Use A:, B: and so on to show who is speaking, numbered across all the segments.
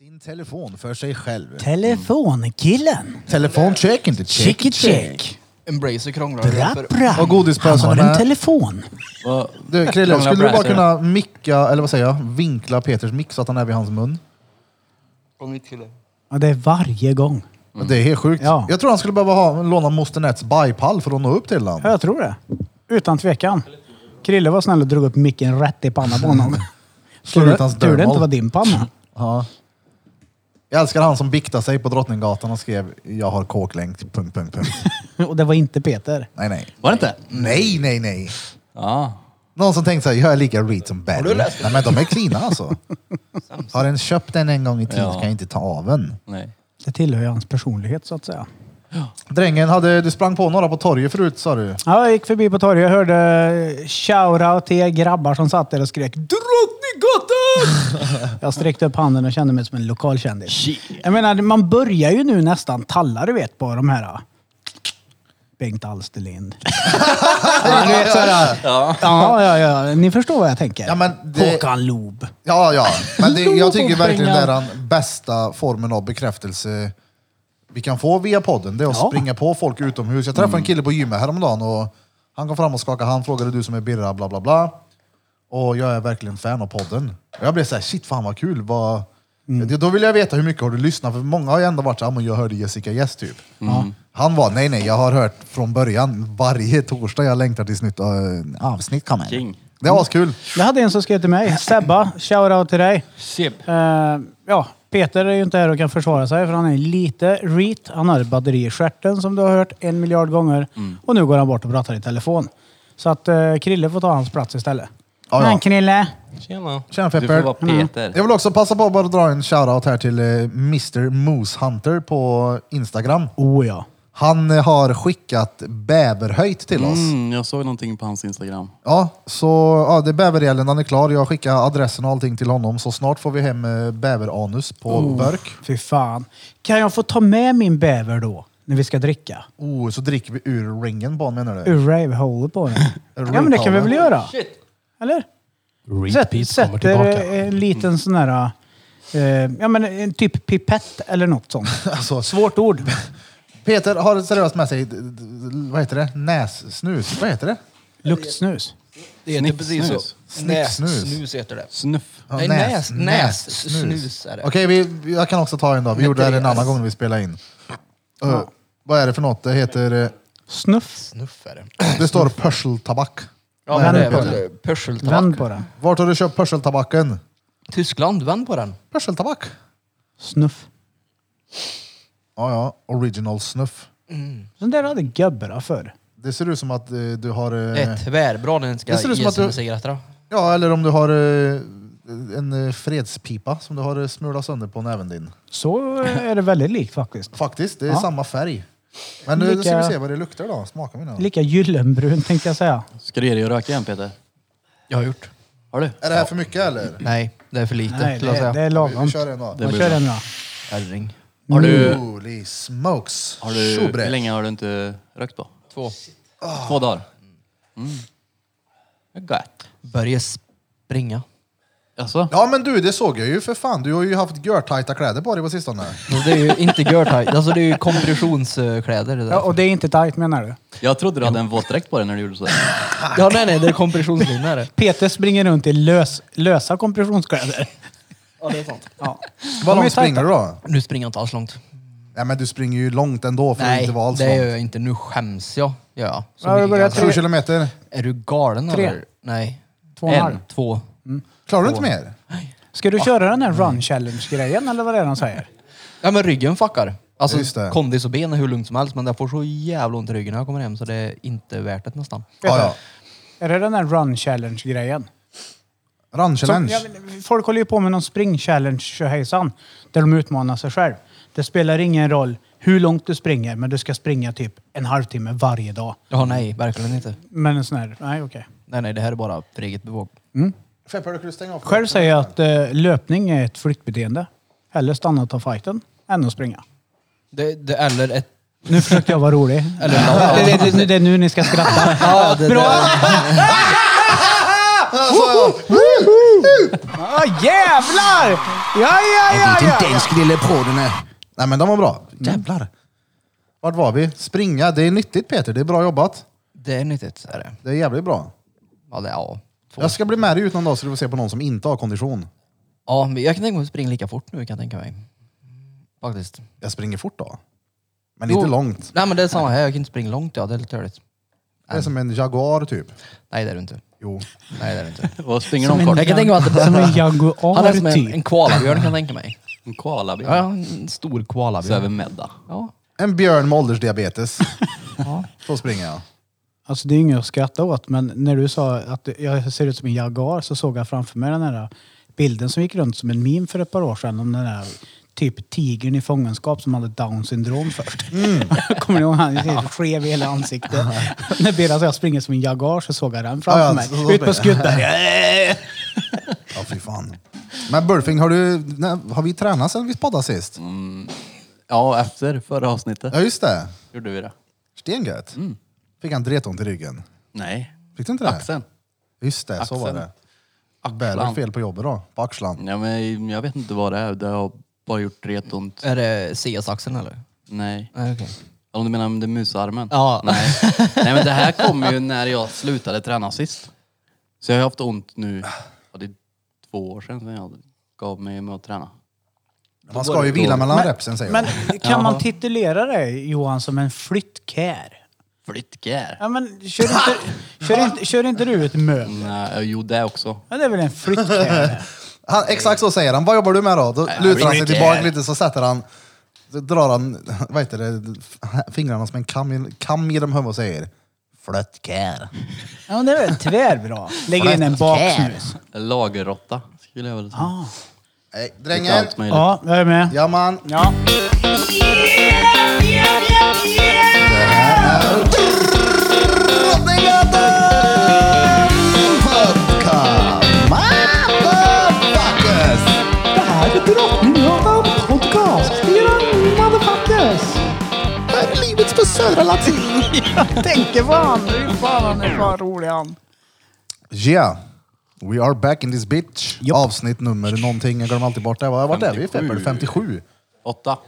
A: Din telefon för sig själv.
B: Telefonkillen.
A: Telefon check inte check.
B: Chicky check.
C: Embracer krånglar.
B: Bra,
C: För-
B: bra.
A: Och godispåsen
B: Han har en
A: med.
B: telefon.
C: Vad-
A: Du Krille,
C: Krånglar
A: skulle du bara
C: bräser.
A: kunna micka, eller vad säger jag, vinkla Peters mick så att han är vid hans mun?
C: Kom hit kille.
B: Ja, det är varje gång.
C: Mm.
A: Det är helt sjukt.
B: Ja.
A: Jag tror han skulle behöva ha, låna moster Nets bajpall för att nå upp till den.
B: Ja, jag tror det. Utan tvekan. Krille var snäll och drog upp micken rätt i pannan på honom.
A: Slår ut hans
B: Tur det inte
A: dermal.
B: var din panna.
A: Ja. Jag älskar han som biktade sig på Drottninggatan och skrev jag har kåklänk, punkt, punkt, punkt.
B: Och det var inte Peter.
A: Nej, nej.
C: Var det inte?
A: Nej, nej, nej.
C: Ja.
A: Någon som tänkte såhär, jag är lika reed som Benny.
C: du läst
A: Nej men de är klina alltså. Har en köpt den en gång i tiden
C: Ja.
A: kan jag inte ta av en.
C: Nej.
B: Det tillhör ju hans personlighet så att säga.
A: Drängen, hade, du sprang på några på torget förut sa du?
B: Ja, jag gick förbi på torget och hörde eh, shoutout till er grabbar som satt där och skrek Drottninggatan! jag sträckte upp handen och kände mig som en lokalkändis. Jag menar, man börjar ju nu nästan talla, du vet, på de här... ah, Bengt Alsterlind. ja, du vet, så här, ja. ja, ja, ja. Ni förstår vad jag tänker.
A: Ja, men det-
B: Håkan Loob.
A: Ja, ja. Men det, jag tycker
B: Lobopengar.
A: verkligen det är den bästa formen av bekräftelse vi kan få via podden. Det är att
B: Ja.
A: springa på folk utomhus. Jag träffade en kille på gymmet häromdagen och han kom fram och skakade hand, frågade du som är Birra, bla bla bla. Och jag är verkligen fan av podden. Och jag blev såhär, shit fan vad kul. Vad... Det- Då vill jag veta hur mycket har du lyssnat? För många har ju ändå varit såhär, "Ah, men jag hörde Jessica Yes typ. Han var, nej nej, jag har hört från början. Varje torsdag jag längtar tills nytt äh, avsnitt kommer.
C: King.
A: Det var askul.
B: Jag hade en som skrev till mig. Sebba, shoutout till dig.
C: Seb.
B: Eh, ja, Peter är ju inte här och kan försvara sig för han är lite reet. Han har ett batteri i stjärten som du har hört en miljard gånger.
A: Mm.
B: Och nu går han bort och pratar i telefon. Så att eh, Krille får ta hans plats istället.
A: Ja, ja.
B: Men Krille!
C: Tjena.
A: Tjena,
C: du
A: Pepper.
C: får vara Peter.
A: Mm. Jag vill också passa på att bara dra en shoutout här till eh, Mr Moose Hunter på Instagram.
B: Oh ja.
A: Han eh, har skickat bäverhöjt till oss.
C: Mm, jag såg någonting på hans Instagram.
A: Ja, så ja, det är bävergällen, den är klar. Jag skickar adressen och allting till honom. Så snart får vi hem eh, bäveranus på
C: Oh.
A: burk.
B: Fy fan. Kan jag få ta med min bäver då? När vi ska dricka?
A: Oh, så dricker vi ur ringen på honom, menar du?
B: Ur ravehålet på den. ja men det kan vi
A: Ravehålet.
B: väl göra?
C: Shit.
B: Eller?
D: Repeat kommer
B: sätter
D: tillbaka. Mm.
B: en liten sån här... eh, ja men en typ pipett eller något sånt.
A: Alltså,
B: Svårt ord.
A: Peter har seriöst med sig, d- d- vad heter det? Nässnus? Vad heter det?
B: Luktsnus.
E: Det heter precis så.
C: Snicksnus.
A: Snicksnus.
E: Snus heter det.
C: Snuff.
A: Ja,
E: Nej, näs- nässnus är det.
A: Okej, vi, jag kan också ta en då. Vi
E: Heter
A: gjorde det här en
E: det-
A: annan gång när vi spelade in. Ö, vad är det för något? Det heter... eh,
B: Snuff.
E: Snuff är det.
A: Det står pörseltabak.
E: Ja,
A: Nej,
E: men det
A: vänd på
E: är väl pörseltabak.
B: Vänd på den.
A: Vart har du köpt pörseltabaken?
E: Tyskland, vänd på den.
A: Pörseltabak?
B: Snuff.
A: Ja, ja. Original snuff.
B: Den där hade gubbarna förr.
A: Det ser ut som att eh, du har... eh,
E: Det är tvärbra när den ska
A: Det ser ut som
E: ge
A: att
E: sig
A: du-
E: med cigaretterna.
A: Ja, eller om du har eh, en eh, fredspipa som du har eh, smulat sönder på näven din.
B: Så är det väldigt likt faktiskt.
A: Faktiskt, det är
B: Ja.
A: samma färg. Men nu ska vi
B: Lika-
A: se vad det luktar då. Smaka mina.
B: Lika gyllenbrun tänkte jag säga.
C: Ska du ge dig att röka igen Peter?
E: Jag har gjort.
C: Har du?
A: Är det här för mycket eller?
E: Nej, det är för lite.
B: Nej,
E: skulle jag
B: det,
E: säga.
B: det är lagom.
A: Vi kör en då.
C: Det
B: Man
C: blir
B: kör
C: bra.
B: en då.
E: Ärring.
C: Har du,
A: Holy smokes!
C: har du,
A: Tjobre.
C: hur länge har du inte rökt på?
E: Två.
C: Två dagar? Mm. Det är Gött.
E: Börja springa.
C: Alltså?
A: Ja men du, det såg jag ju för fan. Du har ju haft görtajta kläder på dig på sistone.
E: Men Det är ju inte görtajt. Alltså det är ju kompressionskläder. Det där.
B: Ja, och det är inte tajt menar du?
C: Jag trodde du hade en våtdräkt på dig när du gjorde så.
E: ja, nej, nej, det är kompressionslinjer.
B: Peter springer runt i lös, lösa kompressionskläder.
E: ja, det är sant.
B: Ja.
A: Vad
B: De är
A: långt springer
B: tajta.
A: du då?
E: Nu springer jag inte alls långt.
A: Nej men du springer ju långt ändå för att
E: Nej,
A: inte vara alls
E: det gör
A: långt.
E: jag inte. Nu skäms jag. Gör jag. Så
B: Ja, det
E: mycket
B: börjar
E: jag-
B: tre-
A: Sju kilometer.
E: Är du galen
B: Tre.
E: eller? Nej.
B: Två och en halv.
E: Två.
A: Klarar du inte mer?
B: Ska du köra den här
E: Mm.
B: run challenge-grejen eller vad det är de säger?
E: Ja men ryggen fuckar.
A: Just
E: Alltså
A: det.
E: kondis och ben är hur lugnt som helst men jag får så jävla ont i ryggen när jag kommer hem så det är inte värt det nästan.
A: Ja, ja.
B: Är det den här run challenge-grejen?
A: Run challenge.
B: Som- ja, men folk håller ju på med någon spring challenge tjohejsan, där de utmanar sig själv. Det spelar ingen roll hur långt du springer, men du ska springa typ en halvtimme varje dag.
E: Ja nej, verkligen inte.
B: Men en sån här, nej okej.
E: Nej nej, det här är bara för eget bevåg.
A: Feppar, du kunde stänga av.
B: Själv säger jag att eh, löpning är ett flyktbeteende. Hellre stanna och ta fighten än att springa.
E: Det, det, eller ett...
B: Nu försökte jag vara rolig.
E: Eller
B: Det, det, det, det är nu ni ska skratta.
E: Ja, det,
B: Bra!
E: det,
A: Alltså,
B: Ah, jävlar! Ja, ja, ja,
F: Jag vet
B: ja!
F: inte ens lillebror den är.
A: Nej men de var bra. Jävlar. Vart var vi? Springa, det är nyttigt Peter. Det är bra jobbat.
E: Det är nyttigt. Är det.
A: Det är jävligt bra.
E: Ja, det, ja. Två.
A: Jag ska bli med dig ut någon dag så du får se på någon som inte har kondition.
E: ja, men jag kan tänka mig att springa lika fort nu kan jag tänka mig. Faktiskt.
A: Jag springer fort då. Men
E: Jo.
A: inte långt.
E: Nej men det är samma här, jag kan inte springa långt ja, det är lite törligt.
A: Det är som en Jaguar typ.
E: Nej det är du inte.
A: Jo.
E: Nej det är du inte.
C: Vad springer
B: Som
C: de
B: en-
C: kort?
E: Jag kan tänka mig att
B: Som en
E: han är som
B: jaguar
E: en, en
B: typ.
E: koalabjörn kan jag tänka mig.
C: En koalabjörn.
E: Ja, ja, en stor
C: Så över
E: koalabjörn.
C: medda.
E: Ja.
A: En björn med åldersdiabetes. Så springer jag.
B: Alltså det är inget att skratta åt, men när du sa att jag ser ut som en jaguar så såg jag framför mig den här bilden som gick runt som en meme för ett par år sedan om den här typ tigern i fångenskap som hade down syndrom först.
A: Mm.
B: Kommer ni ihåg han? Han skev i hela ansiktet. när Birra sa jag springer som en jaguar så såg jag den
A: Ja, ja,
B: framför
A: så- så
B: mig. Ut på
A: springer
B: skuttet.
A: Ja fy fan. Men Burfing, har, du, nej, har vi tränat sen vi poddade sist?
E: Mm.
C: Ja, efter förra avsnittet
A: Ja just det.
C: gjorde vi det.
A: Stengött.
E: Mm.
A: Fick han dretont i ryggen.
C: Nej,
A: Fick du inte det?
C: axeln.
A: Just det, så var
C: Axeln.
A: det. Bär väl fel på jobbet då? På
E: Mm.
A: axlan?
C: Ja, men jag vet inte vad det är. Det har bara gjort retont.
E: Är det CS-axeln eller?
C: Nej.
E: Nej okej.
C: Om du menar om det är musarmen?
E: Ja.
C: Nej. Nej men det här kommer ju när jag slutade träna sist. Så jag har haft ont nu, ja, det är två år sedan som jag gav mig med att träna.
A: Man ska ju vila mellan repsen säger
B: Men
A: de.
B: kan man titulera dig Johan som en flyttkär?
C: Flyttgär.
B: Ja men kör inte, kör inte, kör inte du ut möbel?
C: Nej, eh, jo det också.
B: Ja, det är väl en flyttkär?
A: Han, exakt så säger han. Vad jobbar du med då? Då lutar han sig
C: Rick
A: tillbaka
C: är-
A: lite så sätter han, så drar han vad heter det, f- fingrarna som en kam, i- kam genom huvudet och säger Flöttkär.
B: Ja men det är väl tvärbra. Lägger in en baksnus.
C: Lagerrotta skulle jag väl säga.
B: Ah.
A: Nej,
C: Lite
A: drängar.
C: allt möjligt.
B: Ja, jag är med.
A: Ja man.
B: Ja.
A: Drottninggatan Podcast. Motherfuckers!
B: Det här är Drottninggatan Podcast. Era motherfuckers.
A: Det här är livet på Södra Latin.
B: Jag tänker på han. Fy fan, han är fan rolig han.
A: Yeah. We are back in this bitch.
B: Japp.
A: Avsnitt nummer någonting. Jag glömmer alltid bort det. Vad- Vart är vi?
C: 57.
A: 57?
C: Åtta.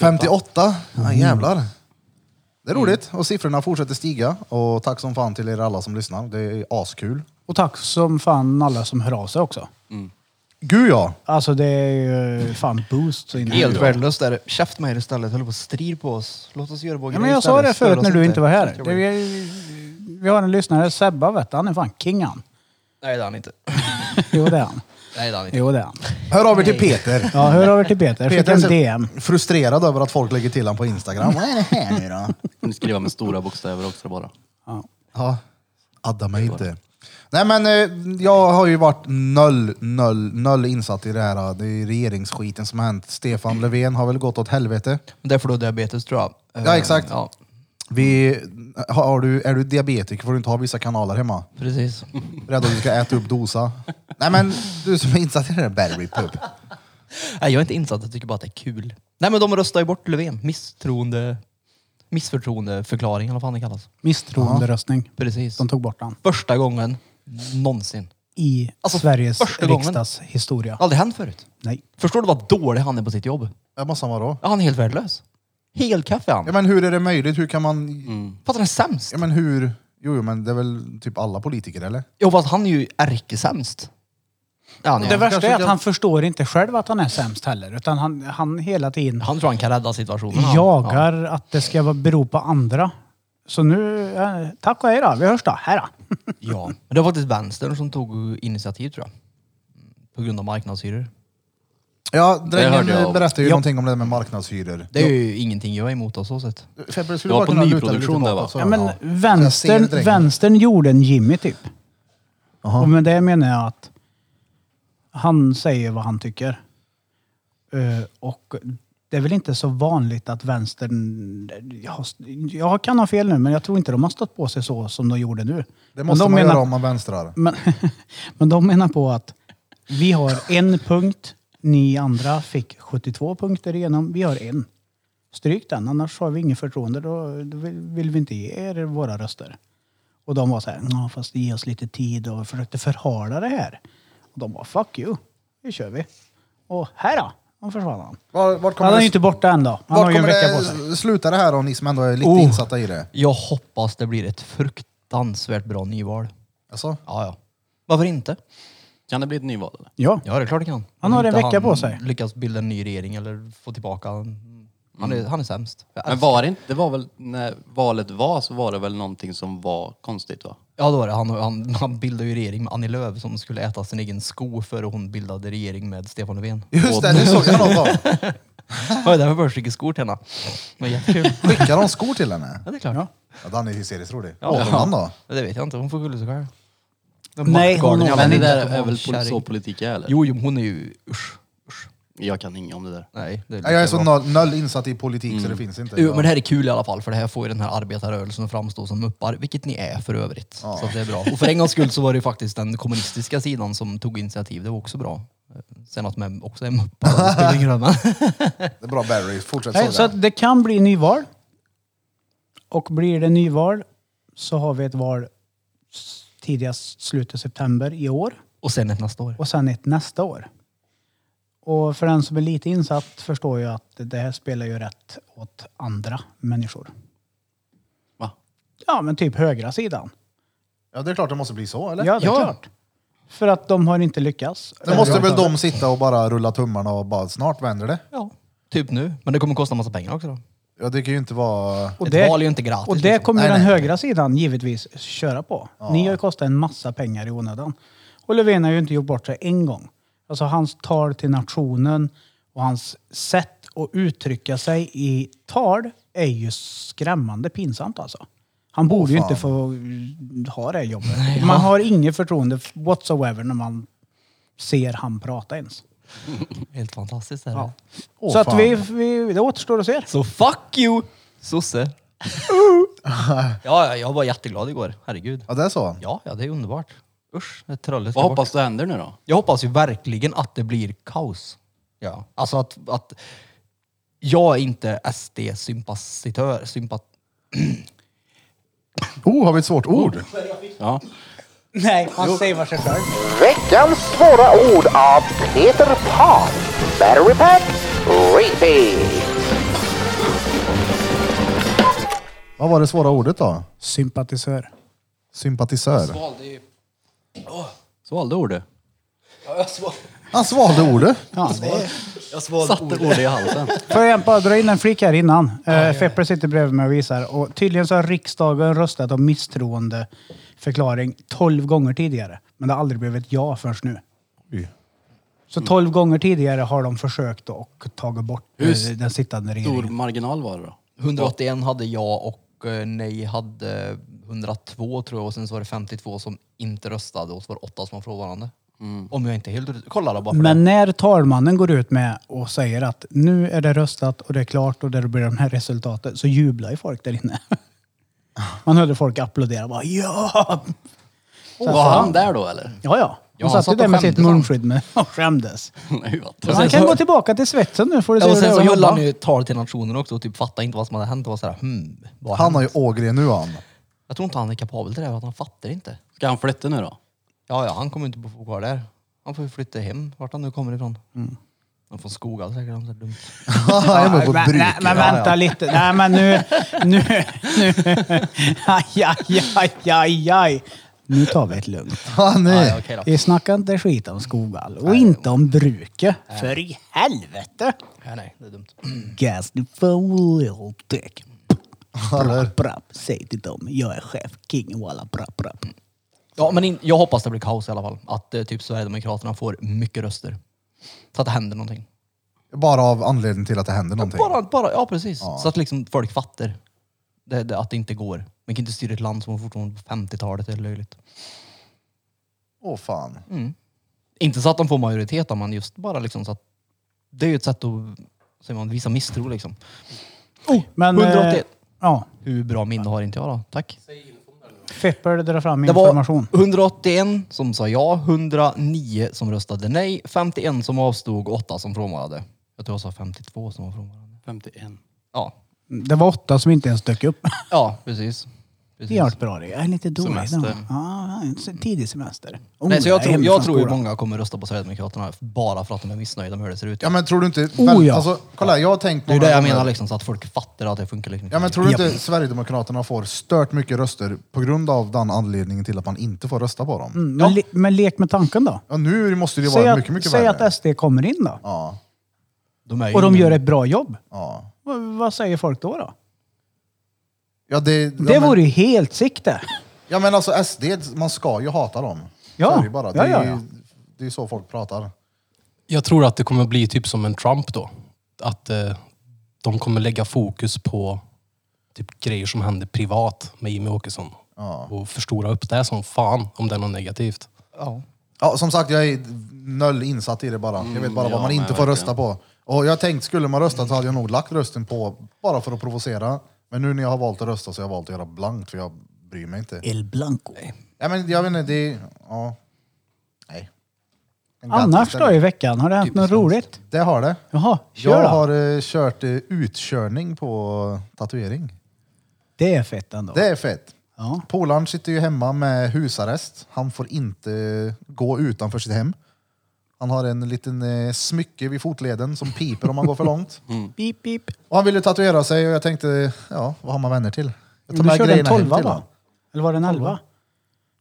A: 58? Ja, jävlar. Det är roligt och siffrorna fortsätter stiga. Och tack som fan till er alla som lyssnar. Det är askul.
B: Och tack som fan alla som hör av sig också.
A: Gud ja!
B: Alltså det är ju fan boost. Så in i
E: Helt
B: helvete.
E: värdelöst är det. Käft med er istället, höll på att strir på oss. Låt oss göra vår
B: Ja,
E: grej
B: men jag sa
E: istället.
B: det
E: Störa
B: förut
E: oss
B: när du inte var här.
E: Skit i
B: Det,
E: vår grej.
B: vi, vi har en lyssnare, Sebba vet du, han är fan king han.
E: Nej det är han inte.
B: Jo det är han.
E: Nej det är han inte.
B: Jo det är han.
A: Hör av er till Peter.
B: Ja, hör över till Peter. Skicka
A: Peter är
B: en
A: så
B: DM.
A: frustrerad över att folk lägger till honom på Instagram. Vad är det här nu då?
C: Får ni skriva med stora bokstäver också bara.
B: Ja.
A: Ja, adda mig inte. Nej men eh, jag har ju varit noll, noll, noll insatt i det här. eh, Det är regeringsskiten som har hänt. Stefan Löfven har väl gått åt helvete.
E: Men Det är för då diabetes tror jag.
A: Ja,
E: Eh,
A: exakt.
E: Ja,
A: Vi, har du, är du diabetiker får du inte ha vissa kanaler hemma.
E: precis.
A: Rädd att du ska äta upp dosa. Nej men du som är insatt i det där Battery Pub.
E: Nej, jag är inte insatt, jag tycker bara att det är kul. Nej men de röstar ju bort Löfven. Misstroende... Missförtroendeförklaring eller vad fan det kallas.
B: Misstroenderöstning.
E: Precis.
B: De tog bort han.
E: Första gången någonsin.
B: I
E: Alltså,
B: Sveriges
E: första gången.
B: riksdags historia.
E: Aldrig hänt förut.
B: Nej.
E: Förstår du vad dålig han är på sitt jobb?
A: Ja, måste han vara då?
E: Ja, han är helt värdelös. Helt kaffe han.
A: Ja men hur är det möjligt? Hur kan man...
E: Fattar du, han är sämst.
A: Ja men hur... Jo, jo men det är väl typ alla politiker eller?
E: Jo fast han är ju ärkesämst. Ja, han, är.
B: Det värsta är
A: kanske
B: att han förstår inte själv att han är sämst heller. Utan han, han hela tiden
E: han tror han kan rädda situationen. han. Ja.
B: jagar att det ska vara- bero på andra. Så nu, eh, tack och hej då. Vi hörs då. Hej då.
E: ja. Men det var faktiskt vänstern som tog initiativ tror jag. På grund av marknadshyror.
A: Ja,
C: hörde jag
A: drängen
C: om.
A: berättade ju
B: Ja.
A: någonting om det där med marknadshyror.
E: Det är ju ingenting jag är emot av så sätt.
A: Februari skulle
C: Det
A: bara
C: var på
A: kunna luta dig
C: nyproduktion
A: lite
C: där,
A: bakåt, så.
C: va?
B: Ja, men
A: Så jag ser
B: vänstern,
A: drängen.
B: vänstern gjorde en Jimmy typ. Och med det menar jag att han säger vad han tycker. Eh, och det är väl inte så vanligt att vänstern... Jag, har- jag kan ha fel nu, men jag tror inte de har stått på sig så som de gjorde nu.
A: Det
B: Men
A: måste
B: de
A: man
B: menar,
A: göra om man vänstrar.
B: Men, men de menar på att vi har en punkt, ni andra fick 72 punkter igenom, vi har en. Stryk den, annars har vi inget förtroende. Då, då vill, vill vi inte ge er våra röster. Och de var så här, "Nå, fast ge oss lite tid och försökte förhala det här. Och de bara fuck you, nu kör vi. Och här då, han försvann han.
A: Var, vart kommer
B: Han är
A: det,
B: ju inte borta än då. Han
A: vart
B: har ju en
A: kommer
B: vecka på sig.
A: det sluta det här då, ni som ändå är lite
B: Oh.
A: insatta i det?
E: Jag hoppas det blir ett fruktansvärt bra nyval.
A: Alltså,
E: Ja, ja. Varför inte?
C: Kan det bli ett nyval eller?
B: Ja.
E: Ja, det är klart det kan.
B: Han
E: Om
B: har en
E: inte
B: vecka
E: han
B: på sig.
E: lyckas bilda en ny regering eller få tillbaka han. Han är, han är sämst.
C: Men var det inte, det var väl, när valet var så var det väl någonting som var konstigt va?
E: Ja, då var det. Han, han, han bildade ju regering med Annie Lööf som skulle äta sin egen sko före hon bildade regering med Stefan Löfven.
A: just det, nu såg jag något av.
E: Det var därför först fick skor till henne. Men jättekul.
A: Skickar de skor till henne?
E: Ja, det är klart.
B: Ja.
A: Ja, den är hysteriskt rolig.
E: Ja.
A: Åt hon han då?
E: Men Det vet jag inte. Hon får skylla sig själv.
B: Nej, hon
E: maktgarden,
B: åt
E: jag vet
C: men det
E: inte
C: där
E: att hon
C: är
E: var
C: väl pol-
E: kärring.
C: så politik är eller?
E: Jo, jo, men hon är ju... Usch. usch.
C: Jag kan inget om det där.
E: Nej, det är
A: Nej, Jag är
E: lika
A: så
E: bra.
A: noll, noll insatt i politik så det finns inte.
E: Jo, men det här är kul i alla fall för det här får ju den här arbetarrörelsen att framstå som muppar, vilket ni är för övrigt. Så att det är bra. Och för en gångs skull så var det ju faktiskt den kommunistiska sidan som tog initiativ, det var också bra. Eh, Sen att de också är muppar, det spelar ingen roll. men-
A: Det är bra Barry, fortsätt
B: Nej, så
A: såga.
B: att det kan bli nyval. Och blir det nyval så har vi ett val s- tidigast slutet september i år
E: Och sen ett nästa år.
B: och sen ett nästa år. Och för den som är lite insatt förstår ju att det här spelar ju rätt åt andra människor.
C: Va?
B: Ja, men typ högra sidan.
A: Ja, det är klart det måste bli så, eller?
B: Ja, det är klart. För att de har inte lyckats.
A: Då måste väl de sitta och bara rulla tummarna och bara snart vänder det.
E: Ja, typ nu. Men det kommer kosta en massa pengar också då.
A: Ja, det kan ju inte vara...
B: Och
E: Ett
B: det,
E: val är ju inte gratis.
B: och det
E: liksom.
B: kommer
A: Nej,
B: den
A: nej.
B: högra sidan givetvis köra på. Ni har ju kostat en massa pengar i onödan. Och Löfven har ju inte gjort bort sig en gång. Alltså hans tal till nationen och hans sätt att uttrycka sig i tal är ju skrämmande pinsamt alltså. Han borde ju
A: fan.
B: inte få mm, ha det jobbet. Man har inget förtroende whatsoever när man ser han prata ens.
E: Helt fantastiskt. Här.
B: Ja.
A: Åh,
B: Så att
A: fan.
B: vi, vi, det återstår att se.
E: Så fuck you, sosse! ja, ja, jag var jätteglad igår. Herregud.
A: Ja, det är så.
E: Ja, ja, det är underbart. Usch, det trollet
C: Vad
E: ska bort.
C: hoppas du händer nu då?
E: Jag hoppas ju verkligen att det blir kaos. Ja. Alltså att, att jag är inte SD-sympatisör. Sympat
A: Oh, har vi ett svårt ord?
C: Ja.
B: Nej, han savar sig själv.
F: Veckans svåra ord av Peter Pan. Battery pack, repeat.
A: Vad var det svåra ordet då?
B: Sympatisör.
A: Sympatisör.
C: Svalde ordet.
A: Han svalde ordet.
C: Satte ordet i halsen.
B: Får jag bara dra in en flik här innan? Eh, Fepper sitter bredvid mig och visar. Och tydligen så har riksdagen röstat om misstroendeförklaring 12 gånger tidigare. Men det har aldrig blivit ett ja förrän nu.
A: Oj.
B: Så
E: Mm.
B: 12 gånger tidigare har de försökt då och tagit bort eh,
C: Hur
B: den sittande
C: Stor
B: regeringen.
C: marginal var det då?
E: 181 hade jag och eh, nej hade 102 tror jag och sen så var det 52 som inte röstade och så var det 8 som var från varandra. Om jag inte är helt ute- Kolla då bara för
B: Men när talmannen går ut med och säger att nu är det röstat och det är klart och det blir de här resultaten så jublar ju folk där inne. Man hörde folk applådera bara ja!
C: Var han där då eller?
B: Ja, ja.
E: Ja,
B: Han satt
E: han
B: ju
E: satt
B: där
E: och
B: med sitt
E: skämdes, alltså. han.
B: munskydd med och skämdes.
C: Nej, vad
E: Och
C: tönt.
E: sen
B: Han kan
E: så-
B: gå tillbaka till svetsen nu får du se
E: det. Och
B: hur det
E: sen
B: är
E: så
B: att
E: höll
B: jobba.
E: han ju tal till nationen också och typ fattade inte vad som hade hänt och var sådär hmm, vad
A: Han
E: han...
A: har ju Ågren nu han.
E: Jag tror inte han är kapabel till det, här, att han fattar inte.
C: Ska han flytta nu då?
E: Ja, ja, han kommer inte få bo kvar där. Han får ju flytta hem, vart han nu kommer ifrån. Han får skogar säkert, han är dumt.
A: Han är med på
B: men, nej, men
A: bryt.
B: vänta lite. Nej men nu, nu, nu. Aj, aj, aj, aj, aj. Nu tar vi ett lugnt.
A: Han
E: Ja,
A: är...
E: okej då.
B: Vi snackar inte skit om Skoghall och inte om bruket. För i helvete!
E: Ja, nej, det är dumt.
B: Gas the phone little dick.
A: Eller?
B: Brapp, brapp. Säg till dem, jag är chef, king walla brapp, brapp.
E: Ja, men in, jag hoppas det blir kaos i alla fall. Att eh, typ Sverigedemokraterna får mycket röster. Så att det händer någonting.
A: Bara av anledning till att det händer någonting.
E: Bara, bara, ja precis. Så att liksom folk fattar det, det, att det inte går. Man kan inte styra ett land som var fortfarande på 50-talet, det är löjligt.
A: Åh fan.
E: Inte så att de får majoritet, då, men just bara liksom så att det är ju ett sätt att säger man, visa misstro liksom.
B: Men, eh,
E: 181.
B: ja,
E: Hur bra minne har inte jag då? Tack.
B: Fepper drar fram
E: Det var
B: information.
E: 181 som sa ja, 109 som röstade nej, 51 som avstod och 8 som frånvarade. Jag tror jag sa 52 som var frånvarande.
C: 51.
E: Ja,
B: Det var åtta som inte ens dök upp.
E: ja precis. Precis.
B: Det har varit bra det. Jag är lite dålig.
C: Semester.
B: Ja, en se- tidig semester. Oh,
E: Nej, så jag, tror,
B: hemma
E: jag
B: från
E: tror ju
B: skolan.
E: många kommer rösta på Sverigedemokraterna bara för att de är missnöjda med hur det ser ut.
A: Ja men tror du inte...
B: Oh,
A: väl-
B: ja.
A: Alltså, kolla, jag har tänkt
E: det är ju
A: många
E: det jag
A: gånger-
E: menar liksom, så att folk fattar att det funkar liksom
A: Ja men tror du
B: Japp.
A: inte Sverigedemokraterna får stört mycket röster på grund av den anledningen till att man inte får rösta på dem?
B: Mm, Men, le, men lek med tanken då.
A: Ja, nu måste det ju
B: Säg,
A: vara
B: att,
A: mycket, mycket
B: säg
A: värre.
B: att SD kommer in då.
A: Ja,
E: de är ju
B: Och de
E: ingen-
B: gör ett bra jobb.
A: ja.
B: Vad, vad säger folk då? då?
A: Ja, det,
B: Det
A: ja, men,
B: vore ju helt sikte.
A: ja men alltså SD, man ska ju hata dem.
B: Ja.
A: Så är det, ju bara.
B: Ja,
A: det,
B: ja,
A: är,
B: ja.
A: ju- det är så folk pratar.
D: Jag tror att det kommer bli typ som en Trump då. Att eh, de kommer lägga fokus på typ grejer som händer privat med Jimmy Åkesson.
A: Ja.
D: Och förstora upp det som fan om det är något negativt.
E: Ja.
A: Ja, som sagt, jag är noll insatt i det bara. Jag vet bara
C: Mm, ja,
A: vad man
C: men
A: inte får
C: verkligen.
A: rösta på. Och jag tänkte, skulle man rösta så hade jag nog lagt rösten på, bara för att provocera. Men nu när jag har valt att rösta så har jag valt att göra blankt, för jag bryr mig inte.
B: El Blanco.
A: Ja, men jag vet inte, det är... Ja. Nej. En gatt
B: Annars
A: istället.
B: då i veckan, har det hänt något roligt?
A: Det har det.
B: Jaha, kör
A: Jag
B: då.
A: har eh, kört eh, utkörning på tatuering.
B: Det är fett ändå.
A: Det är fett.
B: Ja.
A: Polaren sitter ju hemma med husarrest. Han får inte gå utanför sitt hem. Han har en liten eh, smycke vid fotleden som piper om man går för långt.
B: Mm. Pip, pip.
A: Och han ville tatuera sig och jag tänkte, ja, vad har man vänner till? Jag
B: Du körde en
A: grejerna hem
B: tolva
A: till
B: va?
A: honom.
B: Eller var det en elva?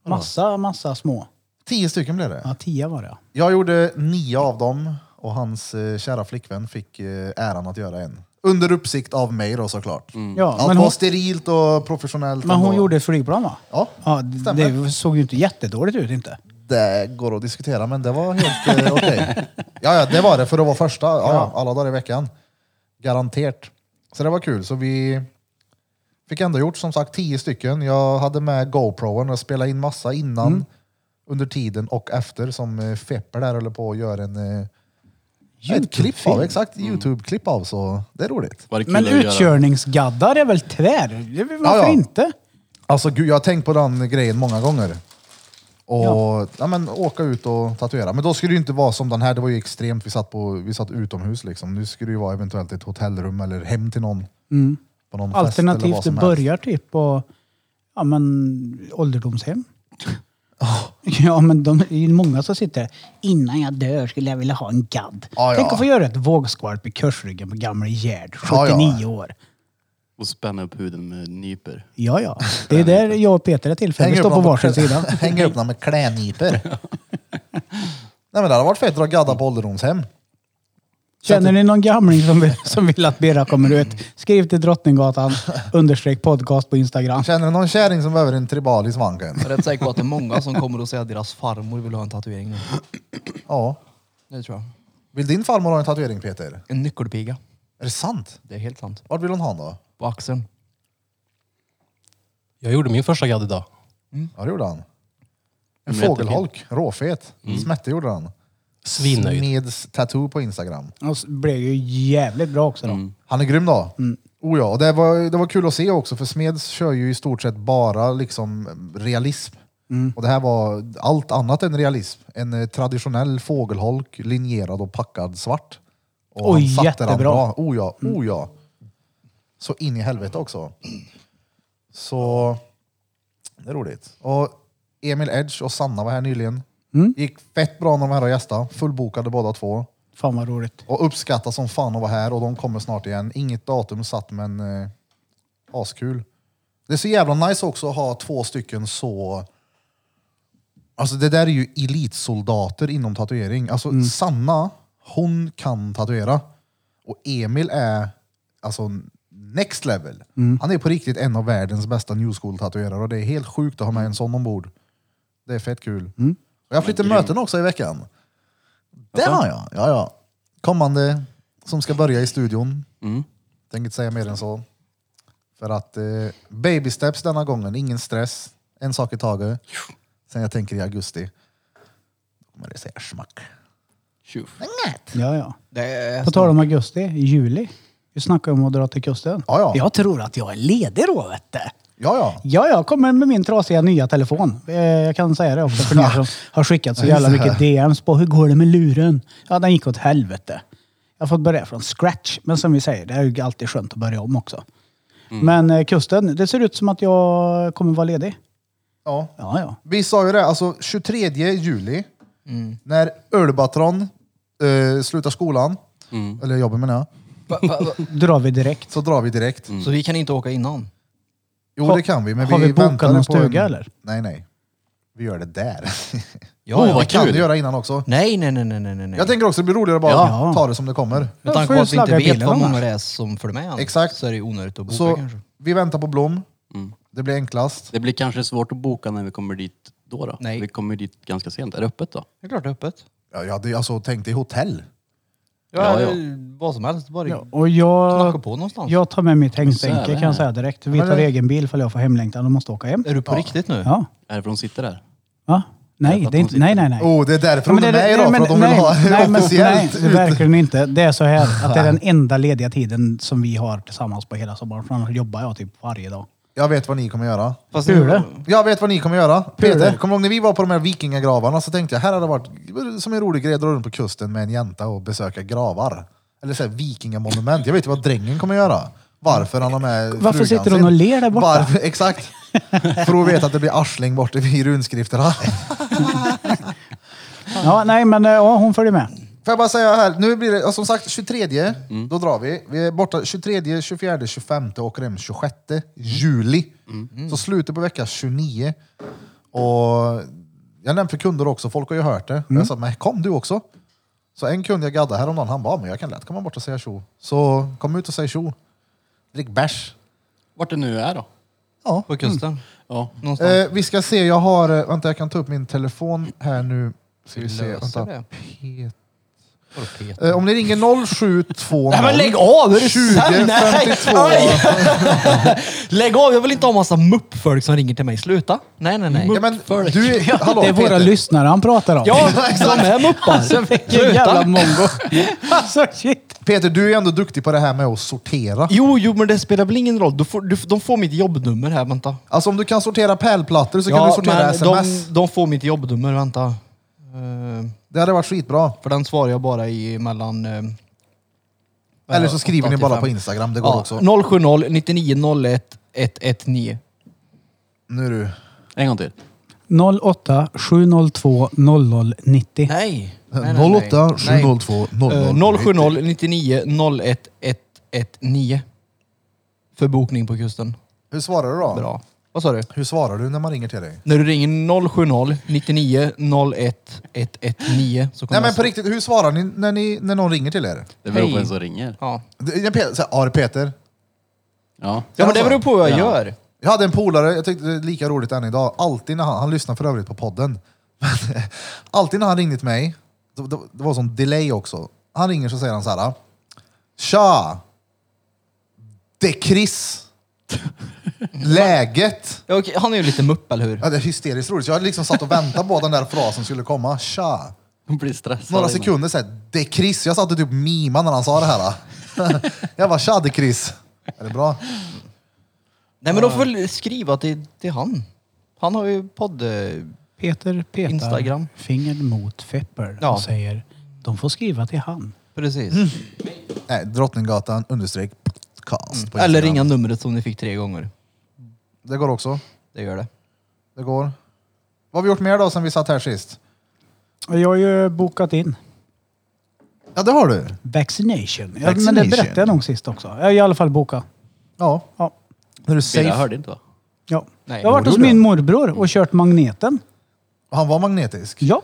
B: Massa, massa små.
A: Tio stycken blev det.
B: Ja, tio var
E: Mm.
B: det.
A: Jag gjorde nio av dem och hans eh, kära flickvän fick eh, äran att göra en. Under uppsikt av mig då såklart.
B: Ja,
A: Allt
B: Mm. men
A: var
B: hon,
A: sterilt och professionellt.
B: men hon
A: ändå.
B: gjorde ett flygplan va?
A: Ja,
B: Ja, det,
A: stämmer.
B: det såg ju inte jättedåligt ut inte.
A: Det går att diskutera, men det var helt eh, okej. Ja, ja, det var det för att vara första. Ja, ja. Alla dagar i veckan. Garanterat. Så det var kul. Så vi fick ändå gjort som sagt tio stycken. Jag hade med GoProen och spelade in massa innan, under tiden och efter som eh, Fepper där håller på att göra en eh, ett klipp av. Exakt, Youtube-klipp av. Så det är roligt.
C: Var det kul
B: Men
C: att göra?
B: utkörningsgaddar är väl tvär? Det är väl- Varför
A: Ja, ja.
B: inte?
A: Alltså gud, jag har tänkt på den grejen många gånger. Och ja.
B: Ja.
A: men, åka ut och tatuera. Men då skulle det ju inte vara som den här, det var ju extremt. Vi satt, på, vi satt utomhus liksom. Nu skulle det ju vara eventuellt ett hotellrum eller hem till någon. På någon fest eller vad
B: Mm. Alternativt du
A: som helst.
B: börjar typ på ja, men, ålderdomshem. Ja men de, det är ju många som sitter här. Innan jag dör skulle jag vilja ha en gadd.
A: Ja, ja.
B: Tänk att få göra ett vågskvalp i korsryggen på gamla Gerd, 79
A: Ja, ja.
B: år.
C: Och spänna upp huden med nyper.
B: Ja, ja. Det är där jag och Peter är till för. Vi står på
A: dem
B: varsin
A: klä-
B: sida.
A: Hänger upp dem med klädnypor. Nej men det hade varit fett att gadda på ålderdomshem.
B: Känner ni någon gamling som vill, som vill att Bera kommer ut? Skriv till Drottninggatan understreck podcast på Instagram.
A: Känner du någon kärring som behöver en tribal i svanken?
E: Jag är rätt säker på att det är många som kommer att säga att deras farmor vill ha en tatuering nu.
A: Ja.
E: Det tror jag.
A: Vill din farmor ha en tatuering Peter?
E: En nyckelpiga.
A: Är det sant?
E: Det är helt sant.
A: Vart vill hon ha då?
E: På axeln.
D: Jag gjorde min första gadd idag.
A: Ja det gjorde han. En
C: En meter
A: fågelholk, råfet. Smätte gjorde han.
D: Svinnöjd.
A: Smeds tattoo på Instagram.
B: Och så blev ju jävligt bra också då.
A: Han är grym då.
B: Mm.
A: Oh ja, och det var, det var kul att se också för Smeds kör ju i stort sett bara liksom realism.
B: Mm.
A: Och det här var allt annat än realism. En eh, traditionell fågelholk, linjerad och packad svart. Och
B: Oj,
A: han satte den
B: jättebra. Mm.
A: bra. Oh ja, oh ja. Så in i helvete också. Så det är roligt. Och Emil Edge och Sanna var här nyligen.
B: Mm.
A: Gick fett bra när de var här och gästade. Fullbokade båda två.
B: Fan vad roligt.
A: Och uppskattar som fan att vara här och de kommer snart igen. Inget datum satt men eh, askul. Det är så jävla nice också att ha två stycken så... Alltså det där är ju elitsoldater inom tatuering. Alltså Sanna, hon kan tatuera. Och Emil är alltså next level. Han är på riktigt en av världens bästa new school tatuerare och det är helt sjukt att ha med en sån ombord. Det är fett kul. Och jag flyttar möten också i veckan. Det har jag. Ja, ja. Kommande som ska börja i studion.
C: Mm.
A: Tänker inte säga mer än så. För att eh, baby steps denna gången, ingen stress. En sak i taget. Sen jag tänker i augusti. Då kommer det säga smack.
C: Tjuff.
B: Ja, ja.
E: Det är
B: På tal om augusti, juli. Vi snackade om att dra till kusten.
A: Ja, ja.
B: Jag tror att jag är ledig då, vet du.
A: Ja, ja.
B: Ja, jag kommer med min trasiga nya telefon. Eh, Jag kan säga det också för ni som har skickat så jävla mycket DMs på hur går det med luren? Ja, den gick åt helvete. Jag har fått börja från scratch. Men som vi säger, det är ju alltid skönt att börja om också.
A: Mm.
B: Men eh, kusten, det ser ut som att jag kommer vara ledig.
A: Ja.
B: Ja, ja.
A: Vi sa ju det, alltså 23 juli, när Ölbatron eh, slutar skolan, eller jobbar menar jag,
E: Va, va, va.
B: Drar vi direkt.
A: så drar vi direkt.
E: Så
B: Mm.
E: vi kan inte åka innan?
A: Jo
B: Har-
A: det kan vi, men
B: har vi bokat
A: väntar
B: någon
A: på en-
B: stuga, eller?
A: Nej, nej. Vi gör det där.
E: Ja,
C: Oh,
E: ja.
A: det
C: vad
A: kan
C: kul.
A: vi göra innan också.
E: Nej, nej, nej, nej, nej, nej.
A: Jag tänker också det blir roligare att bara
B: Ja.
A: ta det som det kommer.
E: Med
B: Då
E: tanke
B: får du
E: på att vi inte
B: slagga
E: vet
B: bilen
E: vad många
B: annars.
E: det är som följer med än,
A: Exakt.
E: så är det ju onödigt att boka
A: Så
E: kanske.
A: vi väntar på Blom. Det blir enklast.
C: Det blir kanske svårt att boka när vi kommer dit då. då.
E: Nej.
C: Vi kommer dit ganska sent. Är det öppet då?
E: Det är klart det är öppet.
A: Ja, jag hade alltså tänkt i hotell.
E: Ja,
C: Ja, ja.
E: eller Vad som helst, bara
B: Ja, och
E: knacka
B: jag,
E: på någonstans.
B: jag tar med mitt
C: Så är
B: hängstänke
C: det.
B: kan jag säga direkt. Vi
A: men
B: tar
A: det- Eh,
B: egen bil för jag får hemlängtan och måste åka hem.
E: Är du på riktigt nu?
B: Ja.
C: Är det för de sitter där?
B: Va? Nej, det är inte, nej, nej, nej.
A: Oh, det är därför hon är med idag, för att de vill ha officiellt
B: nej,
A: ut.
B: verkligen inte. Det är så här att det är den enda lediga tiden som vi har tillsammans på hela sommaren. För annars jobbar jag typ varje dag.
A: Jag vet vad ni kommer göra.
E: Fast
B: Hur det?
A: Jag vet vad ni kommer göra. Peter,
B: det?
A: kommer du ihåg när vi var på de här vikingagravarna så tänkte jag, här hade det varit som en rolig grej att dra runt på kusten med en jänta och besöka gravar. Eller så här vikingamonument. Jag vet ju vad drängen kommer göra. Varför han har med
B: Varför
A: frugan
B: sitter
A: sin.
B: hon och ler där borta?
A: Varför, exakt. För hon vet att det blir arsling borta vid runskrifterna.
B: Ja, nej, men eh, ja, hon följer med.
A: Får jag bara säga här, nu blir det, ja, som sagt 23, då drar vi. Vi är borta 23, 24, 25 och åker hem 26 juli.
E: Mm.
A: Så slutet på vecka 29. Och jag har nämnt för kunder också, folk har ju hört det.
E: Mm.
A: Jag sa, men kom du också. Så en kund jag gaddade häromdagen, han bara, men jag kan lätt komma bort och säga tjo. Så kom ut och säg tjo. Drick bärs.
C: Vart det nu är då?
E: På kusten?
B: Mm.
C: Ja.
E: Någonstans?
A: Eh, vi ska se, jag har, eh, vänta jag kan ta upp min telefon här nu. Ska vi se,
E: Löser
A: vänta.
E: det.
A: Pet-
E: Vadå Peter?
A: Eh, om ni ringer 0720...
E: Nej men lägg av! Är
A: 20,
E: du sann? Nej!
A: 52.
E: Aj! lägg av! Jag vill inte ha massa muppfolk som ringer till mig. Sluta! Nej, nej, nej.
A: Ja, men du, är- hallå,
B: det är våra
A: Peter.
B: lyssnare han pratar om. Alltså,
E: Ja, de är muppar!
B: Vilken jävla mongo. Alltså shit.
A: Peter, du är ju ändå duktig på det här med att sortera.
E: Jo, jo, men det spelar väl ingen roll. Du får, du, de får mitt jobbnummer här, vänta.
A: Alltså om du kan sortera pärlplattor så kan du sortera sms.
E: De, de får mitt jobbnummer, vänta. Eh,
A: Det hade varit skitbra.
E: för den svarar jag bara i mellan... eh,
A: Eller så skriver ni bara
E: 85.
A: på Instagram, det går
E: Ja,
A: också.
E: 070 99 01 119.
A: Nu du.
C: En gång till.
B: 08 702 0090.
A: Eh,
E: Nej! nej, nej, nej.
A: 08 702
E: Eh,
A: 00
E: 070 99 01 119. För bokning på kusten.
A: Hur svarar du då?
E: Bra. Vad sa du?
A: Hur svarar du när man ringer till dig?
E: När du ringer 070 99 01 119 så kommer
A: Nej men
E: jag-
A: på riktigt, hur svarar ni när, ni, när någon ringer till er?
C: Det beror på
E: Hej.
C: vem som ringer.
E: Ja.
A: Det- det är Peter, så här, ja det är Peter.
C: Ja.
E: ja, men det beror på vad jag
C: Ja.
E: gör.
A: Jag hade en polare, jag tyckte det är lika roligt än idag. Alltid när han, han lyssnar för övrigt på podden. Men, eh, alltid när han ringde till mig, det, det, det var sån delay också. Han ringer så säger han så här. Tja! Det är Chris. Läget?
E: Ja, okej, han är ju lite mupp, eller hur?
A: Ja, det är hysteriskt roligt. Så Jag hade liksom satt och väntat på att den där frasen skulle komma. Tja!
C: Hon blir stressad.
A: Några
C: innan.
A: sekunder såhär, det är Chris. Jag satt och typ mimade när han sa det här. jag bara, tja det är Chris. Är det bra?
E: Nej, men då får väl skriva till, till han. Han har ju podd... eh,
B: Peter petar
E: Instagram.
B: fingret mot Fepper
E: Ja.
B: och säger de får skriva till han.
E: Precis.
A: Nej, Drottninggatan understreck podcast. på
E: Eller
A: Instagram.
E: ringa numret som ni fick tre gånger.
A: Det går också.
E: Det gör det.
A: Det går. Vad har vi gjort mer då sen vi satt här sist?
B: Och Jag har ju bokat in
A: Ja, det har du.
B: vaccination. Ja, Men det
A: Vaccination.
B: berättade jag nog sist också. Jag har i alla fall bokat.
A: Ja.
B: Ja.
A: När du
C: Birra
A: safe.
C: hörde inte va?
B: Ja.
E: Nej,
B: jag har varit hos
A: gjorde
B: min morbror och kört magneten.
A: Han var magnetisk.
B: Ja,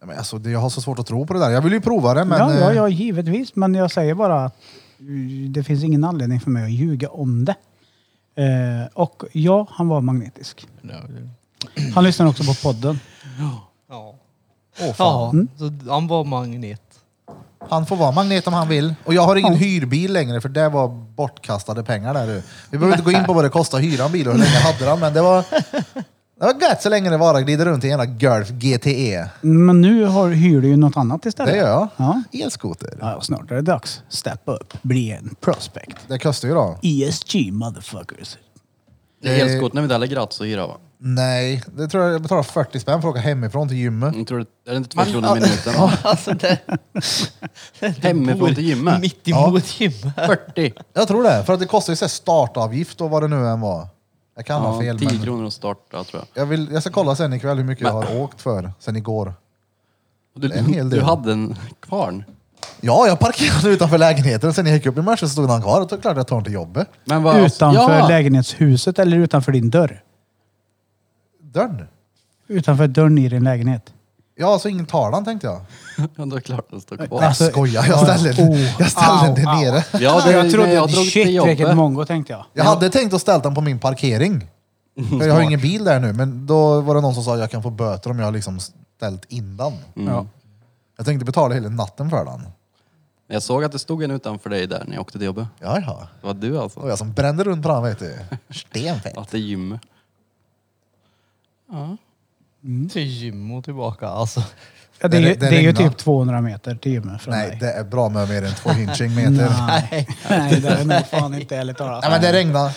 A: Ja, Men alltså, det- jag har så svårt att tro på det där. Jag vill ju prova det, men...
B: ja, ja,
A: eh,
B: ja givetvis. Men jag säger bara att mm, det finns ingen anledning för mig att ljuga om det. Eh, och ja, han var magnetisk. Han lyssnar också på podden.
E: Ja.
A: åh, fan.
E: Ja, så han var magnet.
A: eh, Han får vara magnet om han vill. Och jag har ingen hyrbil längre, för det var bortkastade pengar där. du. Vi behöver inte gå in på vad det kostar att hyra en bil och hur länge jag hade den, men det var... Det var gött så länge det bara glider runt i en jävla Golf GTE.
B: Men nu har, hyr du ju något annat istället.
A: Det gör jag.
B: Ja.
A: Elskoter.
B: Ja, och snart är det dags. Step up. Bli en prospect.
A: Det kostar ju då.
B: ESG motherfuckers.
C: Det är elskotern är väl inte heller gratis att hyra va?
A: Nej, det tror jag, jag betalar 40 spänn för att åka hemifrån till gymmet.
C: Jag tror det, är det inte två kronor i minuten?
E: Alltså det,
C: Hemifrån
E: bor
C: till gymmet?
E: Mitt emot gymmet.
C: 40?
A: Jag tror det, för att det kostar ju så här startavgift och vad det nu än var. Jag kan ha
C: Ja,
A: fel,
C: 10
A: men
C: kronor att starta tror jag.
A: jag, vill, jag ska kolla sen ikväll hur mycket jag har åkt för sen igår.
C: Och Du,
A: Det är en hel del.
C: du hade en kvarn.
A: Ja, jag parkerade utanför lägenheten och sen när jag gick upp i morse så stod han kvar och då klart jag tar den till jobbet.
C: Men vad,
B: Utanför
C: ja,
B: lägenhetshuset eller utanför din dörr?
A: Dörren.
B: Utanför dörren i din lägenhet.
A: Ja, alltså ingen talan tänkte jag.
C: Ja, då är klart den står kvar.
A: Jag skojar, jag ställde den, jag ställde den
B: Au, au.
A: där nere.
C: Ja, det,
B: Alltså, jag trodde,
C: när jag drog till
B: shit vilket
C: jobbet.
B: mongo tänkte jag.
A: Jag hade tänkt att ställa den på min parkering. För jag har ingen bil där nu, men då var det någon som sa att jag kan få böter om jag har liksom ställt in den.
B: Ja.
A: Jag tänkte betala hela natten för den.
C: Jag såg att det stod en utanför dig där när jag åkte till jobbet.
A: Ja, ja.
C: Det var du
A: Det var
C: alltså?
A: jag som brände runt på den vet du. Stenfett.
C: Att det är gym.
B: Mm.
E: Till gym och tillbaka alltså.
B: Ja, det, är
A: Det-
B: ju,
A: det
B: det är ju
A: regnar.
B: typ 200 meter till gymmet från
A: Nej,
B: dig.
A: det är bra med mer än två hinching meter.
B: Nej. Nej, det är nog fan inte ärligt talat.
A: Nej men det regnade.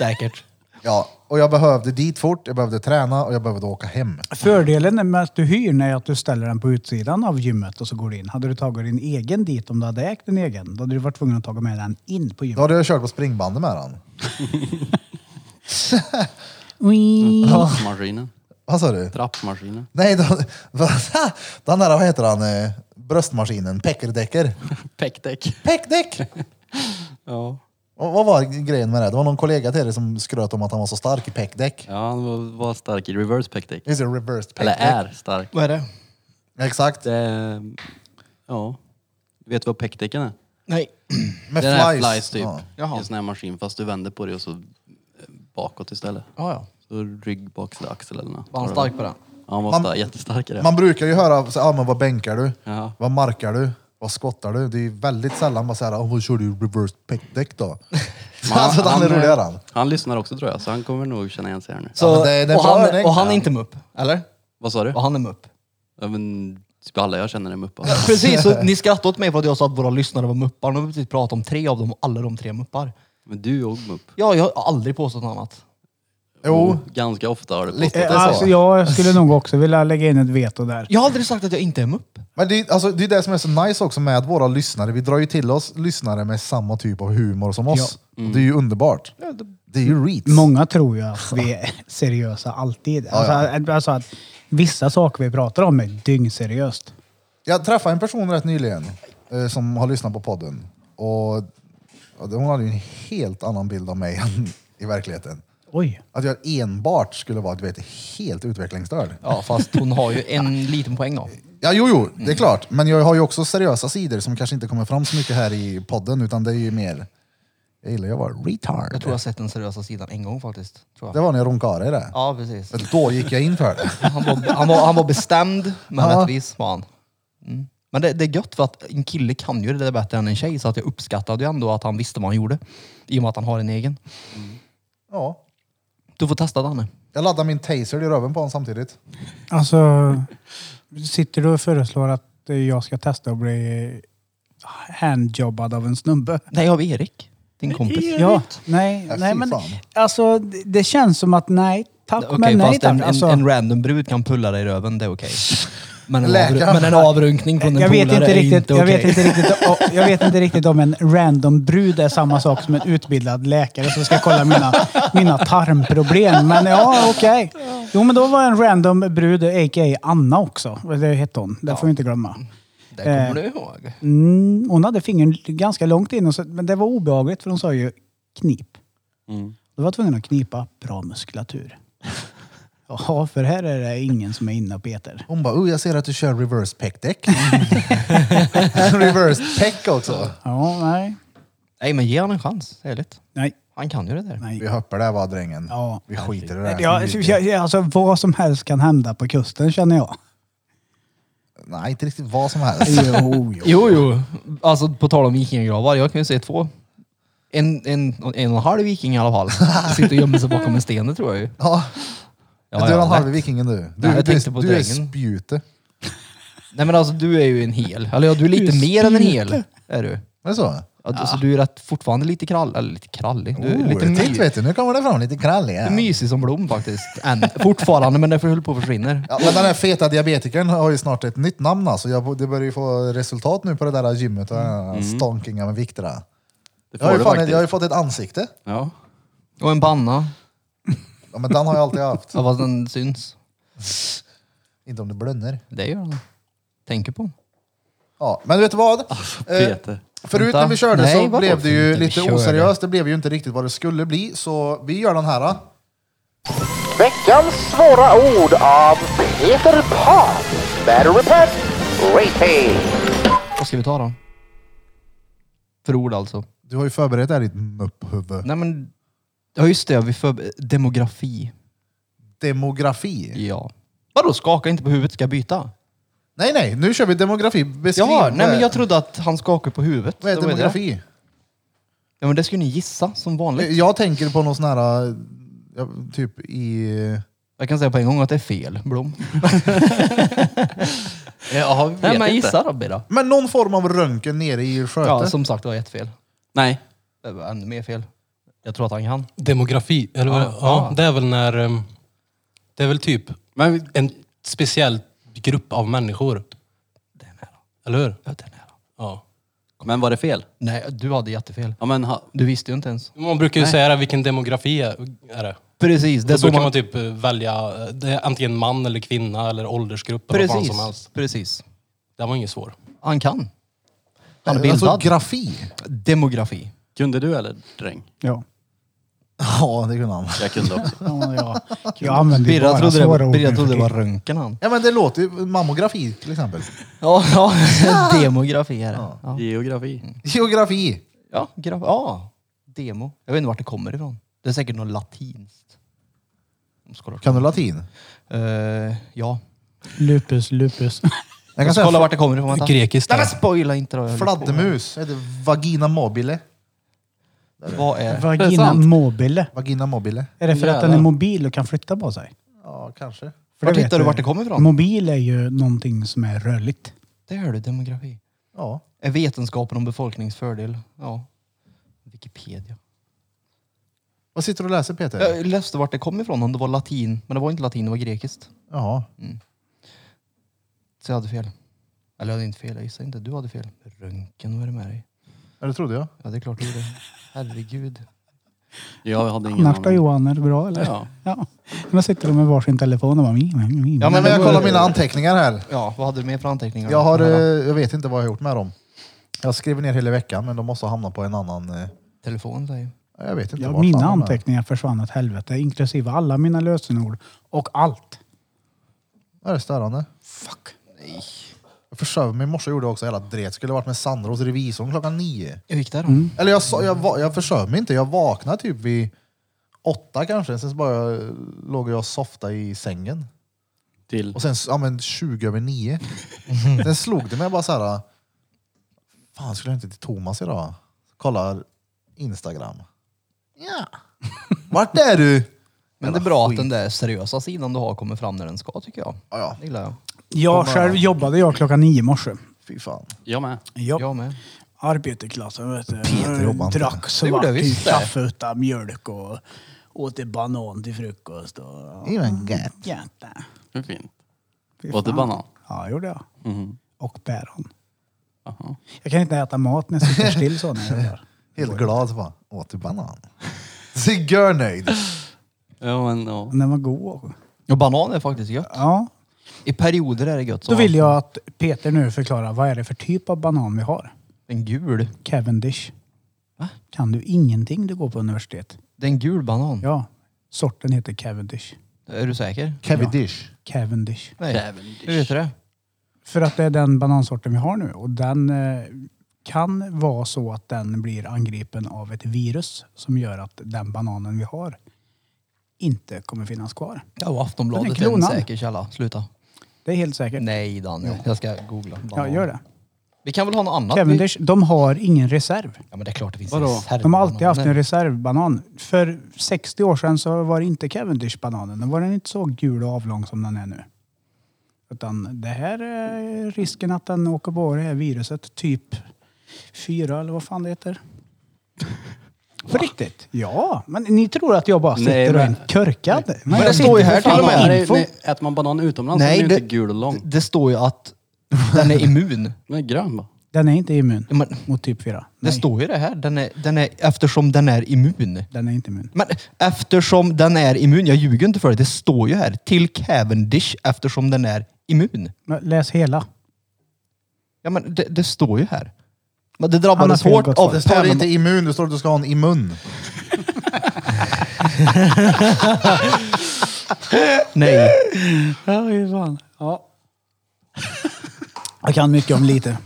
E: Säkert.
A: Ja, och jag behövde dit fort, jag behövde träna och jag behövde åka hem.
B: Fördelen med att du hyr är att du ställer den på utsidan av gymmet och så går du in. Hade du tagit din egen dit om du hade ägt din egen, då hade du varit tvungen att ta med den in på
A: Då
B: gymmet.
A: hade jag kört på springbandet med den.
C: Mm.
B: Eh,
C: Trappmaskinen.
A: Vad sa du?
C: Trappmaskinen.
A: Nej, då, den där, vad heter han, eh, bröstmaskinen, peckerdäcker.
C: Päckdäck.
A: Peckdäck!
C: Ja.
A: Och vad var grejen med det? Det var någon kollega till dig som skröt om att han var så stark i peckdäck.
C: Ja, han var- var stark i reverse päckdäck.
A: Is it reversed
C: Eller
A: peckdäck?
C: är stark.
E: Vad är det?
A: Exakt.
C: Det, ja. Vet du vad päckdäcken är?
E: Nej.
A: Med
C: Det är
A: flies.
C: flies typ.
A: Ja.
E: Jaha.
C: En sån här maskin fast du vänder på det och så eh, bakåt istället.
E: Ja, ja.
C: Så rygg, baksida, axel eller något.
E: Var han stark på den?
C: Ja, han var
A: Man-
C: star- jättestark i det.
A: Man brukar ju höra, så, ah, men vad bänkar du?
C: Ja.
A: Vad markar du? Vad skottar du? Det är ju väldigt sällan man säger, oh, vad kör du reverse peckdäck då? alltså den är
C: han, eh,
A: roligare han.
C: Han lyssnar också tror jag, så han kommer nog känna igen sig här nu.
E: Så,
A: Ja, men det- det är
E: och,
A: bra
E: han,
A: övning.
E: och han är
A: Ja.
E: inte mupp, eller?
C: Vad sa du?
E: Och han är mupp.
C: Ja, men, typ alla jag känner är alltså. muppa.
E: Precis, så ni skrattade åt mig för att jag sa att våra lyssnare var muppar. Nu har vi precis pratat om tre av dem och alla de tre är muppar.
C: Men du är också mupp.
E: Ja, jag har aldrig påstått något annat.
A: Jo,
C: Ganska ofta har du
A: Lite.
C: påstått.
A: det är så.
B: Alltså, jag skulle nog också vilja lägga in ett veto där.
E: Jag har aldrig sagt att jag inte är mupp.
A: men det, är- alltså, det är det som är så nice också med våra lyssnare. Vi drar ju till oss lyssnare med samma typ av humor som oss. Och Det är ju underbart. Det är ju reach.
B: Många tror ju att vi är seriösa alltid. Alltså, alltså att vissa saker vi pratar om är dyngseriöst.
A: Jag träffade en person rätt nyligen eh, som har lyssnat på podden. Och, och det- hon hade ju en helt annan bild av mig än i verkligheten.
B: Oj.
A: Att jag enbart skulle vara du vet, helt utvecklingsstörd.
E: Ja, fast hon har ju en liten poäng då.
A: Ja, jo, jo, det är klart. Men jag har ju också seriösa sidor som kanske inte kommer fram så mycket här i podden, utan det är ju mer... Jag gillar ju att vara retard.
E: Jag tror jag har sett den seriösa sidan en gång faktiskt. Tror
A: Det
E: jag.
A: var när jag runkade i det.
E: Ja, precis.
A: Men Då gick jag in för det.
E: Han var, han var, han var bestämd, men
A: Ja.
E: rättvis var han. Mm. Men det, det är gött för att en kille kan ju det där bättre än en tjej, så att jag uppskattade ju ändå att han visste vad han gjorde. I och med att han har en egen.
A: Ja.
E: Du får testa Danne.
A: Jag laddade min taser i röven på honom samtidigt.
B: Alltså, sitter du och föreslår att jag ska testa att bli handjobbad av en snubbe?
E: Nej, jag har Erik. Din kompis.
B: Ja, nej,
A: Ja,
B: nej
A: fy
B: men
A: fan.
B: alltså det, det känns som att nej tack
E: Okej,
B: men nej
E: fast en,
B: tack.
E: en,
B: Alltså,
E: en random brud kan pulla dig i röven, det är okej. Men, en
A: Läkaren.
E: avru- men en avrunkning från en
B: jag vet
E: polare
B: inte
E: är
B: riktigt,
E: inte
B: jag
E: okej.
B: vet inte riktigt, o- jag vet inte riktigt om en random brud är samma sak som en utbildad läkare som ska kolla mina, mina tarmproblem. Men ja, okej. Jo, men då var en random brud, a.k.a. Anna också. Det hette hon. Det får vi inte glömma. Eh,
E: Det Mm. kommer du ihåg.
B: Mm, hon hade fingern ganska långt in, och så, men det var obehagligt för hon sa ju knip.
E: Mm.
B: Då var jag tvungen att knipa bra muskulatur. Jaha, för här är det ingen som är inne och petar.
A: Hon bara, oh, jag ser att du kör reverse peck-däck. reverse peck också.
B: Ja, nej.
E: Nej, men ge han en chans, ärligt.
B: Nej,
E: Han kan ju det där.
B: nej.
A: Vi hoppar där va drängen.
B: Ja.
A: Vi skiter i det här.
B: Ja, jag, jag- alltså, vad som helst kan hända på kusten känner jag.
A: Nej, inte riktigt vad som helst.
B: Jo, jo.
E: Jo, jo. Alltså på tal om vikingagravar, jag kan ju se två. En, en, en och en halv viking i alla fall. Sitter och gömmer sig bakom en sten, det tror jag ju.
A: Ja.
E: Ja,
A: du är
E: ja,
A: den halve
E: lätt.
A: vikingen du. Du,
E: Nej, jag
A: du,
E: tänkte på
A: du är
E: drängen.
A: spjutet.
E: Nej men alltså du är ju en hel. Eller ja, du är lite mer än en hel. Är du.
A: Är det så?
E: Ja, Alltså, du är rätt, fortfarande lite krall, eller lite krallig. Du är lite
A: Oh, titt
E: my,
A: vet du, nu kommer det fram lite krallig.
E: du är
A: här.
E: mysig som Blom faktiskt. Än, fortfarande, men därför höll på att försvinner.
A: Ja, men den här feta diabetikern har ju snart ett nytt namn alltså. Jag, det börjar ju få resultat nu på det där gymmet och den här
E: Mm.
A: stonkingen med vikter. där.
C: Det
A: Jag har,
C: får
A: ju
C: du
A: fan, ett-
C: faktiskt.
A: jag har ju fått ett ansikte.
C: Ja.
E: Och en panna.
A: Ja, men den har jag alltid haft.
E: Ja, fast den syns.
A: Inte om det blönder.
E: Det gör den. Tänker på den.
A: Ja, men vet du vad? Eh,
C: Peter.
A: förut
E: Alltså, Vänta.
A: när vi körde
E: Nej,
A: så
E: vadå
A: blev det ju
E: förut när vi
A: lite
E: körde?
A: oseriöst. Det blev ju inte riktigt vad det skulle bli. Så vi gör den här.
F: Veckans svåra ord av Peter Pan. Battery Pack Rating.
E: Vad ska vi ta då? För ord alltså.
A: Du har ju förberett det här i ditt mupphuvud.
E: Nej men, ja just det, vi för demografi.
A: Demografi.
E: Ja. Vadå, skaka inte på huvudet, ska jag byta?
A: Nej, nej, nu kör vi demografi. Beskriv.
E: Jaha, nej
A: vad-
E: men jag trodde att han skakade på huvudet.
A: Vad är
E: Då det.
A: demografi? Eh,
E: Ja men det skulle ni gissa, som vanligt.
A: Jag tänker på någon sån här, eh, ja, typ i...
E: Jag kan säga på en gång att det är fel, Blom.
C: Jag vet
E: Nej men
C: inte.
E: gissa då, Bira.
A: Men någon form av röntgen nere i skötet.
E: Ja, som sagt, det var jättefel.
C: Nej.
E: Det var ännu mer fel. Jag tror att han kan.
D: Demografi, eller vad
E: Ja,
D: ja,
E: ja.
D: det är väl när... ehm, Det är väl typ
C: Men vi-
D: en speciell grupp av människor. Eller hur?
E: Ja, den här.
D: Ja.
C: Men var det fel?
E: Nej, du hade jättefel.
C: Ja, men ha,
E: Du visste ju inte ens.
D: Man brukar ju säga det, vilken demografi är är det?
E: Precis, det
D: Då
E: är så
D: brukar man
E: man...
D: typ eh, välja, eh, det är antingen man eller kvinna eller åldersgrupp eller vad fan
E: Precis,
D: som helst.
E: precis.
D: Det var inget svår.
E: Han kan. Han är
A: Alltså
E: bildad.
A: grafi.
E: Demografi.
C: kunde du eller dräng?
B: Ja.
A: Ja, det kunde han.
C: Jag kunde också.
B: Ja, men jag, jag använder ju
E: Birra
B: bara
E: trodde, det
B: svåra
E: var,
B: ord.
E: Birra
B: nu
E: trodde det
B: för
E: var
B: tiden.
E: röntgen han.
A: Ja, men det låter ju... Mammografi till exempel.
E: Ja, ja. demografi är det. Ja.
C: Geografi.
A: Mm. Geografi.
E: Ja, graf- ja, demo. Jag vet inte vart det kommer ifrån. Det är säkert något latinskt. Om ska
A: Kan du latin?
E: Eh, ja.
B: Lupus, lupus.
A: Jag kan
E: Jag ska kolla
A: säga
E: vart det kommer ifrån. vänta.
D: Grekiskt.
E: Nej
D: är
E: men
D: det.
E: spoila inte då. jag höll på.
A: fladdermus. Det heter vagina mobile.
E: Vad är...
C: Det är
B: Vagina
C: sant.
B: mobile.
A: Vagina mobile.
B: Är det för att den är mobil och kan flytta på sig?
A: Ja, kanske.
B: För
E: Vart
B: det vet
E: hittar du vart det kommer ifrån?
B: Mobil är ju någonting som är rörligt.
E: Där hör du demografi.
A: Ja.
E: Är vetenskapen om befolkningsfördel? Ja. Wikipedia.
A: Vad sitter du och läser Peter?
E: Jag läste vart det kom ifrån, om det var latin. Men det var inte latin, det var grekiskt.
A: Ja.
E: Så jag hade fel. Eller jag hade inte fel, jag gissar inte. Du hade fel. Röntgen, vad är det med dig?
A: ja, det trodde jag.
E: Ja, det är klart du gjorde. Herregud.
C: Jag hade ingen
B: Annars då Johan, är det bra eller?
C: Ja.
B: ja. Då sitter de med varsin telefon och bara... "Ming, ming, ming."
E: Ja,
A: Nej, men jag
E: det var-
A: kollar mina anteckningar här.
E: Ja, vad hade du mer för anteckningar?
A: Jag, har, eh,
E: Den här
A: jag vet inte vad jag har gjort med dem. Jag skriver ner hela veckan, men de måste ha hamnat på en annan... eh,
E: Telefonen säger
A: Jag vet inte.
B: Ja,
A: vart fan
B: mina
A: de är.
B: anteckningar försvann åt helvete, inklusive alla mina lösenord och allt.
A: Är det störande? Fuck.
E: Nej.
A: Jag försökte mig i morse gjorde jag också hela dret. Skulle ha varit med Sandra hos revisorn klockan nio.
E: Hur gick det då?
B: Mm.
A: Eller jag, sa- jag, va- jag försökte mig inte. Jag vaknade typ vid åtta kanske. Sen så bara eh, låg jag och softa i sängen.
C: Till.
A: Och sen s- ja, men 20 över nio. sen slog det mig bara så här. Fan, skulle jag inte till Thomas idag? Kollar Instagram. Ja. Vart är du?
E: Men det är bra att den där seriösa sidan du har kommer fram när den ska tycker jag.
A: Ja, ja.
E: Det gillar jag.
B: Jag själv jobbade jag klockan nio i morse.
A: Fy fan.
C: Jag med.
B: Ja.
E: Jag med.
B: Arbetarklassen vet du.
A: Peter jobbar inte.
B: Drack
E: Det
B: svart
E: gjorde jag
B: i
E: visst det.
B: kaffe utan mjölk och åt en banan till frukost. Och...
A: Det är ju en gött.
B: Jätte.
C: Hur fint.
B: Fy
C: Åt du
B: fan.
C: banan?
B: Ja, det gjorde jag.
C: Mhm.
B: Och päron.
C: Jaha.
B: Jag kan inte äta mat när jag sitter still så när jag gör.
A: Helt glad. så Bara, åt du banan? Sigörnöjd.
C: Ja, men ja.
B: Den var god.
E: Och banan är faktiskt gött.
B: Ja.
E: I perioder är det gött.
B: Då vill jag att Peter nu förklarar vad är det för typ av banan vi har.
E: En gul.
B: Cavendish.
E: Va?
B: Kan du ingenting du går på universitet?
E: Det är en gul banan.
B: Ja, sorten heter Cavendish.
E: Är du säker?
A: Cavendish.
B: Cavendish.
E: Nej.
C: Cavendish.
E: Hur vet du det?
B: För att det är den banansorten vi har nu och den eh, kan vara så att den blir angripen av ett virus som gör att den bananen vi har inte kommer finnas kvar.
E: Ja, och
B: Den är
E: Aftonbladet är, en
B: kronad.
E: säker källa. Sluta.
B: Det är helt säkert.
E: Nej Daniel, jag ska googla.
B: Ja,
E: banan.
B: gör det.
E: Vi kan väl ha något annat?
B: Cavendish, de har ingen reserv.
E: Ja men det är klart det finns
C: Vadå?
E: reservbananer.
B: De har alltid haft en reservbanan. För 60 år sedan så var det inte Cavendish-bananen. Då var den inte så gul och avlång som den är nu. Utan det här är risken att den åker på det här viruset. Typ Fyra eller vad fan det heter. På riktigt? Ja, men ni tror att jag bara sitter
C: Nej,
B: och är
C: men-
B: en körkad. Nej,
E: Men det
B: jag
E: står
B: sitter
E: ju här
B: för
E: till
B: fan
E: och med.
B: med
C: är,
B: info.
C: nej, äter man banan utomlands så är den ju inte gul och
E: det-
C: lång.
E: det står ju att den är immun.
C: Den är grön bara.
B: Den är inte immun
E: Men,
B: mot typ 4.
E: det
B: Nej,
E: står ju det här, den är, den är, eftersom den är immun.
B: den är inte immun.
E: Men eftersom den är immun, jag ljuger inte för det, det står ju här. Till Cavendish eftersom den är immun.
B: Men läs hela.
E: Ja men det, det står ju här. Men det drabbades
B: Annars är det
E: hårt
B: gott
E: av
A: Det står inte
E: päron...
A: immun, det står att du ska ha en immun.
E: Nej.
B: Ja, fy fan. Ja. Jag kan mycket om lite.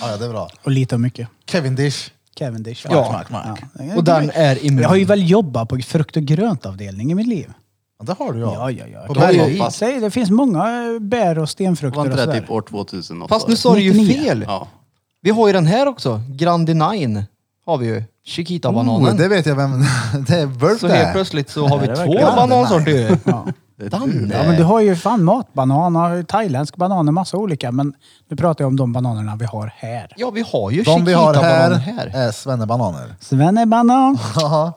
A: Ja, ja, det är bra.
B: Och lite om mycket.
A: Kevin Dish.
B: Cavendish.
E: Ja.
B: Ja.
E: Och den är immun.
B: Jag har ju väl jobbat på frukt och grönt avdelning i mitt liv.
A: Ja, det har du
B: Ja, ja, ja.
A: Och
B: Kan
A: berg-
B: jag- Säg, det finns många eh, bär och stenfrukter
C: Var
B: och
C: inte det
B: sådär.
C: typ år 2000? något
E: Fast
C: var
E: nu
C: det?
E: sa du ju
B: 99.
E: fel.
C: Ja.
E: Vi har ju den här också. Grandi Nine har vi ju. Chiquita-bananen.
A: Oh, det vet jag vem... det är Burp
E: så helt
A: det.
E: plötsligt så har vi
B: det
E: två
B: verkar-
E: banansorter ju.
B: Ja.
C: Det är
E: Danne.
B: ja, men du har ju fan matbanan, och thailändsk banan och massa olika. Men nu pratar jag om de bananerna vi har här.
E: Ja, vi har ju
A: De vi har här eh,
E: Chiquita-bananen här.
A: är svennebananer.
B: Svennebanan.
A: Haha.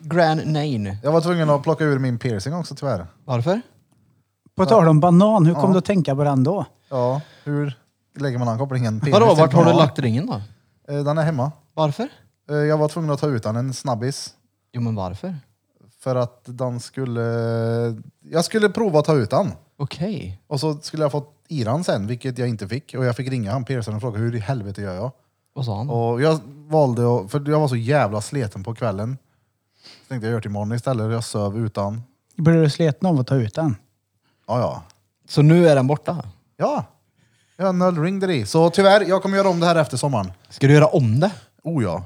E: Grand Nine.
A: jag var tvungen att plocka ur min piercing också tyvärr.
E: Varför?
B: På tal om banan, hur kom
A: Ja.
B: du att tänka på den då?
A: Ja, hur lägger man den kopplingen? Penis
E: Vadå,
A: till
E: vart har du
A: banan.
E: lagt ringen då?
A: Eh, Den är hemma.
E: Varför?
A: Eh, Jag var tvungen att ta ut den, en snabbis.
E: Jo, men varför?
A: För att den skulle... Jag skulle prova att ta ut den.
E: Okej.
A: Och så skulle jag fått i den sen, vilket jag inte fick. Och jag fick ringa han piercern och fråga hur i helvete gör jag?
E: Vad sa han?
A: Och jag valde att, för jag var så jävla sleten på kvällen. Så tänkte jag gör till imorgon istället. Jag söv utan.
B: Blev du sliten av att ta ut den?
A: Ja, ja.
E: Så nu är den borta?
A: Ja. Jag har en öl-ring där i. Så tyvärr, jag kommer göra om det här efter sommaren.
E: Ska du göra om det?
A: Oh ja.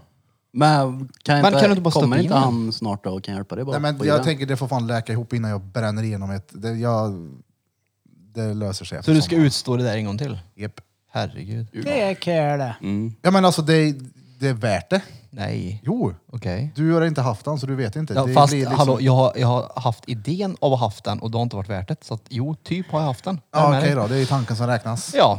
C: Men kan,
E: Men
C: inte,
E: kan du inte bara
C: kommer
E: stoppa
C: inte
E: in
C: han snart då och kan hjälpa dig? Bara
A: Nej, men
C: på
A: jag
C: grann?
A: tänker det får fan läka ihop innan jag bränner igenom ett... Det, jag, det löser sig
E: Så
A: efter
E: du ska
A: sommaren.
E: utstå det där en gång till?
A: Japp.
E: Herregud.
B: Det är kul det.
C: Mm.
A: Ja men alltså det, det är värt det.
E: Nej.
A: Jo.
E: Okej.
A: Du har inte haft den så du vet inte.
E: Ja,
A: det
E: fast
A: blir liksom-
E: hallå, jag har, jag har haft idén av att ha haft den och det har inte varit värt det. Så att, jo, typ har jag haft den.
A: Ja,
E: Jag är
A: Okej
E: med dig.
A: då, det är tanken som räknas.
E: Ja.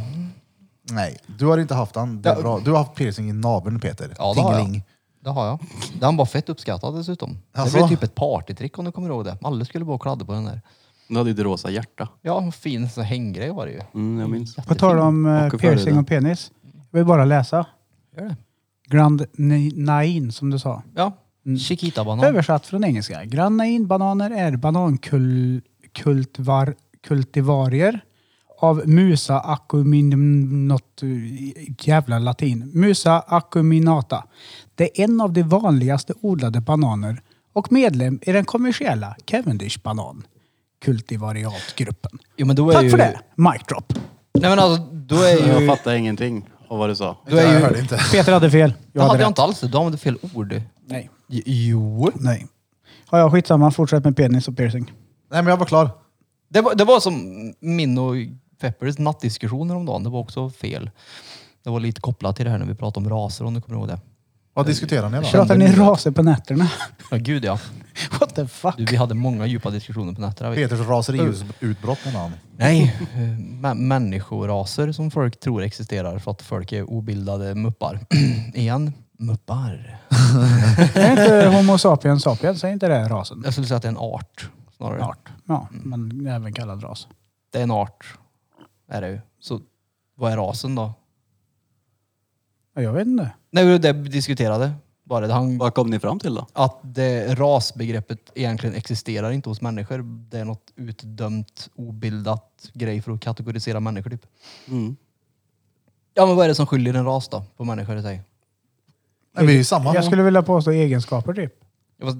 A: Nej, du har inte haft den. Det är
E: Ja.
A: bra. Du har haft piercing i naveln Peter.
E: Ja, det har jag.
A: Tingeling.
E: Det har jag. Den var fett uppskattad dessutom.
A: Alltså?
E: Det blev typ ett partytrick om du kommer ihåg det. Alla skulle bara kladda på den där.
C: Du hade ju det rosa hjärta.
E: Ja, en fin sån här hänggrej var det ju.
C: Mm, jag minns.
B: På tal om eh,
C: Och
B: piercing
C: följden.
B: och penis. Jag vill bara läsa.
E: Gör det.
B: Grand Ni- Nain som du sa.
E: Ja.
B: Mm.
E: Chiquita-banan.
B: Översatt från engelska. Grand Nain-bananer är banankultivarier av Musa acumin... Något eh, jävla latin. Musa acuminata. Det är en av de vanligaste odlade bananer och medlem i den kommersiella Cavendish-banan kultivariatgruppen.
E: Jo, men då är
B: Tack
E: ju...
B: för det! Mic drop.
E: Nej men alltså, då är
C: Jag
E: ju...
C: fattar ingenting av vad du sa.
E: Då är
A: jag
E: ju
A: hörde inte.
B: Peter hade fel.
E: det hade jag inte alls. Du använde fel ord.
B: Nej.
E: J- Jo.
B: Nej. Ja, ja, skitsamma. Fortsätt med penis och piercing.
A: Nej men jag var klar.
E: Det var, det var som min och Peppers nattdiskussion häromdagen. Det var också fel. Det var lite kopplat till det här när vi pratade om raser om du kommer ihåg det.
A: Vad diskuterar ni då?
B: Pratar ni raser på nätterna?
E: Ja, gud ja.
B: What the fuck?
E: Du, vi hade många djupa diskussioner på nätterna. vet du.
A: Peters raseriutbrott med namn.
E: Nej, eh, mä- människoraser som folk tror existerar för att folk är obildade muppar. Igen, muppar.
B: Är inte Homo sapiens sapiens? Är inte det rasen?
E: Jag skulle säga att det är en art snarare.
B: Art. Ja, men även kallad ras.
E: Det är en art. Är det ju. Så vad är rasen då?
B: Ja, Jag vet inte.
E: Nej, det det vi diskuterade bara det. Han,
C: Vad kom ni fram till då?
E: att det rasbegreppet egentligen existerar inte hos människor. Det är något utdömt, obildat grej för att kategorisera människor typ.
C: Mm.
E: Ja men vad är det som skiljer en ras då på människor i sig?
A: Nej, vi är ju samma.
B: Jag skulle vilja påstå egenskaper typ.
E: Ja, fast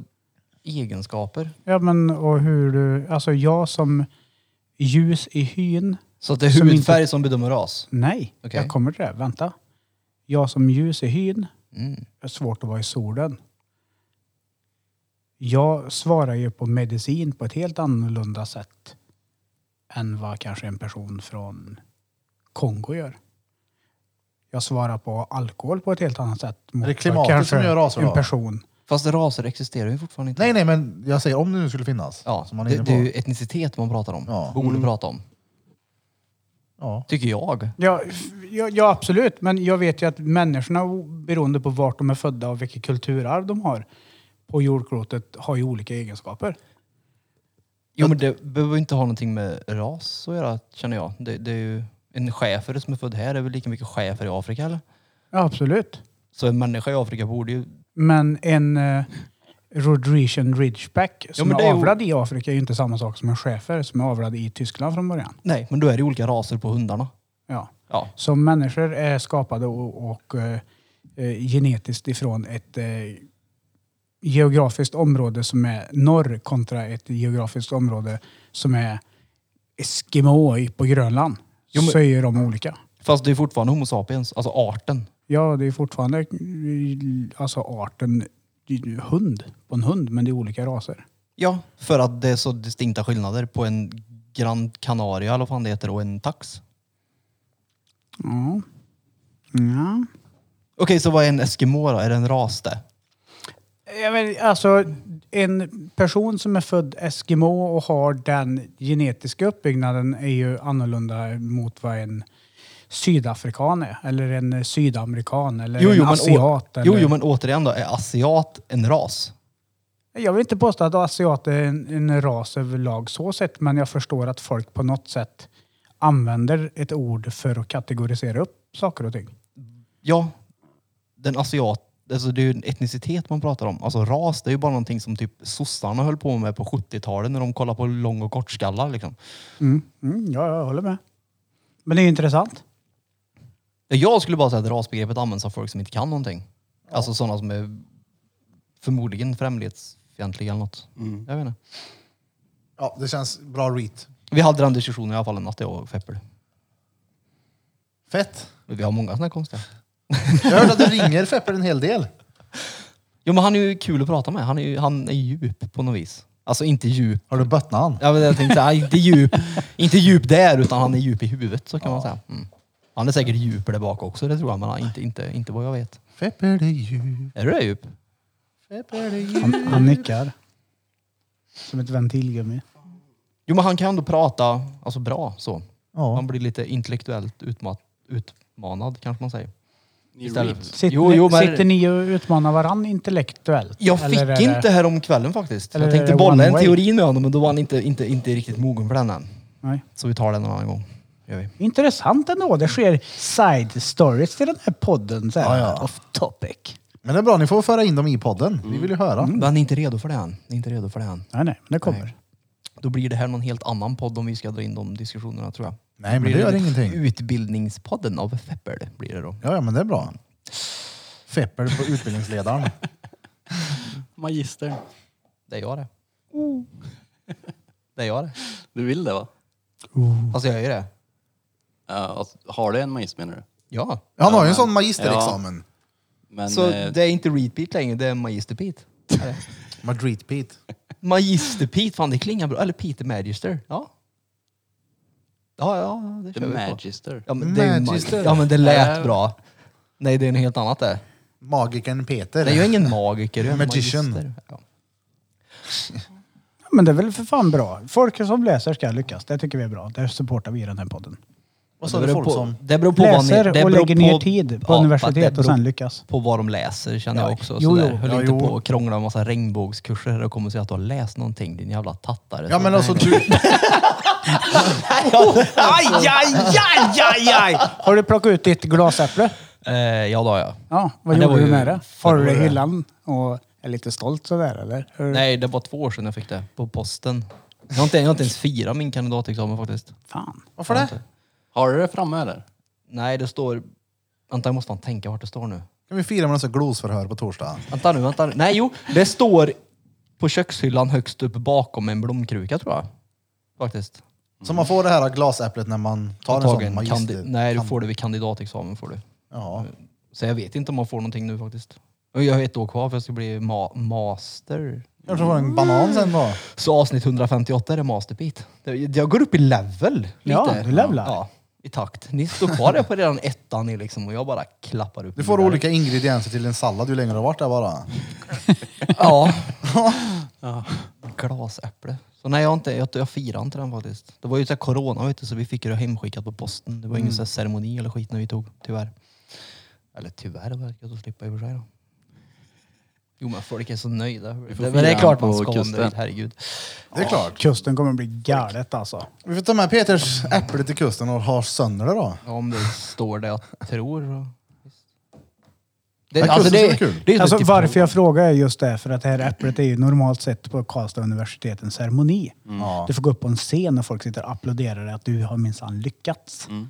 E: Egenskaper.
B: Ja, men och hur du... Alltså jag som ljus i hyn.
E: Så att det är
B: Som
E: hudfärg som bedömer ras?
B: Nej,
E: Okej.
B: jag kommer till det. Vänta. Jag som ljus i hyn.
E: Mm.
B: är svårt att vara i solen. Jag svarar ju på medicin på ett helt annorlunda sätt än vad kanske en person från Kongo gör. Jag svarar på alkohol på ett helt annat sätt
A: Är
B: mot
A: det
B: vad
A: klimatet som
B: kanske
A: gör raser
B: en
A: då?
B: person.
E: Fast raser existerar ju fortfarande inte.
A: Nej nej men jag säger om det nu skulle finnas.
E: Ja,
A: Som man är
E: det,
A: inne
E: det är ju
A: på.
E: etnicitet man pratar om.
A: Ja.
E: Borde prata om.
A: Ja.
E: Tycker jag.
B: Ja, f- ja, ja, absolut. Men jag vet ju att människorna, o- beroende på vart de är födda och vilket kulturarv de har på jordklotet, har ju olika egenskaper.
E: Jo men det behöver ju inte ha någonting med ras att göra känner jag. Det, det är ju en schäfer som är född här är väl lika mycket schäfer i Afrika eller?
B: Ja, absolut.
E: Så en människa i Afrika borde ju...
B: Men en eh, Rhodesian Ridgeback som
E: men
B: är,
E: det är ju-
B: avlad i Afrika är ju inte samma sak som en schäfer som är avlad i Tyskland från början.
E: Nej, men då är det olika raser på hundarna.
B: Ja.
E: Ja.
B: Så människor är skapade och, och eh, eh, genetiskt ifrån ett eh, geografiskt område som är norr kontra ett geografiskt område som är Eskimoy på Grönland.
E: Jo, men-
B: Så är ju de olika.
E: Fast det är fortfarande Homo sapiens, alltså arten.
B: Ja, det är fortfarande eh, alltså arten det är ju hund på en hund, men det är olika raser.
E: Ja, för att det är så distinkta skillnader på en Grand Canaria eller vad fan det heter och en tax.
B: Ja. ja.
E: Okej, så vad är en eskimo då? Är det en ras det?
B: Ja, men, alltså, en person som är född Eskimo och har den genetiska uppbyggnaden är ju annorlunda mot vad en sydafrikan är. Eller en sydamerikan eller Eh, en
E: men å-
B: asiat. eller...
E: jo, jo, men återigen då, är asiat en ras?
B: Jag vill inte påstå att asiater är en, en ras överlag så sett, men jag förstår att folk på något sätt använder ett ord för att kategorisera upp saker och ting.
E: Ja, den asiat, alltså det är ju en etnicitet man pratar om. Alltså ras, det är ju bara någonting som typ sossarna höll på med på 70-talet när de kollade på lång och kortskallar liksom.
B: Mm. Mm, ja, jag håller med. Men det är ju intressant.
E: Jag skulle bara säga att rasbegreppet används av folk som inte kan någonting. Alltså sådana som är förmodligen främlighetsfientliga eller något.
B: Mm.
E: Jag vet inte.
A: Ja, det känns bra reat.
E: Vi hade den diskussionen i alla fall en natt, jag och Feppel.
A: Fett.
E: Vi har många sådana här konstiga.
A: Jag hörde att du ringer Fepper en hel del.
E: Jo men han är ju kul att prata med. Han är ju han är djup på något vis. Alltså inte djup.
A: Har du böttnat han?
E: Ja, men jag tänkte säga, inte djup, inte djup där utan han är djup i huvudet så kan man säga. Mm. Han är säkert djup där bak också, det tror jag. Men han, inte, inte, inte vad jag vet.
A: Fepper det är djup,
E: Är du det djup?
A: Fepper det är djup.
B: Han, han nickar. Som ett ventilgummi.
E: Jo men han kan ändå prata alltså, bra så.
A: Ja.
E: Man blir lite intellektuellt utmat, utmanad kanske man säger.
C: Ni
E: Istället.
C: read.
B: Sitter,
E: Jo, jo, men-
B: sitter ni och utmanar varann intellektuellt?
E: Jag
B: Eller
E: fick
B: är det-
E: inte här om kvällen faktiskt.
B: Eller
E: Jag
B: är det
E: tänkte bolla
B: one
E: en
B: way?
E: teori med honom men då var han inte, inte, inte riktigt mogen för den än.
B: Nej.
E: Så vi tar den en annan gång. Gör vi.
B: Intressant ändå. Det sker side stories till den här podden. Så här,
A: Ja, ja.
B: Off topic.
A: Men det är bra, ni får föra in dem i podden. Vi vill ju höra.
E: Men han är inte redo för det än. Inte redo för det än.
B: Nej, nej, det kommer.
E: Nej. Då blir det här någon helt annan podd om vi ska dra in de diskussionerna tror jag.
A: Nej, men
E: blir
A: det gör
E: lite
A: ingenting.
E: Utbildningspodden av Feppel blir det då.
A: Ja, ja, men det är bra. Fepper på utbildningsledaren.
C: Magister.
E: Det är jag det. Det är jag det.
C: Du vill det va?
E: Alltså jag är ju det.
C: Ja, alltså, har du en magister menar du?
E: Ja.
A: Han har ju en sån magisterexamen.
C: Men
E: Så
C: eh,
E: det är inte repeat längre, det är magisterpit.
A: Madrid Pete.
E: Magisterpit, fan det klingar bra. Eller Peter Magister. Ja. Ja, ja, det
C: the
E: kör vi på.
C: magister.
E: Ja men det, är ju
A: Magister.
E: mag- ja, men det lät bra. Nej, det är något helt annat det.
A: Magikern Peter.
E: Det är ju ingen magiker, det är en
A: Magician.
E: magister. Ja.
B: Ja, Men det är väl för fan bra. Folk som läser ska lyckas. Det tycker vi är bra. Det supportar vi i den här podden.
A: Vad sa
E: Det
A: du
E: beror
A: folk
E: på-
A: som...
E: Det beror på vad ni,
B: Läser
E: det
B: och
E: beror
B: lägger ner tid på
E: ja, det
B: universitet
E: beror
B: och sen lyckas.
E: På vad de läser känner jag också.
B: Jo,
E: Jo,
B: jo.
E: Höll
A: Ja,
E: inte
A: jo.
E: på och krångla en massa regnbågskurser och kommer säga att du har läst någonting din jävla tattare.
A: Ja,
E: Så- Oh!
A: men alltså du...
B: Aj, aj, aj, aj, aj! Har du plockat ut ditt glasäpple?
E: Eh, ja, då har jag.
B: Ja, vad
E: Men det
B: gjorde
E: var
B: du
E: ju
B: med det? Har
E: förra
B: du det i
E: året.
B: hyllan och är lite stolt sådär eller? Hur-
E: Nej, det var två år sedan jag fick det. På posten. Jag har inte, jag har inte ens firat min kandidatexamen faktiskt.
B: Fan.
A: Varför det?
C: Har du det framme eller?
E: Nej, det står... Vänta, jag måste fan tänka vart det står nu.
A: Kan vi fira med några glosförhör på torsdag?
E: Vänta nu, vänta nu. Nej, jo. Det står på kökshyllan högst upp bakom en blomkruka tror jag. Faktiskt.
A: Så man får det här glasäpplet när man tar en sån
E: Antagligen
A: magister...
E: kandi- Nej, du får det vid kandidatexamen. Får du.
A: Ja.
E: Så jag vet inte om man får någonting nu faktiskt. Och Jag har ett år kvar för jag ska bli ma- master.
A: Jag tror det var en banan sen då.
E: Så avsnitt 158 är det masterbit. Det- Jag går upp i level lite.
B: Ja, du levlar.
E: Ja, i takt. Ni står kvar där på redan ettan i liksom och jag bara klappar upp.
A: Du får
E: vidare.
A: olika ingredienser till en sallad ju längre du har varit där bara.
E: Ja. Glasäpple. Så nej, jag, har inte, jag, jag firar inte den faktiskt. Det var ju så här corona vet du, så vi fick det hemskickat på posten. Det var
C: Mm.
E: ingen så här ceremoni eller skit när vi tog, tyvärr. Eller tyvärr, det var gött att slippa i och för sig då. Jo men folk är så nöjda.
C: får
E: Det, men
C: fira
E: det är klart
C: på
E: man ska om
C: kusten.
E: det, herregud.
A: Det är klart.
B: Kusten kommer bli galet alltså.
A: Vi får ta med Peters äpple till kusten och ha sönder det då.
E: Ja, om det står det jag tror. så- Det,
A: Men
E: alltså,
A: kusten
E: det,
A: ska bli kul.
E: det är ju
B: Alltså,
E: typ-
B: varför jag frågar är just det, för att det här äpplet är ju normalt sett på Karlstad universitet en ceremoni.
E: Mm.
A: Ja.
B: Du får gå upp på en scen och folk sitter och applåderar att du har minsann lyckats.
E: Mm.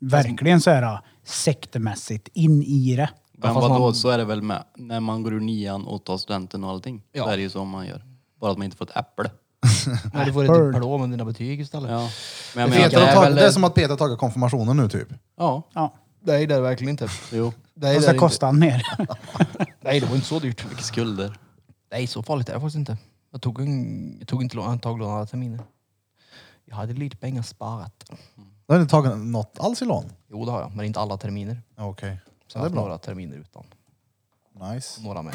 B: Verkligen så här sektemässigt, in i det.
C: Men
E: fast
C: vadå,
E: man-
C: så är det väl med när man går ur nian och tar studenten och allting.
E: Ja.
C: Så är det ju så man gör. Bara att man inte får ett äpple.
E: Nej, du får
B: Bird.
E: ett diplom med dina betyg istället.
C: Ja. Men jag menar,
A: Peter
C: det
A: har
C: är väl...
A: tagit, det är som att Peter har tagit konfirmationen nu typ.
C: Ja,
B: Ja,
E: Nej, det är det verkligen inte.
C: jo.
E: Nej,
B: och
E: det är
B: så
E: det
B: kostar han mer.
E: inte. Nej, det var inte så dyrt.
C: Vilka skulder.
E: Nej, så farligt är det faktiskt inte. Jag tog, en, jag tog inte lån, jag tog lån alla terminer. Jag hade lite pengar sparat.
A: Då har ni tagit något alls i lån.
E: Jo, det har jag, men inte alla terminer.
A: Okej.
E: Så
A: Ja, det är
E: jag har haft
A: bra.
E: några terminer utan.
A: Nice.
E: Några med.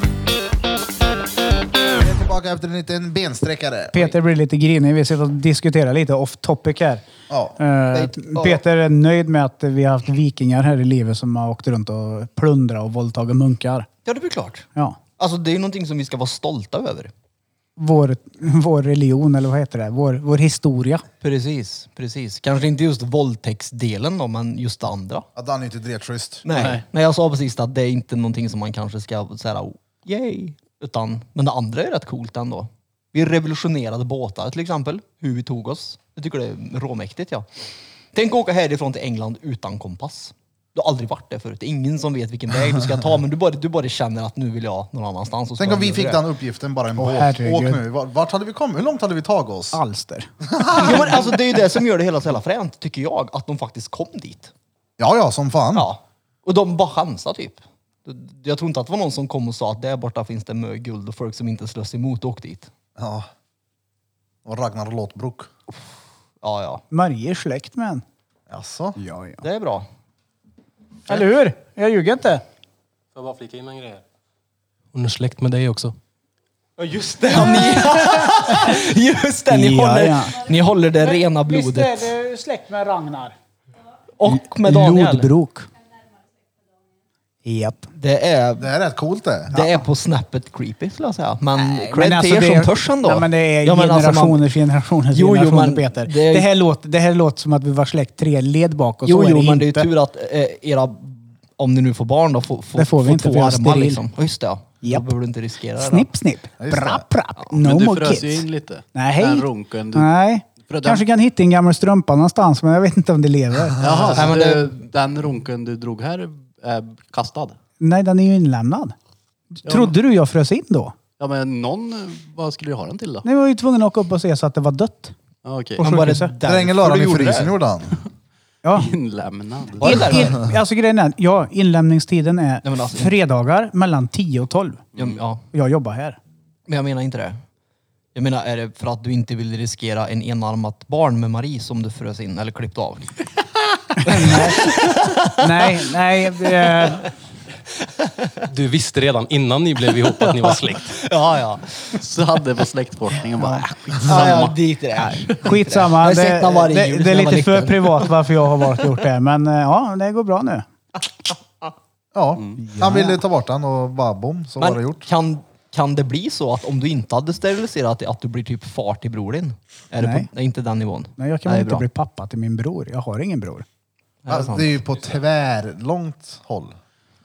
A: Vi är tillbaka efter en liten bensträckare.
B: Peter blir lite grinig. Vi sitter och diskuterar lite off topic här.
A: Ja.
B: Eh,
E: är-
B: Peter är nöjd med att vi har haft vikingar här i livet som har åkt runt och plundrat och våldtagit munkar.
E: Ja, det blir klart.
B: Ja.
E: Alltså, det är ju någonting som vi ska vara stolta över.
B: Vår, vår religion, eller vad heter det? Vår, vår historia.
E: Precis, precis. Kanske inte just våldtäktsdelen då, men just det andra.
A: Att han inte drev schysst.
E: Nej.
C: Nej.
E: Nej. jag sa precis att det är inte någonting som man kanske ska säga oh, yay. Utan, men det andra är rätt coolt ändå. Vi revolutionerade båtar till exempel, hur vi tog oss. Jag tycker det är råmäktigt ja. Tänk åka härifrån till England utan kompass. Du har aldrig varit där förut. Det är ingen som vet vilken väg du ska ta men du bara, du bara känner att nu vill jag någon annanstans. och så
A: Tänk om
E: gör
A: vi
E: du
A: fick
E: det.
A: den uppgiften, bara en båt.
B: herregud.
A: Åk nu. Vart vart hade vi kommit? Hur långt hade vi tagit oss?
B: Alster.
E: ja, men alltså, Det är ju det som gör det hela så jävla fränt tycker jag, att de faktiskt kom dit.
A: Ja, ja, som fan.
E: Ja. Och de bara chansade typ. Jag tror inte att det var någon som kom och sa att där borta finns det mycket guld och folk som inte slåss emot åk dit.
A: Ja. Och Ragnar Lothbrok.
E: Ja, ja.
B: Marie är släkt med en.
A: Jaså?
B: Ja, ja.
E: Det är bra.
B: Eller hur? Jag ljuger inte.
G: Får jag bara flika in en grej här?
D: Hon är släkt med dig också.
G: Ja just det!
E: Just det, ni,
B: Ja,
E: håller,
B: ja.
E: ni håller det rena blodet.
B: är du släkt med Ragnar?
E: Och med Daniel.
B: Lodbrok. Japp.
E: Det
A: Det
E: är,
A: här är rätt coolt det.
E: det är på snäppet creepy skulle jag säga. Men cred
B: Men alltså
E: till er
B: det är-
E: som törs ändå.
B: Nej, men det är
E: Ja, men alltså, man-
B: generationers, generationers,
E: Jo, jo,
B: generationer,
E: men
B: Peter.
E: det är-
B: Det, här låter, det här låter som att vi var släkt tre led bak och
E: Jo,
B: så är
E: jo,
B: det
E: men det är ju
B: inte.
E: tur att eh, era, om ni nu får barn då, får, får,
B: Det får vi
E: får
B: inte,
E: två
B: för jag är
E: armar
B: steril.
E: liksom. Ja, Just det, ja.
B: Japp.
E: Då behöver du inte riskera det. då.
B: Snipp, snipp.
A: just det.
B: Brapp, brapp.
C: Men
B: No
C: du
B: more
C: frös ju
B: kids.
C: in lite.
B: Nej, hej.
C: Den runken. Du...
B: Nej.
C: För den-
B: Kanske kan hitta en gammal strumpa någonstans, men jag vet inte om det lever.
C: Jaha, så
E: Nej, men
C: du, den runken du drog här är kastad?
B: Nej, den är ju inlämnad. Trodde du jag frös in då?
C: Ja men någon, eh, vad skulle du ha den till då?
B: Nej, jag var ju tvungen att åka upp och se så att det var dött.
C: Ja, Okej.
B: Och
E: Men var
B: sjukhuset.
E: det
A: Det länge la
E: därför
A: han
E: du
A: i
E: gjorde
A: frysen
E: det?
A: gjorde han.
B: Ja.
C: Inlämnad.
E: Var det
B: In,
E: därför?
B: in, alltså grejen är, ja, inlämningstiden är
E: men alltså-
B: fredagar mellan 10 och 12.
E: Ja, ja.
B: Jag jobbar här.
E: Men jag menar inte det. Jag menar, är det för att du inte vill riskera en enarmat barn med Marie som du frös in eller klippte av?
B: nej, nej. Eh,
D: Du visste redan innan ni blev ihop att ni var släkt.
E: ja, ja.
C: Så hade det på släktforskningen bara, äh,
E: Ja,
C: skitsamma.
E: ja, dit är det.
B: skitsamma.
E: Jag har
B: Det,
E: sett den varje jul
B: det,
E: sedan
B: det är
E: jag var
B: lite för
E: liten.
B: privat varför jag har valt att gjort det. Men eh, ja, det går bra nu.
A: Ja. Han ville ta bort den och bara bom, så var det
E: Men
A: gjort.
E: kan, kan det bli så att om du inte hade steriliserat dig, att du blir typ far till bror din? Är det
B: Nej.
E: på, nej, inte den nivån?
B: Nej, jag kan
E: Nej,
B: väl inte
E: bra.
B: bli pappa till min bror. Jag har ingen bror.
E: Ja, det är
A: Alltså,
E: sant.
A: det är ju på tvärlångt håll.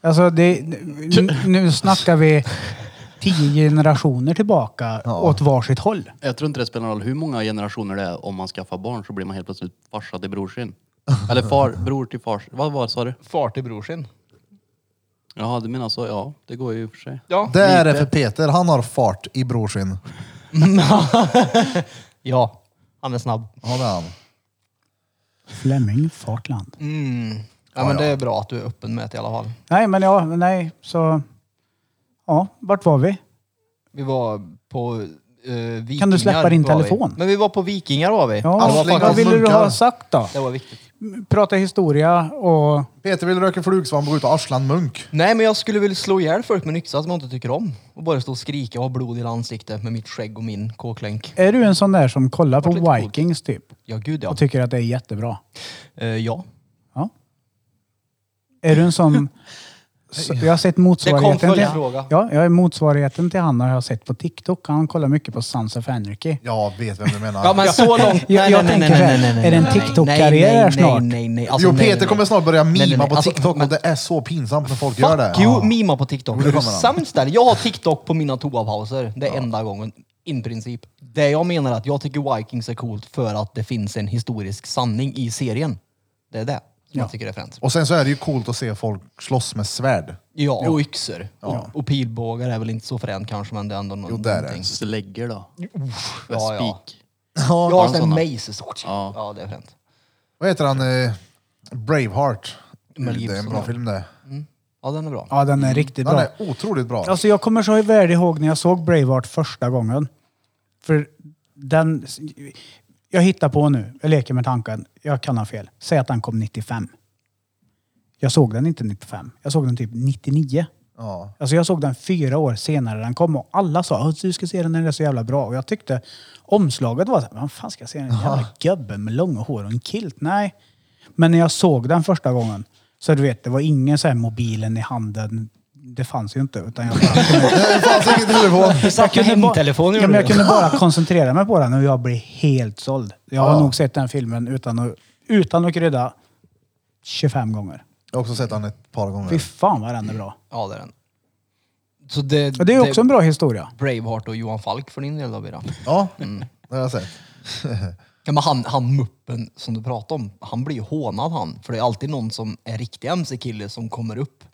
B: Alltså, det, nu, nu snackar vi tio generationer tillbaka åt varsitt håll.
C: Jag tror inte det spelar någon roll hur många generationer det är om man skaffar barn så blir man helt plötsligt farsa till bror sin. Eller far, bror till fars. Vad var sa du?
E: Far till bror sin?
C: Jaha, du menar så. Ja, det går ju i och för sig.
E: Ja.
A: Det är det för Peter. Han har fart i brorsin.
E: Ja, han är snabb.
A: Ja, det är han.
B: Flemming Fartland.
E: Mm. Ja, men det är bra att du är öppen med det i alla fall.
B: Nej, men ja, nej, så... Ja, vart var vi?
E: Vi var på eh, vikingar.
B: Kan du släppa din
E: var vi.
B: telefon?
E: Men vi var på vikingar var
B: Ja,
E: vi. det, var
A: Arsling
B: vad
E: faktiskt,
A: vill-
B: ville du
A: munkar.
B: ha sagt då?
E: det var viktigt.
B: prata historia och...
A: Peter vill röka flugsvamp och ut och arslan munk.
E: Nej, men jag skulle vilja slå ihjäl folk med en yxa som jag inte tycker om. Och bara stå och skrika och ha blod i ansiktet med mitt skägg och min kåklänk.
B: Är du en sån där som kollar
E: Vart lite
B: på
E: cool.
B: Vikings typ?
E: Ja, gud ja.
B: Och tycker att det är jättebra?
E: Eh, ja.
B: Ja. Är du en sån... Så, jag har sett
E: Det kom
B: motsvarigheten till...
E: följdfråga.
B: Ja, jag är motsvarigheten till han har jag sett på TikTok. Han kollar mycket på Sons of Anarchy.
A: Jag vet vem du menar.
E: Ja, men så långt...
B: Jag- jag tänker så här, är det en TikTok-karriär
E: nej, nej,
B: snart?
E: Nej, nej, Alltså, nej.
A: jo, Peter kommer snart börja mima
E: nej, nej.
A: på
E: Alltså,
A: TikTok
E: men-
A: och det är så pinsamt när folk gör det.
E: Fuck you, mima på TikTok.
A: det
E: Är du
A: kommer han.
E: sämst där? Jag har TikTok på mina toapauser. Det är enda gången. In princip. Det jag menar är att jag tycker Vikings är coolt för att det finns en historisk sanning i serien. Det är det som jag tycker är fränt.
A: Och sen så är det ju coolt att se folk slåss med svärd.
E: Ja, och yxor. Och, och pilbågar är väl inte så fränt kanske, men det är ändå nå-
A: Jo, det är det.
E: någonting.
C: Slägger då.
E: ja, ja.
C: Spik.
E: Ja,
C: har
E: ja
C: såna.
E: sen mace. Så.
C: Ja.
E: Ja. det är fränt.
A: Vad heter han? Eh, Braveheart.
E: Mel
A: det är en
E: Gibson,
A: bra
E: ja.
A: film det.
E: Ja, den är bra.
B: Ja, den är riktigt
A: Den
B: bra.
A: är otroligt bra.
B: Alltså jag kommer så väl ihåg när jag såg Braveheart första gången. För den... Jag hittar på nu. Jag leker med tanken. Jag kan ha fel. Säg att den kom 95. Jag såg den inte 95. Jag såg den typ 99.
A: Ja.
B: Alltså jag såg den fyra år senare den kom och alla sa att du ska se den, den är så jävla bra. Och jag tyckte omslaget var såhär, vad fan ska jag se den jävla gubben med långa hår och en kilt? Nej. Men när jag såg den första gången, så du vet, det var ingen så här mobilen i handen. Det fanns ju inte. Utan jag, bara,
A: Det fanns ingen telefon.
E: Satt med hemtelefon
B: ja,
E: gjorde
B: men jag
E: du.
B: kunde bara koncentrera mig på den och jag blev helt såld. Jag har nog sett den filmen utan att, utan att krydda 25 gånger.
A: Jag har också sett han ett par
B: Fy
A: gånger.
B: fan vad den är bra.
E: Ja, det är den. Så det,
B: Och det är också en bra historia.
E: Braveheart och Johan Falk för din del då, Bira.
A: Ja,
E: Mm.
A: det har jag sett.
E: Ja, men han, han muppen som du pratade om, han blir ju hånad han. För det är alltid någon som är riktig mc-kille som kommer upp.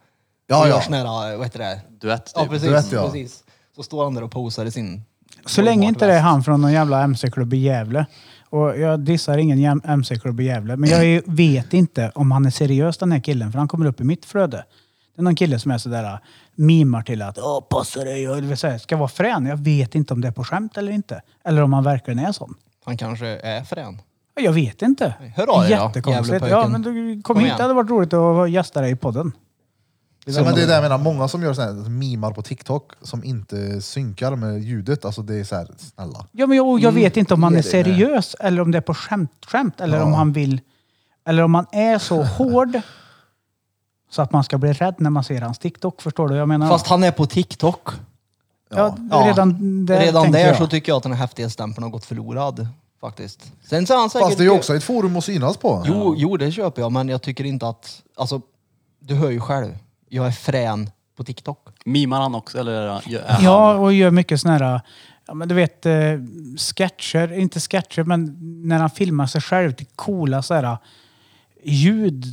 A: Ja,
E: och
A: ja.
E: gör sån här, vad heter det?
C: Duett typ.
E: Ja, precis,
A: Duett, ja.
E: precis. Så står han där och posar i sin...
B: Så länge inte det är han från någon jävla mc-klubb i Gävle. Och jag dissar ingen jäm- mc-klubb i Gävle, men jag är- vet inte om han är seriös den här killen, för han kommer upp i mitt flöde. Det är någon kille som är sådär, mimar till att Åh, passa dig, och det vill säga, ska vara frän. Jag vet inte om det är på skämt eller inte. Eller om han verkligen är sån.
E: Han kanske är frän.
B: Jag vet inte.
E: Hör av dig då,
B: Jättekonstigt.
E: Gävlepojken.
B: Ja, men du, kom,
E: Kom
B: hit,
E: igen.
B: det hade varit roligt att gästa dig i podden.
A: Ja, men det är det jag menar, många som gör sådana här mimar på TikTok som inte synkar med ljudet. Alltså det är så här, snälla.
B: Ja, men jag, jag
E: Mm.
B: vet inte om han
A: Ge
B: är
A: dig med.
B: seriös eller om det är på skämt, skämt eller om han vill... Eller om han är så hård så att man ska bli rädd när man ser hans TikTok. Förstår du vad jag menar?
E: Fast han är på TikTok.
B: ja,
E: Ja.
B: redan där,
E: Redan
B: tänker
E: där
B: jag.
E: så tycker jag att den här häftighetsstämpeln har gått förlorad. Faktiskt. Sen så är han säkert...
A: Fast det är ju också ett forum att synas på.
E: Jo, jo, det köper jag, men jag tycker inte att... Alltså, du hör ju själv. Jag är frän på TikTok.
C: Mimar han också eller? är han- är han-
B: Ja, och gör mycket såna här... Ja, men du vet, eh, sketcher. Inte sketcher, men när han filmar sig själv till coola så här, ljud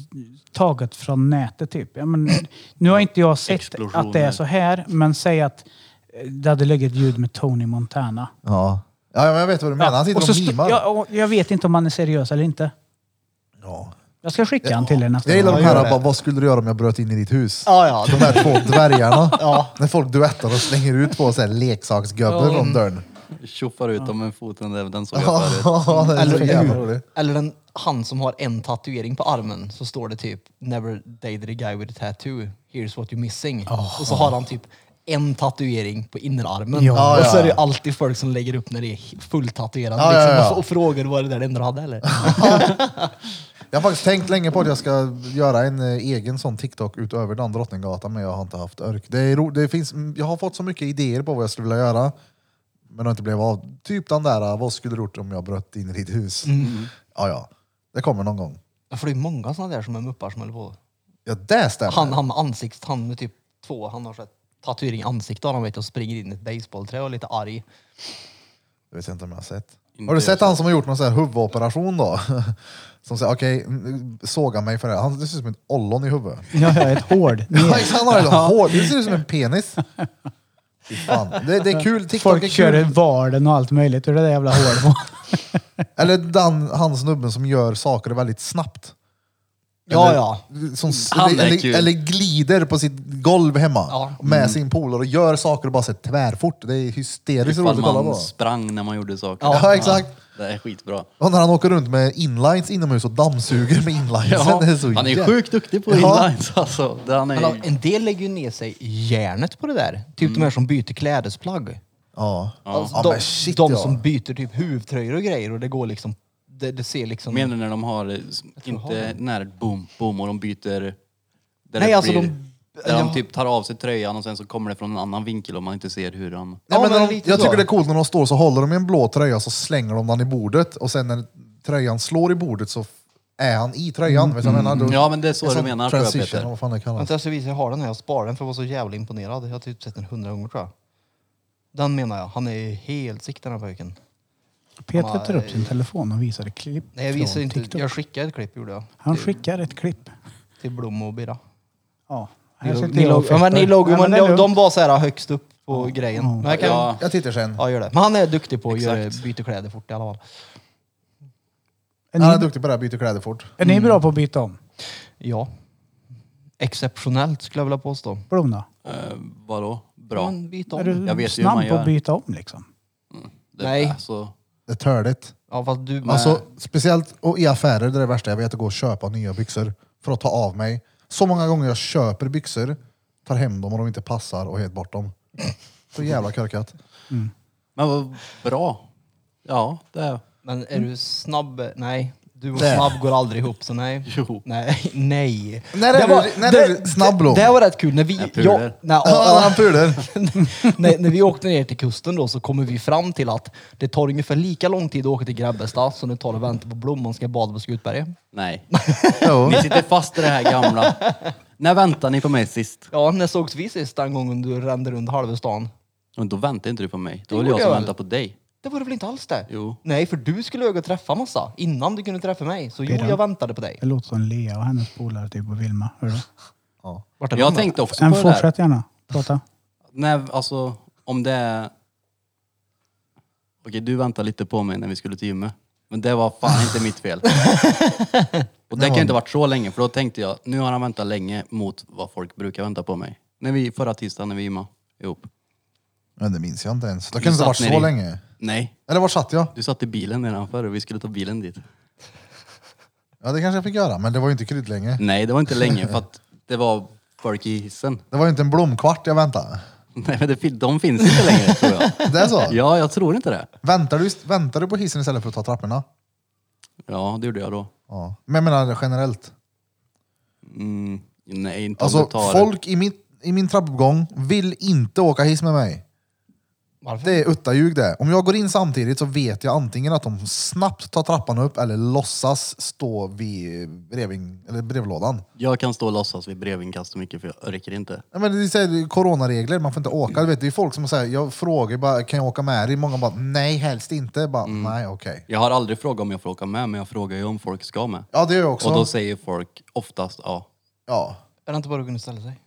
B: taget från nätet. Typ. Ja, men, nu har inte jag sett
C: Explosioner.
B: att det är så här, men säg att eh, det hade legat ljud med Tony Montana.
A: Ja. ja, men jag vet vad du menar. Han
B: och
A: sitter
B: så
A: och
B: st-
A: mimar.
B: jag, och jag vet inte om han är seriös eller inte.
A: Ja.
B: Jag ska skicka han till er nästa
A: Jag gillar
B: gång.
A: de här, bara, vad skulle du göra om jag bröt in i ditt hus?
E: Ja, ja.
A: De här två dvärgarna. När folk duettar och slänger ut på så här leksaksgubben från dörren.
C: Tjoffar ut dem med foten, den den såg jag förut.
A: Ja, det är så
E: Eller,
A: jävla
E: eller,
A: roligt.
E: eller den, han som har en tatuering på armen så står det typ “Never dated a guy with a tattoo, here's what you're missing”. Och så har han typ en tatuering på innerarmen.
B: Ja.
E: och
A: Ja,
E: så är det
A: ja.
E: alltid folk som lägger upp när det är fulltatuerat
A: Ja, ja,
E: liksom,
A: ja.
E: och- och frågar “Var det där det enda du hade eller?”
A: Jag har faktiskt tänkt länge på att jag ska göra en eh, egen sån TikTok utöver den Drottninggatan, men jag har inte haft örk. Det är ro, det finns, mm, jag har fått så mycket idéer på vad jag skulle vilja göra, men det har inte blivit av. Typ den där, eh, vad skulle du gjort om jag bröt in i ditt hus? Ja, ja. Det kommer någon gång.
E: Ja, För det är många sådana där som är muppar som håller på.
A: Ja, det stämmer.
E: Han, han med ansikt, han med typ två, han har så här tatuering i ansiktet har han vet jag, och springer in i ett basebollträ och är lite arg.
A: Jag vet inte om jag har sett.
C: Inte
A: Har du sett
C: jag.
A: han som har gjort någon sån här huvudoperation då? Som säger okej, mm, såga mig för det här. Han det ser ut som ett ollon i huvudet.
B: Ja, ja, ett hård.
A: Ja, exakt, han har ju hår. Det ser ut som en penis. Fy Fan. Det, det är kul. TikTok
B: Folk
A: är
B: kör
A: kul.
B: varden och allt möjligt ur det där jävla hålet. på.
A: Eller den, han snubben som gör saker väldigt snabbt.
E: Ja,
A: Eller-
E: ja.
A: Som,
C: Han är
A: eller,
C: kul. Mm.
A: eller glider på sitt golv hemma
E: Ja.
A: med sin polare och gör saker och bara så här tvärfort. Det är hysteriskt roligt
C: Ifall
A: att kolla
C: man
A: på.
C: sprang när man gjorde saker.
A: Ja, exakt.
C: Det är skitbra.
A: Och när han åker runt med inlines inomhus och dammsuger med inlinesen.
C: Ja,
A: det är så
C: han är
A: jävla-
C: sjukt duktig på
A: Ja.
C: inlines alltså. Det han
E: Men
C: är,
E: en del lägger ju ner sig järnet på det där. Typ de här som byter klädesplagg.
A: Ja.
E: Alltså,
A: Ja,
E: de
A: men shit,
E: de
A: ja.
E: som byter typ huvtröjor och grejer och det går liksom... Det, det ser liksom...
C: menar du när de har eh, s-
E: jag har
C: inte när boom boom och de byter... Där
E: Nej,
C: det
E: alltså
C: blir,
E: de-
C: Där
E: ja.
C: de typ tar av sig tröjan och sen så kommer det från en annan vinkel och man inte ser hur han...
A: Nej,
E: Ja,
A: men
E: men
A: när de,
E: lite
A: jag
E: så.
A: tycker det är coolt när de står så håller de i en blå tröja så slänger de den i bordet och sen när tröjan slår i bordet så f- är han i tröjan. Vet du vad jag menar? Då-
C: Mm, Ja, men det är så
A: en
C: du
A: sån
C: menar, tror jag,
A: transition,
C: Peter.
A: Vad fan det kallas.
E: Vänta Alltså, jag ska visa, jag har den här. Jag sparar den för jag var så jävla imponerad. Jag har typ sett den hundra gånger tror jag. Den menar jag. Han är helt sick den här pojken.
B: Peter tar upp sin telefon och visar ett klipp
E: eh, Nej jag visar
B: från
E: inte.
B: TikTok.
E: Jag skickade ett klipp gjorde jag.
B: Han skickar ett klipp.
E: Till Blom och Birra.
B: Ja. Här
E: Ni,
B: sitter
E: ni,
B: jag
E: låg,
B: och
E: ja, men ni
B: fettar.
E: låg,
B: Ja,
E: men
B: det är
E: de, de
B: lugnt.
E: var så här högst upp på grejen. Men jag kan, ja.
C: Ja.
A: Jag tittar sen.
E: gör det. Men han är duktig på att göra,
C: Exakt.
E: byta kläder fort i alla fall.
B: Är
A: Han är
B: ni,
A: duktig på det här, byter kläder fort.
B: är ni bra på att byta om?
E: Ja. Exceptionellt skulle jag vilja påstå.
B: Blom då?
C: Eh, vadå? Bra.
E: Men byt
B: Är
E: om.
B: du
C: Jag vet ju hur man
B: snabb på
C: gör.
B: att byta om liksom?
C: Det,
E: Nej.
C: Alltså,
A: Det är törligt.
E: Ja fast du...
A: Alltså, speciellt och i affärer, det är det värsta jag vet, att gå och köpa nya byxor för att ta av mig. Så många gånger jag köper byxor, tar hem dem och de inte passar och helt bort dem. Så jävla korkat.
C: men vad bra. Ja, det är...
E: Men är du snabb? Nej. Du och
A: Nej.
E: snabb går aldrig ihop, så nej.
C: Jo.
E: Nej. nej.
A: När är
E: Det
A: du-
E: var-
A: när
E: det-
A: är du snabb, Blom?
E: Det, det var rätt kul. När vi,
C: Jag pular.
E: jag- nej,
A: Ja,
E: ja,
A: han pular.
E: ja, när, när vi åkte ner till kusten då så kommer vi fram till att det tar ungefär lika lång tid att åka till Grebbestad som det tar att vänta på Blom om ska bada på Skutberget.
C: Nej. Ni sitter fast i det här gamla. När väntar ni på mig sist?
E: Ja, när sågs vi sist den gången du rände runt halva stan?
C: Men då väntar inte du på mig. Då
E: Jo,
C: är det jag
E: det
C: som
E: gör jag.
C: väntar på dig.
E: Det var det väl inte alls det?
C: Jo.
E: Nej, för du skulle öga och träffa massa innan du kunde träffa mig. Så jo,
B: Pirra.
E: jag väntade på dig.
B: Det låter som Lea och hennes polare typ och Vilma. Hör du?
E: Vart
C: Jag
E: de?
C: tänkte också
B: Men
C: på det där.
B: fortsätt gärna. Prata.
C: När, alltså, om det är... Okej, du väntade lite på mig när vi skulle till gymmet. Men det var fan inte mitt fel. Och det kan ju inte ha varit så länge, för då tänkte jag, nu har han väntat länge mot vad folk brukar vänta på mig. När vi, förra tisdagen när vi gymmade ihop.
A: Men det minns jag inte ens. Det
C: Du
A: kan inte ha varit
C: satt
A: så
C: ner i-
A: länge.
C: Nej,
A: Eller var satt jag?
C: du satt i bilen nedanför och vi skulle ta bilen dit.
A: Ja, det kanske jag fick göra, men det var ju inte kryddlänge.
C: Nej, det var inte länge för att det var folk i hissen.
A: Det var ju inte en blomkvart jag väntade.
C: Nej, men det, fin- de finns inte längre tror jag.
A: Det är så?
C: Ja, jag tror inte det.
A: Väntar, du, väntar du på hissen istället för att ta trapporna?
C: Ja, det gjorde jag då.
A: Ja. Men jag menar generellt.
C: Mm, nej, inte om
A: Alltså,
C: du tar...
A: folk i min, i min trappuppgång vill inte åka hiss med mig.
E: Varför?
A: Det är uttaljug det. Om jag går in samtidigt så vet jag antingen att de snabbt tar trappan upp eller låtsas stå vid breving, eller brevlådan.
C: Jag kan stå och låtsas vid brevinkast så mycket för jag orkar inte.
A: Nej, men det är så här, coronaregler, man får inte åka. Du vet, det är folk som säger, jag frågar bara, kan jag åka med dig? Många bara, nej helst inte. Bara, Nej okej.
C: Jag har aldrig frågat om jag får åka med, men jag frågar ju om folk ska med.
A: Ja det gör jag också.
C: Och då säger folk oftast ja.
A: ja.
E: Är det inte bara att kunna ställa sig?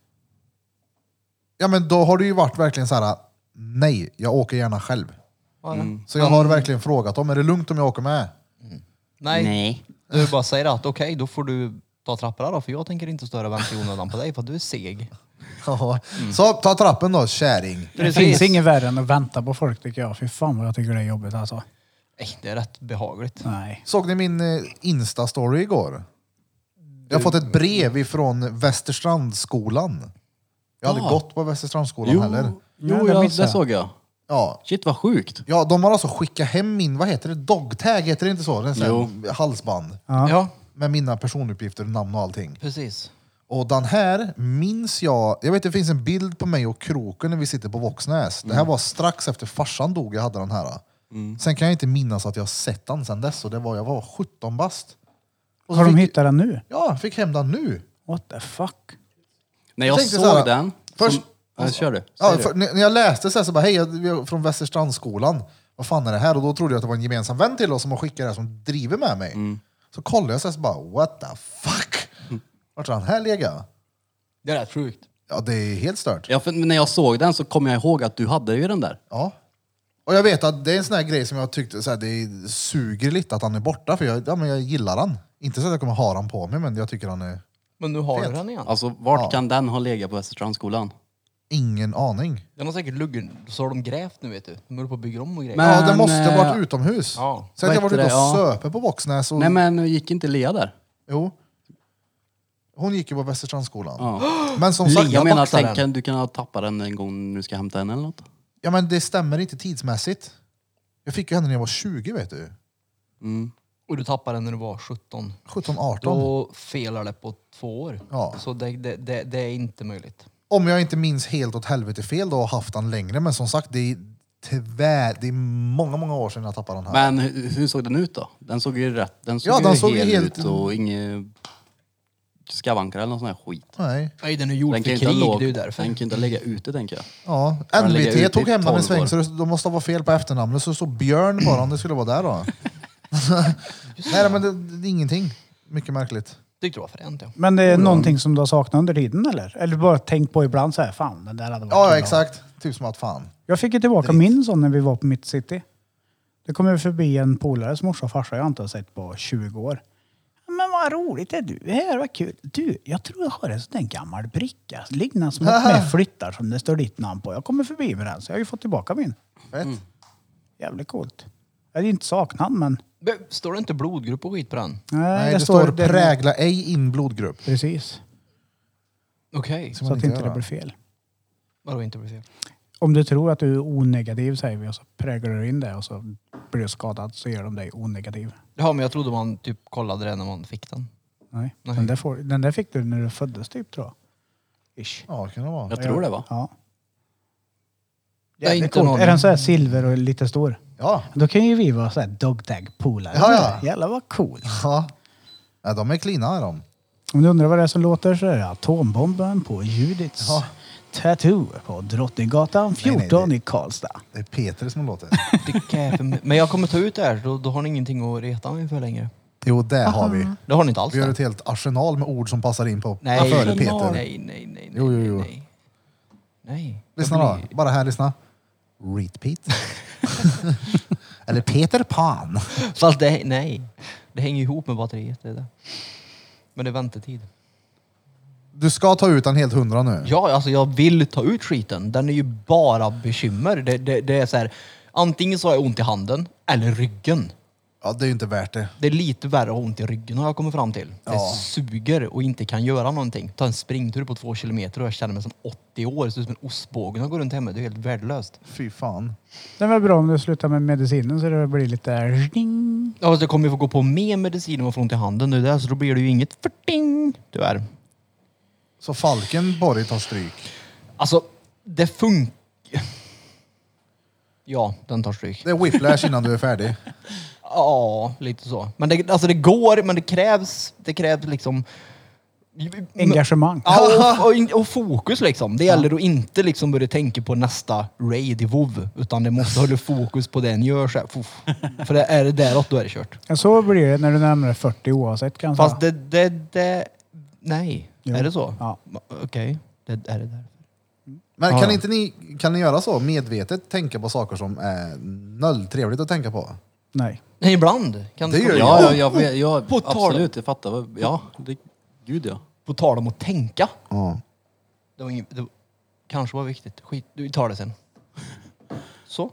A: ja men då har det ju varit verkligen så här, nej jag åker gärna själv.
E: Vad är det?
A: Så jag har verkligen frågat dem, är det lugnt om jag åker med?
E: Nej. Du bara säger att okej, då får du ta trapporna då, för jag tänker inte störa vänta i onödan på dig för att du är seg.
A: Ja.
C: Mm.
A: Så ta trappen då käring.
B: Det finns inget värre än att vänta på folk tycker jag. Fy fan vad jag tycker det är jobbigt alltså.
E: Nej, det är rätt behagligt.
B: Nej.
A: Såg ni min eh, Insta-story igår? Jag har fått ett brev ifrån Västerstrandsskolan. Jag hade
C: Ja.
A: gått på Västerstrandsskolan
C: Jo,
A: heller.
B: Ja,
C: jo
B: det
C: jag,
B: missade
C: det
B: jag.
C: såg jag.
A: Ja,
C: Shit vad sjukt.
A: Ja, de har alltså skickat hem min, vad heter det, dogtag, heter det inte så? Det är sån här halsband.
E: Ja,
A: Med mina personuppgifter, namn och allting.
E: precis.
A: Och den här minns jag, jag vet det finns en bild på mig och Kroken när vi sitter på Våxnäs. Det här var strax efter farsan dog jag hade den här. Sen kan jag inte minnas att jag har sett den sen dess och det var, jag var 17 bast. Och så
B: Har de
A: fick-
B: hittat den nu?
A: Ja, jag fick hem den nu.
B: What the fuck?
C: När jag,
A: tänkte
C: såg
A: så här,
C: den...
A: först-
C: Som, ja, kör du.
A: Ja,
C: Säg du.
A: för, när när jag läste så, här, så bara, hej, jag- vi är från Västerstrandsskolan. Vad fan är det här? Och då trodde jag att det var en gemensam vän till oss som har skickat det här som driver med mig. Så kollade jag så, här, så bara, what the fuck? Vart har den här legat?
E: Det är rätt sjukt.
A: Ja, det är helt stört.
C: Ja, för när jag såg den så kom jag ihåg att du hade ju den där.
A: Ja. Och jag vet att det är en sån här grej som jag tyckte så här, det suger lite att han är borta, för jag, ja, men jag gillar han. Inte så att jag kommer ha han på mig, men jag tycker han är...
E: Men nu har
A: Fet.
E: du den igen.
C: Alltså vart
A: Ja.
C: kan den ha legat på Västerstrandsskolan?
A: ingen aning.
E: Den har säkert luggen. Så har de grävt nu vet du. De håller på att bygga om och grejer.
C: Men-
A: ja, det måste ha
C: eh,
A: varit utomhus.
E: ja.
A: Säg att jag
C: Vad
A: varit ute och
C: heter det? Ja.
A: söpe på Våxnäs. Och,
C: Nej men eh, gick inte Lea där?
A: Jo. Hon gick ju på Västerstrandsskolan.
C: Ja.
A: Men som sagt,
C: Lea
A: jag,
C: menar att
A: boxar
C: den
A: den.
C: kan, du kan ha tappat den en gång nu ska jag hämta henne eller något.
A: Ja, men det stämmer inte tidsmässigt. Jag fick ju henne när jag var 20, vet du.
C: Mm.
E: Och du tappade den när du var 17.
A: 17, 18.
E: Då felar det på två år.
A: Ja.
E: Så det, det, det, det är inte möjligt.
A: Om jag inte minns helt åt helvete fel då har jag haft den längre. Men som sagt, det är, tyvärr, det är många, många år sedan jag tappade den här.
C: Men hur, hur såg den ut då? Den såg ju rätt, den såg
A: Ja,
C: ju
A: den såg ju
C: hel
A: helt-
C: ut och inget skavankar eller någon sån här skit.
A: Nej.
E: Nej, den är gjord
C: Den
E: för
C: kan,
E: krig.
C: inte ha låg,
E: Det är ju
C: den
E: därför.
C: kan inte lägga ute tänker jag.
A: Ja.
C: den ligger ute i
A: NVT tog hem den
C: 12 år.
A: i sväng, så det de måste vara fel på efternamnet. Så det stod Björn bara om det skulle vara där då. Nej, men det, det är ingenting. Mycket märkligt.
E: Tyckte det var fränt Oh, ja.
B: Men det är någonting som du har saknat under tiden eller? Eller bara tänkt på ibland så här, fan den där hade varit
A: Ja,
B: kul
A: ja
B: att ha.
A: exakt. Typ som att fan.
B: Jag fick ju tillbaka min sån när vi var på Mitt City. Det kom ju förbi en polares morsa och farsa jag inte har sett på 20 år. Men vad roligt är du här, vad kul. Du, jag tror jag har en sån där gammal bricka. Liggande som åkt med flyttar som det står ditt namn på. Jag kommer förbi med den, så jag har ju fått tillbaka min.
C: Mm.
A: Fett.
B: Jävligt coolt. Jag hade ju inte saknat men...
E: Men Står det inte blodgrupp och skit på den?
B: Nej,
A: Nej, det, står
B: det-
A: prägla ej in blodgrupp.
B: Precis,
E: Okej. Okay.
A: Ska
B: så
A: man
B: att
A: inte
B: inte det
A: göra.
B: blir fel.
E: Vadå inte blir fel?
B: Om du tror att du är onegativ säger vi och så präglar du in det och så blir du skadad så gör de dig onegativ.
E: Ja, men jag trodde man typ kollade det när man fick den.
B: Nej.
E: Nej.
B: Den, där får, den där fick du när du föddes typ tror jag. Ish.
A: Ja, kan det vara.
C: Jag tror det va?
B: Ja.
E: Jag har
B: Jävligt
E: inte
B: coolt.
E: någon-
B: Är den så här silver och lite stor?
A: Ja.
B: Då kan ju vi vara så här dogtag-polare.
A: Ja, ja.
B: Jävlar vad coolt.
A: ja. ja de är cleana är de.
B: Om du undrar vad det är som låter så är det atombomben på Judits
A: Ja.
B: Tattoo på Drottninggatan 14
A: nej,
B: i Karlstad.
A: Det är Peter som låter.
E: Det kan jag för- men jag kommer ta ut det här, då, då har ni ingenting att reta mig för längre.
A: Jo, det har vi.
E: Det har ni inte alls.
A: Vi har
E: det.
A: ett helt arsenal med ord som passar in på
E: nej,
A: före
E: nej,
A: Peter.
E: nej, nej, nej,
A: Jo, jo, jo.
E: nej. Nej.
A: Lyssna då, bara här lyssna. Repeat. Eller Peter Pan.
E: Fast det, nej. Det hänger ihop med batteriet. Det är det. Men det är väntetid.
A: Du ska ta ut den helt hundra nu.
E: Ja, alltså jag vill ta ut skiten. Den är ju bara bekymmer. Det, det, det är så här, antingen så har jag ont i handen eller ryggen.
A: Ja, det är ju inte värt det.
E: Det är lite värre att ha ont i ryggen har jag kommit fram till. Det
A: Ja.
E: suger och inte kan göra någonting. Ta en springtur på två kilometer och jag känner mig som 80 år. Det ser ut som en ostbåge när jag går runt hemma. Det är helt värdelöst.
A: Fy fan.
B: Det var bra om du slutar med medicinen så det blir lite... Ding.
E: Ja, fast jag kommer ju få gå på mer medicin om jag får ont i handen nu där, så då blir det ju inget förting, tyvärr.
A: Så Falkenborg tar stryk.
E: Alltså, det funkar... Ja, den tar stryk.
A: Det är whiplash innan du är färdig.
E: Ja, lite så. Men det, alltså det går, men det krävs, det krävs liksom...
B: Engagemang.
E: Ja, och, och, och fokus liksom. Det gäller att inte liksom börja tänka på nästa raid i WoW utan det måste hålla fokus på det en gör. Så här, fuff. För det är det däråt, då är det kört.
B: Ja, Så blir det när du närmar dig 40 oavsett kan jag
E: Fast
B: säga.
E: det, det, det... Nej.
B: Jo.
E: Är det så?
B: Ja.
E: Okej. Det är det där.
A: Men
E: Ja.
A: kan inte ni, kan ni göra så? Medvetet tänka på saker som är noll trevligt att tänka på.
B: Nej.
E: Nej, ibland. Kan
A: Det gör
C: Ja, ja, jag, jag, jag,
E: På tal-
C: absolut jag fattar. vad- Ja, det, gud ja.
E: På tal om att tänka.
A: Ja.
E: Det var inget, det kanske var viktigt. Skit, du tar det sen. Så.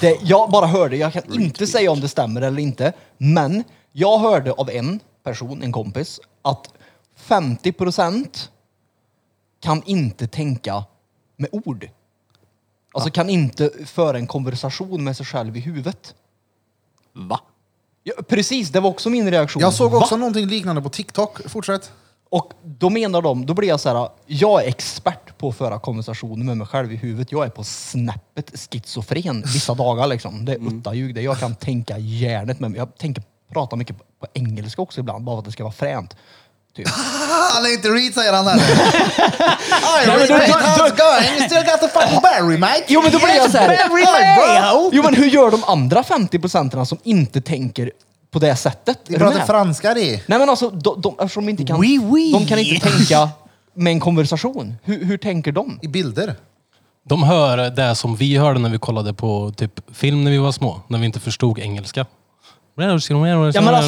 E: Det, jag bara hörde, jag kan inte säga om det stämmer eller inte, men jag hörde av en person, en kompis, att 50 procent kan inte tänka med ord. Alltså kan inte föra en konversation med sig själv i huvudet.
C: Va?
E: Ja, precis, det var också min reaktion.
A: Jag såg
E: Va?
A: också någonting liknande på TikTok. Fortsätt.
E: Och då menar de, då blir jag så här, jag är expert på att föra konversationer med mig själv i huvudet. Jag är på snäppet schizofren vissa dagar liksom. Det är
A: Mm.
E: uttaljug det. Jag kan tänka hjärnet med mig. Jag tänker prata mycket på- på engelska också ibland, bara för att det ska vara fränt. Typ.
A: Han är inte read säger han här. I
E: respect how
A: it's going. You still got the fucking battery mate.
E: Jo men då blir jag så här, "Äh,
A: bro.
E: jo men hur gör de andra 50 procenten som inte tänker på det sättet?
A: Vi
E: Är du
A: pratar
E: med?
A: franska det.
E: Nej men alltså, de, de, eftersom de inte kan,
B: Oui, oui.
E: De kan inte tänka med en konversation. Hur, hur tänker de?
A: I bilder.
D: De hör det som vi hörde när vi kollade på typ film när vi var små, när vi inte förstod engelska.
E: Ja men alltså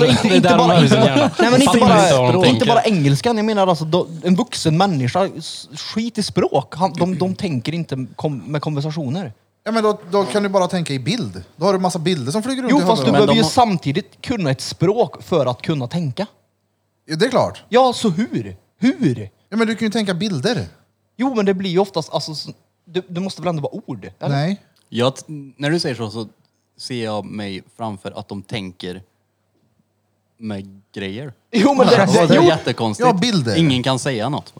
E: inte, inte bara, inte, nej, men inte, bara, inte bara engelskan. Jag menar alltså då, en vuxen människa, s- skit i språk. Han, de, de tänker inte kom, med konversationer.
A: Ja, men då, då kan du bara tänka i bild. Då har du massa bilder som flyger runt
E: Jo
A: i
E: fast du
A: huvudet.
E: behöver
C: de
E: ju
C: har-
E: samtidigt kunna ett språk för att kunna tänka.
A: Ja, Det är klart.
E: Ja, så hur? Hur?
A: Ja, men du kan ju tänka bilder.
E: Jo men det blir ju oftast, alltså, s- du, du måste väl ändå vara ord? Eller?
A: Nej.
C: Jag, t- när du säger så så ser jag mig framför att de tänker med grejer. Alltså,
E: Jo men det,
C: Det,
E: det,
C: är
E: jo,
C: jättekonstigt.
A: Ja, bilder.
C: Ingen kan säga något.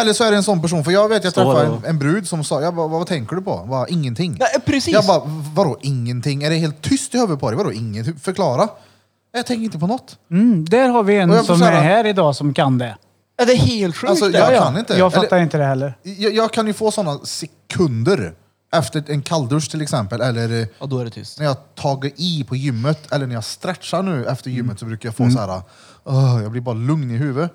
A: Eller så är det en sån person, för jag vet jag
C: Står
A: träffade
C: det-
A: en, en brud som sa, jag bara, vad tänker du på? Bara, ingenting.
E: Ja, precis.
A: Jag bara, vadå ingenting? Är det helt tyst i huvudet på dig? Vadå ingenting? Förklara. Jag tänker inte på något.
B: Mm, där har vi
A: Och
B: en
A: jag får
B: som
A: säga-
B: är här idag som kan det.
E: Ja, det är helt sjukt.
A: Alltså,
E: det.
A: jag kan inte.
B: Jag fattar
A: Eller-
B: inte det heller.
A: Jag, jag kan ju få sådana sekunder efter en kalldusch till exempel, eller eh,
E: Ja, då är det tyst.
A: när jag tagit i på gymmet, eller när jag stretchar nu efter gymmet så brukar jag få så här, "Åh, jag blir bara lugn i huvudet.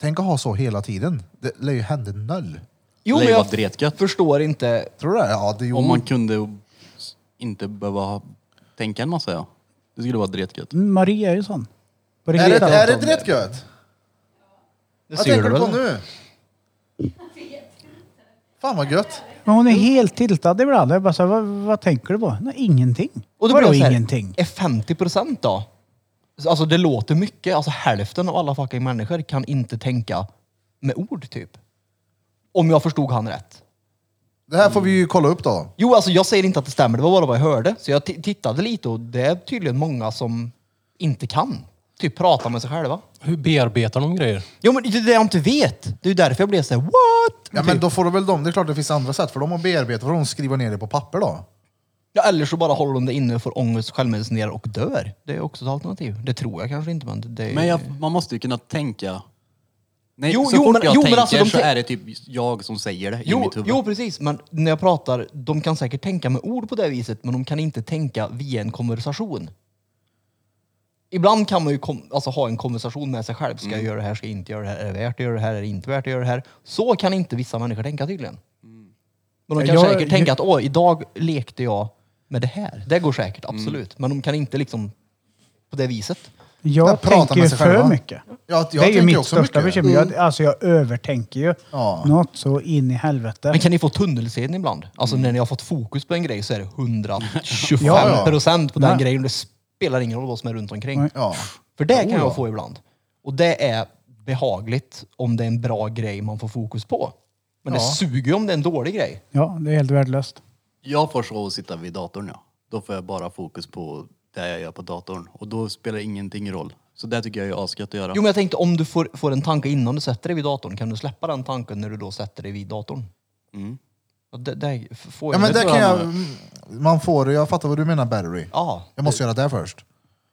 A: Tänk att ha så hela tiden. Det lär ju hända noll.
E: Jo
C: Lej
E: men
C: var
E: jag
C: dretgött.
E: förstår inte.
A: Tror du det? Ja, det
C: Om
A: gjorde
C: man kunde inte behöva ha- tänka en massa ja. Det skulle vara dretgött.
B: Mm, Maria är ju sån. På
A: Är
B: riktigt
A: det, är
B: alltså.
A: det rätt gött?
E: Det
A: Vad
E: ser
A: tänker
E: du
A: du på
E: väl?
A: nu? Fan vad gött.
B: Men hon är helt tiltad ibland. Jag bara så här, vad, vad tänker du på? Nej, ingenting.
E: Och då blir
B: Vadå
E: jag så här,
B: ingenting?
E: Är 50 procent då? Alltså det låter mycket. Alltså hälften av alla fucking människor kan inte tänka med ord typ. Om jag förstod han rätt.
A: Det här får vi ju kolla upp då.
E: Jo, alltså jag säger inte att det stämmer. Det var bara vad jag hörde. Så jag t- tittade lite och det är tydligen många som inte kan. Typ prata med sig själva.
D: Hur bearbetar de grejer?
E: Jo, men det är det jag inte vet. Det är därför jag blev så här, what? Typ.
A: Ja men då får du väl dem, det är klart det finns andra sätt för dem att bearbeta, för de skriver ner det på papper då.
E: Ja, eller så bara håller de det inne och får ångest, självmedicinera och dör. Det är också ett alternativ. Det tror jag kanske inte, men det- det är...
C: Men jag, man måste ju kunna tänka. Nej,
E: Jo,
C: så
E: jo,
C: fort
E: men-
C: jag
E: jo, men
C: tänker
E: alltså, de
C: så
E: tän-
C: är det typ jag som säger det i
E: Jo,
C: mitt huvud.
E: jo, precis. Men när jag pratar, de kan säkert tänka med ord på det viset, men de kan inte tänka via en konversation. Ibland kan man ju kom, alltså, ha en konversation med sig själv. Ska
C: Mm.
E: jag göra det här? Ska jag inte göra det här? Är det värt att göra det här? Är det inte värt att göra det här? Så kan inte vissa människor tänka tydligen. Men de kan
B: Jag-
E: säkert tänka att åh, idag lekte jag med det här. Det går säkert,
C: Mm.
E: absolut. Men de kan inte liksom på det viset.
A: Där
B: Jag
A: pratar
B: tänker ju
A: med sig
B: för
A: själva.
B: mycket.
A: Ja, jag
B: det är ju
A: tänker
B: mitt
A: också
B: största
A: mycket. Mm.
B: bekymmer. Jag, alltså jag övertänker ju
A: Ja.
B: något så in i helvete.
E: Men kan ni få tunnelseende ibland? Alltså när ni har fått fokus på en grej så är det 125
A: Ja, ja.
E: procent på den
B: Nej.
E: grejen. Det spelar ingen roll vad som är runt omkring.
B: Nej.
A: Ja.
E: För det kan jag få ibland. Och det är behagligt om det är en bra grej man får fokus på. Men det
A: Ja.
E: suger ju om det är en dålig grej.
B: Ja, det är helt värdelöst.
C: Jag får så att sitta vid datorn ja. Då får jag bara fokus på det jag gör på datorn. Och då spelar ingenting roll. Så det tycker jag är asgött att göra.
E: Jo men jag tänkte om du får, får en tanke innan du sätter dig vid datorn, kan du släppa den tanken när du då sätter dig vid datorn?
C: Mm.
E: Och det, det f- får
A: Ja
E: ju-
A: men
E: det
A: det
E: tror
A: kan
E: jag-
A: jag... Man får, jag fattar vad du menar Battery.
E: Ja.
A: Jag måste göra det här först.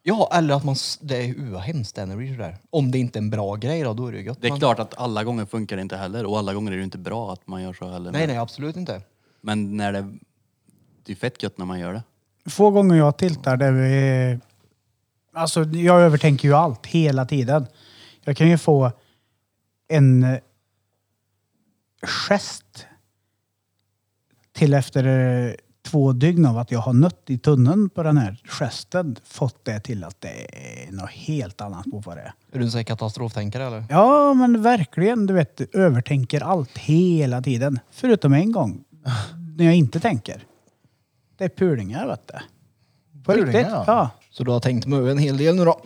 E: ja, eller att man... s- Det är ju vad hemskt det är när det blir sådär. Om det inte är en bra grej då, då är det ju gött.
C: Det är
E: men-
C: klart att alla gånger funkar det inte heller och alla gånger är det inte bra att man gör så heller.
E: Nej,
C: Men-
E: nej, absolut inte.
C: Men när det... Det är fett gött när man gör det.
B: Få gånger jag tiltar där vi... Alltså jag övertänker ju allt hela tiden. Jag kan ju få en eh, gest till efter eh, två dygn av att jag har nött i tunneln på den här gesten fått det till att det är något helt annat på vad det är.
E: Är du en sån här katastroftänkare eller?
B: Ja, men verkligen. Du vet, du övertänker allt hela tiden. Förutom en gång, när jag inte tänker. Det är pulingar, vet du. På
A: Pulingar,
B: riktigt.
A: ja.
B: Ja.
E: Så du har tänkt mig en hel del nu då?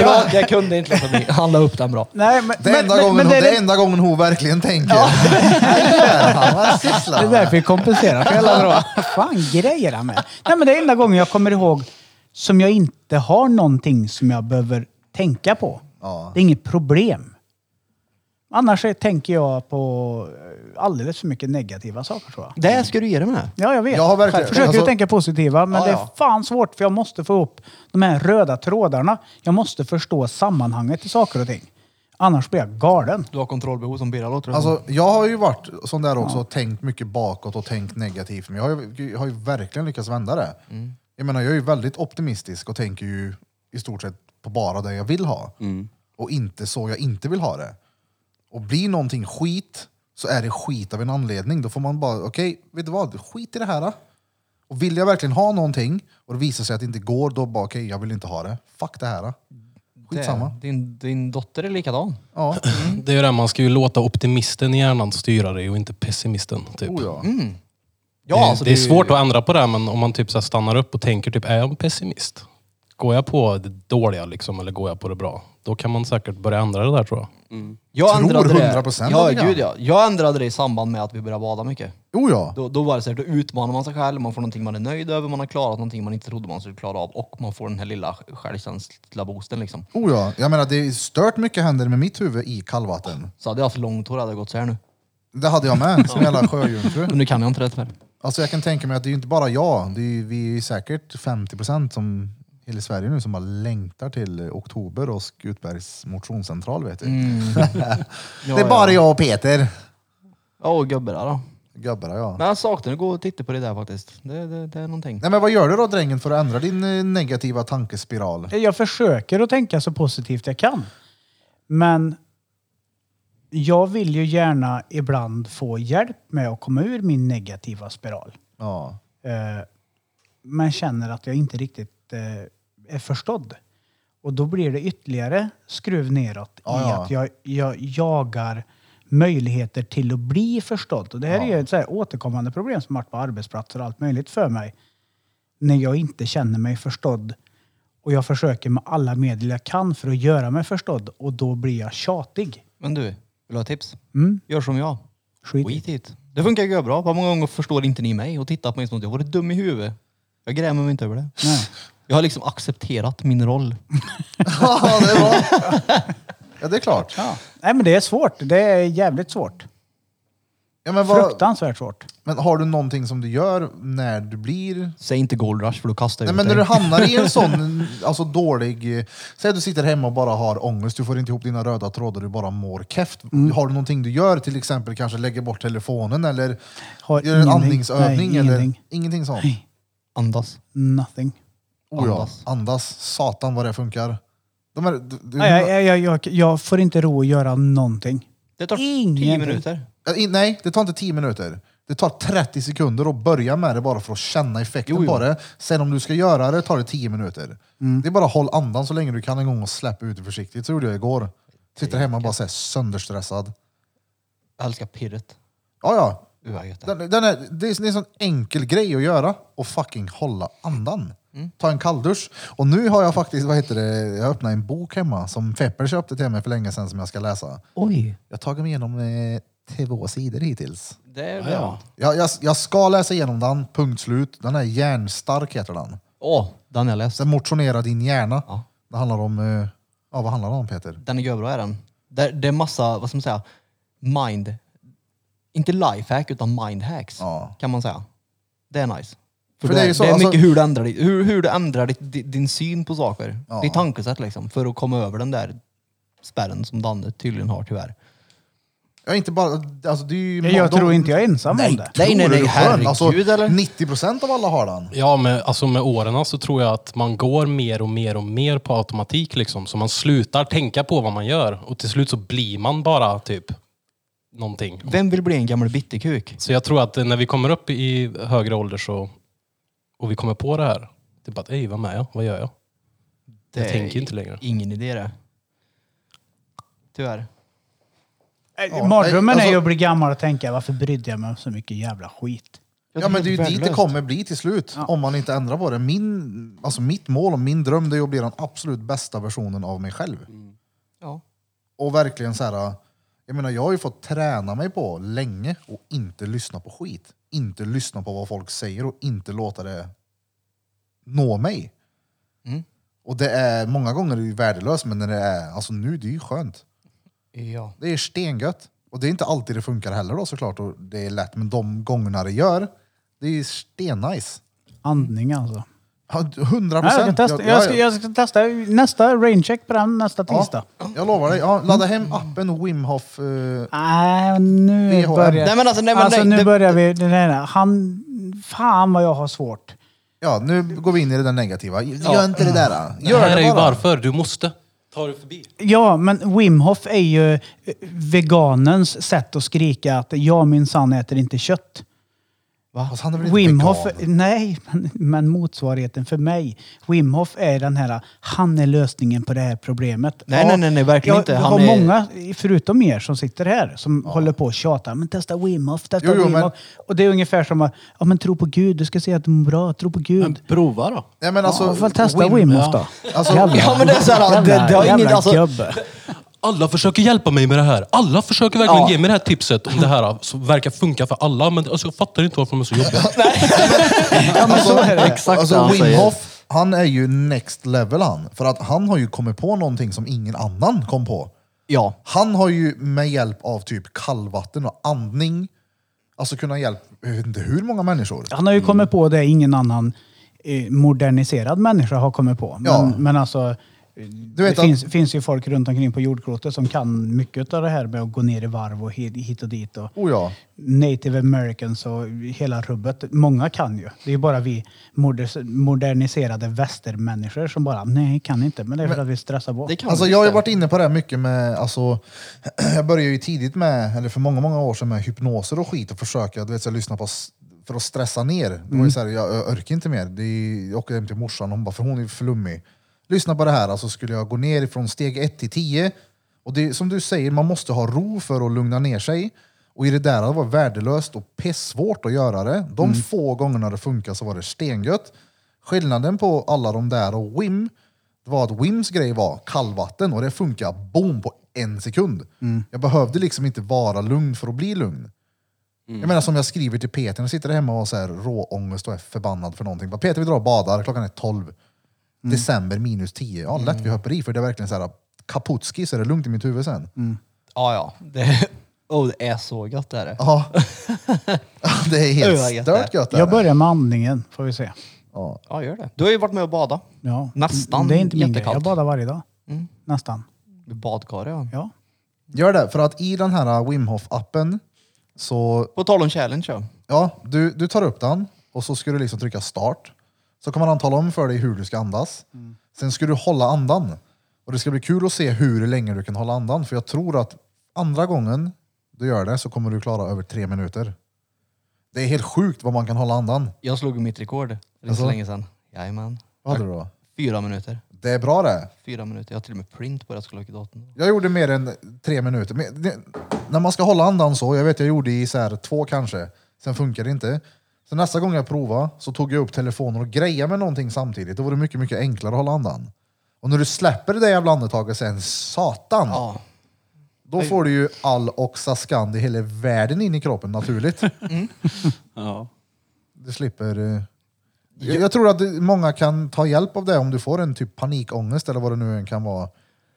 E: ja, jag kunde inte låta bli. Han la upp den bra.
B: Nej, men,
A: Det är
B: men,
A: enda,
B: men,
A: gången,
B: men
A: hon,
B: det,
A: det
B: är,
A: är enda gången hon verkligen tänker. Fan, vad sysslar
B: det är
A: han
B: därför
A: med?
B: vi kompenserar för alla bra. Vad fan grejer han med? Nej, men det är enda gången jag kommer ihåg som jag inte har någonting som jag behöver tänka på.
A: Ja.
B: Det är inget problem. Annars så tänker jag på eh, alldeles för mycket negativa saker tror jag.
E: Det ska du ge dig med.
B: Ja, jag vet.
A: Jag har verkligen-
B: Jag försöker
A: alltså-
B: ju tänka positiva, men
A: Ja,
B: det
A: ja.
B: är fan svårt för jag måste få upp de här röda trådarna. Jag måste förstå sammanhanget i saker och ting. Annars blir jag galen.
E: Du har kontrollbehov som Birra låter
A: Alltså, jag har ju varit sån där också och tänkt mycket bakåt och tänkt negativt. Men jag har ju, jag har ju verkligen lyckats vända det.
E: Mm.
A: Jag menar, jag är ju väldigt optimistisk och tänker ju i stort sett på bara det jag vill ha.
E: Mm.
A: Och inte så jag inte vill ha det. Och blir någonting skit så är det skit av en anledning. Då får man bara, okej, vet du vad? Skit i det här. då. Och vill jag verkligen ha någonting och det visar sig att det inte går, då bara okej, jag vill inte ha det. Fuck det här. då. Skitsamma.
E: Det- Din, din dotter är likadan.
A: Ja,
D: Det är ju det, man ska ju låta optimisten i hjärnan styra dig och inte pessimisten. Typ.
A: oh ja.
E: Ja,
D: det,
E: alltså
D: det är svårt
E: ju-
D: att ändra på det, men om man typ så här stannar upp och tänker typ, är jag pessimist? Går jag på det dåliga liksom, eller går jag på det bra? Då kan man säkert börja ändra det där tror jag.
E: jag
A: tror
E: ändrade det.
A: 100% av
E: ja,
A: det.
E: gud, ja. Jag ändrade det i samband med att vi började bada mycket.
A: Oh ja.
E: Då, då var det så här, då utmanar man sig själv, man får någonting man är nöjd över, man har klarat någonting man inte trodde man skulle klara av och man får den här lilla självkänsla boosten liksom.
A: Oh ja. Jag menar, det är stört mycket händer med mitt huvud i kallvatten.
E: Så hade jag haft långt hår hade jag gått så här nu.
A: Det hade jag med, som jävla sjöjungfru.
E: Men nu kan jag inte det tyvärr.
A: Alltså jag kan tänka mig att det är ju inte bara jag. Det är ju, vi är ju säkert 50% som hela Sverige nu som bara längtar till eh, oktober och Skutbergs motionscentral vet du. det är bara jag och Peter.
E: Ja, och gubbar då.
A: Gubbarna ja.
E: Men jag saknar att gå och titta på det där faktiskt. Det, det, det är någonting.
A: Nej men vad gör du då drängen för att ändra din eh, negativa tankespiral?
B: Jag försöker att tänka så positivt jag kan. Men jag vill ju gärna ibland få hjälp med att komma ur min negativa spiral.
A: Ja.
B: Eh, men känner att jag inte riktigt eh, är förstådd. Och då blir det ytterligare skruv neråt
A: Ja,
B: i
A: ja.
B: att jag, jag jagar möjligheter till att bli förstådd. Och det här är ju ett så här återkommande problem som har varit på arbetsplatser och allt möjligt för mig. När jag inte känner mig förstådd och jag försöker med alla medel jag kan för att göra mig förstådd och då blir jag tjatig.
E: Men du, vill du ha tips?
B: Mm.
E: Gör som jag.
B: Skit.
E: Skit hit. Det funkar ju bra. Hur många gånger förstår inte ni mig och tittar på mig som att jag vore dum i huvudet? Jag grämer mig inte över det.
B: Nej.
E: Jag har liksom accepterat min roll.
A: ja, det är bra. Ja det är klart.
B: Ja. Nej men det är svårt. Det är jävligt svårt.
A: Ja, men, vad,
B: Fruktansvärt svårt.
A: men har du någonting som du gör när du blir
E: Säg inte Gold Rush för då kastar jag
A: Nej,
E: ut
A: men
E: dig.
A: när du hamnar i en sån alltså, dålig... eh, Säg att du sitter hemma och bara har ångest, du får inte ihop dina röda trådar, du bara mår keft.
B: Mm.
A: Har du någonting du gör, till exempel kanske lägger bort telefonen eller
B: Har
A: gör en
B: ingenting.
A: andningsövning?
B: Nej,
A: eller,
B: ingenting.
A: ingenting sånt?
B: Nej.
E: Andas.
B: Nothing.
A: Oh, ja.
E: Andas.
A: Andas. Satan vad det funkar. De är, du, du,
B: Nej, jag, jag, jag, jag får inte ro att göra någonting.
E: Det tar tio
B: Ingenting.
E: minuter.
A: Ja, Alltså, i- nej, det tar inte 10 minuter. Det tar 30 sekunder att börja med det bara för att känna effekten på det. Sen om du ska göra det tar det 10 minuter. Det är bara håll andan så länge du kan en gång och släpp ut det försiktigt. Så gjorde jag igår. Sitter hemma och bara såhär sönderstressad.
E: Jag älskar pirret.
A: Ja, ja.
E: Uh, vad gött det är.
A: Den, den är, det är det är en sån enkel grej att göra och fucking hålla andan. Ta en kalldusch. Och nu har jag faktiskt, vad heter det, jag öppnade en bok hemma som Pepper köpte till mig för länge sedan som jag ska läsa.
E: Oj.
A: Jag har tagit mig igenom eh, två sidor hittills.
E: Det är
C: Ja,
E: bra.
C: ja.
A: Jag, jag, jag ska läsa igenom den, punkt slut. Den är järnstark heter den.
E: Åh, den har jag läst.
A: Sen motionera din hjärna.
E: Ja.
A: Det handlar om, eh, ja vad handlar det om Peter?
E: Den är görbra är den. Det, det är massa, vad ska man säga, mind... Inte lifehack utan mindhacks
A: Ja.
E: kan man säga. Det är nice. För,
A: För det
E: det, är,
A: är ju så,
E: det är
A: alltså-
E: mycket hur du ändrar, ditt, hur, hur du ändrar ditt, di- din syn på saker.
A: Ja.
E: Ditt tankesätt liksom. För att komma över den där spärren som Danne tydligen har tyvärr.
A: Ja, inte bara, alltså, det är ju
B: Jag, jag
A: de-
B: tror inte jag är ensam om det.
A: tror
E: Nej, nej,
A: du
E: nej,
A: det är skönt? Alltså,
E: herregud, eller?
A: 90% av alla har den.
D: Ja, med, alltså med åren så tror jag att man går mer och mer och mer på automatik liksom. Så man slutar tänka på vad man gör och till slut så blir man bara typ någonting.
E: Vem vill bli en gammal bitterkuk?
D: Så jag tror att eh, när vi kommer upp i högre ålder så, och vi kommer på det här, typ att ej, vem är jag? Vad gör jag?
E: Det
D: Jag
E: är
D: tänker inte längre.
E: Ingen idé det. Tyvärr.
B: Ja, Eh, Mardrömmen
A: alltså-
B: är ju att bli gammal och tänka varför brydde jag mig om så mycket jävla skit?
A: Ja, men det är ju dit det
E: Värdelöst.
A: kommer bli till slut. Om man inte ändrar på det. Min, alltså, mitt mål och min dröm det är att bli den absolut bästa versionen av mig själv.
E: Ja.
A: Och verkligen så här, jag menar jag har ju fått träna mig på länge och inte lyssna på skit. Inte lyssna på vad folk säger och inte låta det nå mig.
E: Mm.
A: Och det är, många gånger är det ju värdelöst men när det är, alltså nu det är ju skönt.
E: ja.
A: Det är stengött. Och det är inte alltid det funkar heller då såklart och det är lätt men de gångerna det gör, det är ju stennice.
B: Andning alltså.
A: Hundra
B: Nej, jag, ska
A: procent.
B: testa, jag, ska, jag ska testa nästa raincheck på den nästa tisdag.
A: jag lovar dig. Ja, ladda hem appen Wim Hof. eh,
B: Nej, nu
A: VHM.
B: börjar...
E: Nej, men alltså, nej, men
B: alltså
E: nej,
B: nu
E: det-
B: börjar vi... Den här, han, fan vad jag har svårt.
A: Ja, nu går vi in i det där negativa. Gör inte det där.
B: Mm.
A: Då.
D: Det
A: Gör
D: här är ju
A: bara.
D: varför, du måste.
B: Ja, men Wim Hof är ju eh, veganens sätt att skrika att jag minsann äter inte kött.
E: Va?
A: Fast Alltså, han är väl inte
B: Wim
A: vegan?
B: Hof, nej, men- men motsvarigheten för mig. Wim Hof är den här, han är lösningen på det här problemet.
E: Nej, nej, nej, nej, verkligen
B: jag
E: inte.
B: Jag
E: Han
B: har
E: är-
B: många, förutom er, som sitter här som håller på och tjatar. Men testa Wim Hof, testa
A: Jo, jo,
B: Wim
A: men-
B: Hof. Och det är ungefär som att, ja men tro på Gud, du ska se att du mår bra, tro på Gud.
C: Men prova då.
A: Nej, men alltså,
B: ja, i alla fall testa Wim Hof då.
A: Alltså,
E: Ja, men det är så här,
B: jävla,
E: det- det har ingen-
B: jävla
E: alltså-
B: gubbe.
D: Alla försöker hjälpa mig med det här. Alla försöker verkligen
E: Ja.
D: ge mig det här tipset om det här som verkar funka för alla. Men alltså, jag fattar inte varför de är så jobbiga.
B: Ja, men så är det.
C: Exakt det
A: alltså
C: han
A: Wim
C: säger.
A: Hof, han är ju next level han. För att han har ju kommit på någonting som ingen annan kom på.
E: Ja.
A: Han har ju med hjälp av typ kallvatten och andning, alltså kunnat hjälpa, jag vet inte hur många människor.
B: Han har ju kommit på det ingen annan eh, moderniserad människa har kommit på. Men,
A: Ja.
B: men alltså,
A: Du vet
B: det
A: att-
B: finns, finns ju folk runt omkring på jordklotet som kan mycket av det här med att gå ner i varv och hit, hit och dit. Och
A: Oh ja.
B: Native americans och hela rubbet. Många kan ju. Det är bara vi moder, moderniserade västermänniskor som bara, nej, kan inte. Men det är för att vi stressar på.
E: Det kan
A: Alltså
E: vi
A: jag har ju
E: inte.
A: varit inne på det här mycket med, alltså, jag började ju tidigt med, eller för många, många år sedan med hypnoser och skit och försöka, du vet, så här, lyssna på, s- för att stressa ner. Det var
E: Mm.
A: ju så här, jag jag orkar inte mer. Det är, jag åker hem till morsan, hon bara, för hon är ju flummig. Lyssna på det här, alltså skulle jag gå ner från steg 1 till 10, och det är som du säger, man måste ha ro för att lugna ner sig. Och i det där det var värdelöst och pessvårt att göra det. De
E: Mm.
A: få gångerna det funkade så var det stengött. Skillnaden på alla de där och Wim, det var att Wims grej var kallvatten och det funkar boom på en sekund.
E: Mm.
A: Jag behövde liksom inte vara lugn för att bli lugn.
E: Mm.
A: Jag menar som jag skriver till Peter, jag sitter hemma och har så här råångest och är förbannad för någonting. Bara, Peter vi drar och badar, klockan är 12.
E: Mm.
A: December minus 10. Ja lätt vi hoppar i för det är verkligen så här kaputski så är det lugnt i mitt huvud sen.
E: Mm. Ja, ja. Det, oh, det är så gött det är det.
A: Ja. det är
E: Oj, vad
A: helt
E: gött
A: stört gött. är
B: jag
A: det.
B: börjar med andningen, får vi se.
A: Ja.
E: Ja, gör det. Du har ju varit med och badat.
B: Ja.
E: Nästan
B: Det är inte min grej.
E: jättekallt.
B: Jag badar varje dag.
E: Mm.
B: Nästan.
E: I Badkar, ja.
B: Ja.
A: Gör det, för att i den här Wim Hof appen så
E: På tal om challenge, ja.
A: Ja, du, du tar upp den och så ska du liksom trycka start. Så kommer han tala om för dig hur du ska andas. Sen ska du hålla andan. Och det ska bli kul att se hur länge du kan hålla andan. För jag tror att andra gången du gör det så kommer du klara över tre minuter. Det är helt sjukt vad man kan hålla andan.
E: Jag slog ju mitt rekord. Det är inte
A: Alltså?
E: så länge sedan. Jajamän.
A: Vad hade du då?
E: Fyra minuter.
A: Det är bra det.
E: Fyra minuter. Jag har till och med print på det. Jag skulle ha åkt datorn.
A: Jag gjorde mer än tre minuter. Men det, när man ska hålla andan så, jag vet jag gjorde i så här två kanske, sen funkar det inte. Så nästa gång jag provade så tog jag upp telefonen och grejade med någonting samtidigt. Då var det mycket, mycket enklare att hålla andan. Och när du släpper det där jävla andetaget sen, satan!
E: Ja.
A: Då får du ju all oxascand i hela världen in i kroppen naturligt.
C: Ja.
A: Du slipper... eh, Jag, jag tror att det- många kan ta hjälp av det om du får en typ panikångest eller vad det nu än kan vara.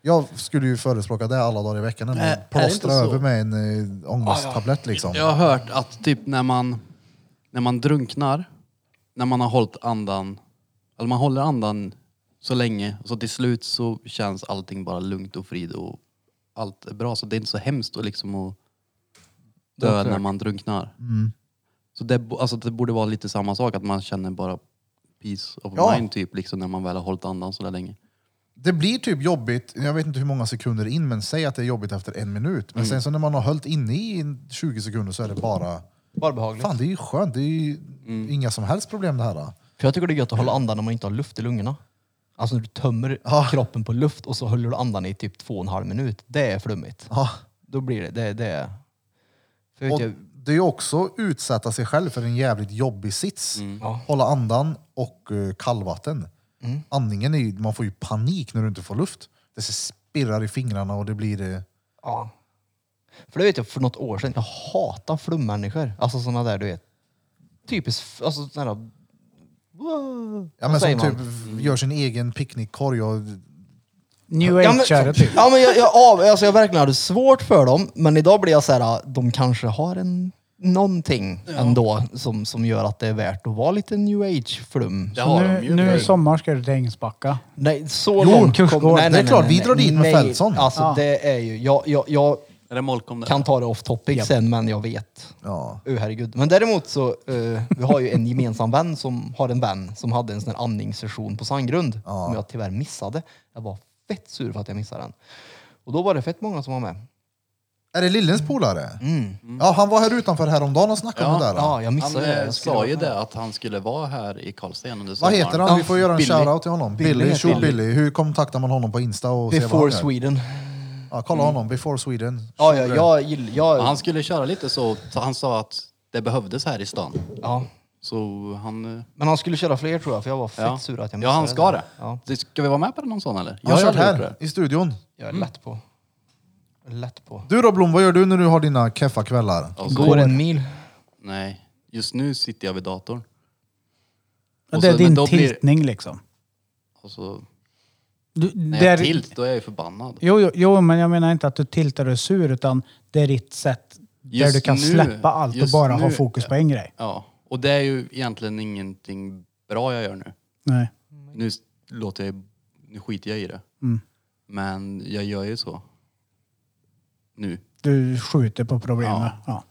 A: Jag skulle ju förespråka det alla dagar i veckan,
C: Äh, är
A: nämligen
C: det
A: plåstra
C: inte så?
A: över med en äh, ångesttablett liksom.
C: Jag har hört att typ när man, när man drunknar, när man har hållit andan, eller man håller andan så länge, så till slut så känns allting bara lugnt och frid och allt är bra. Så det är inte så hemskt att liksom att dö när man drunknar. Så det, bo- alltså det borde vara lite samma sak, att man känner bara peace of
A: Ja.
C: mind typ, liksom när man väl har hållit andan så där länge.
A: Det blir typ jobbigt, jag vet inte hur många sekunder in, men säg att det är jobbigt efter en minut.
C: Mm.
A: Men sen så när man har hållit inne i en 20 sekunder så är det bara,
C: Mm.
E: Bara behagligt.
A: fan det är ju skönt, det är ju inga som helst problem det här. då.
E: För jag tycker det är gött att hålla andan när man inte har luft i lungorna. Alltså när du tömmer
A: Ja.
E: kroppen på luft och så håller du andan i typ två och en halv minut. Det är flummigt.
A: Ja.
E: Då blir det... Det, det är... För
A: Och
E: vet jag,
A: det är ju också utsätta sig själv för en jävligt jobbig sits.
E: Ja. Mm.
A: Hålla andan och eh, kallvatten. Andningen är ju, man får ju panik när du inte får luft. Det så spirrar i fingrarna och det blir... eh,
E: Ja. För det vet jag för något år sedan, jag hatar flummänniskor. Alltså sådana där du vet. Typiskt, f- alltså sådana där...
A: Ja,
E: Vad
A: men
E: säger
A: som
E: man?
A: typ gör sin egen picknickkorg och...
B: New
E: Ja
B: age-are
E: men,
B: typ.
E: ja, men jag, jag, av, alltså, jag verkligen hade svårt för dem, men idag blir jag så här, ah, de kanske har en någonting ändå som, som gör att det är värt att vara lite new age-flum.
C: Det
B: Så nu, nu i sommar ska du till Ängsbacka.
E: Nej, så
B: Jo,
E: långt
B: kursgård.
E: kom-
B: Det är
A: klart, vi drar dit med
E: nej.
A: Fältson.
E: Alltså
B: Ja.
E: det är ju, jag, jag, jag
C: Är det molkom där?
E: kan ta det off topic
B: Japp.
E: sen men jag vet.
A: Ja.
E: Uh, herregud. Men däremot så, eh, vi har ju en gemensam vän som har en vän som hade en sån här andningssession på Sandgrund som jag tyvärr missade. Jag var fett sur för att jag missade den. Och då var det fett många som var med.
A: Är det Lillens polare? Ja, han var här utanför häromdagen och snackade om det där.
E: Mm. Ja, jag
C: Han
E: missade det.
C: eh,
E: Jag skulle-
C: sa ju det att han skulle vara här i Karlstad igen under
A: Vad
C: sommaren.
A: heter han? Vi får göra en
C: Billy.
A: shoutout till honom. Billy,
E: Billy heter
A: tjo
E: han.
A: Billy. Hur kontaktar man honom på Insta? Och ser vad
E: Before
A: han gör?
E: Sweden.
A: Ja, kolla honom, Before Sweden.
E: Ja, ja, jag gillar...
C: Ja,
E: Jag,
C: Han skulle köra lite så, så han sa att det behövdes här i stan.
E: ja.
C: Så han... eh,
E: Men han skulle köra fler tror jag, för jag var fett
C: Ja,
E: sur att jag
C: ja
E: missade
C: han ska det.
E: Ja,
C: Det- Ska vi vara med på någon sån eller?
A: Han har kört
C: aldrig gjort
A: här i studion.
E: jag är lätt på. Lätt på.
A: Du då Blom, vad gör du när du har dina keffa kvällar?
C: Och så-
E: Går en mil.
C: Alltså, Nej, just nu sitter jag vid datorn.
B: Och det
C: Och så-
B: är
C: men
B: din
C: då blir-
B: tiltning liksom.
C: Och så,
B: Du,
C: när
B: det
C: jag
B: är-
C: tilt, då är jag ju förbannad.
B: Jo, jo, jo, men jag menar inte att du tiltar och är sur, utan det är ditt sätt där
C: Just
B: du kan
C: nu-
B: släppa allt och
C: just
B: bara ha
C: nu-
B: fokus på en grej.
C: Ja, och det är ju egentligen ingenting bra jag gör nu.
B: Nej.
C: Nu s- låter jag nu skiter jag i det.
B: Mm.
C: Men jag gör ju så. Nu,
B: Du skjuter på problemet. Ja.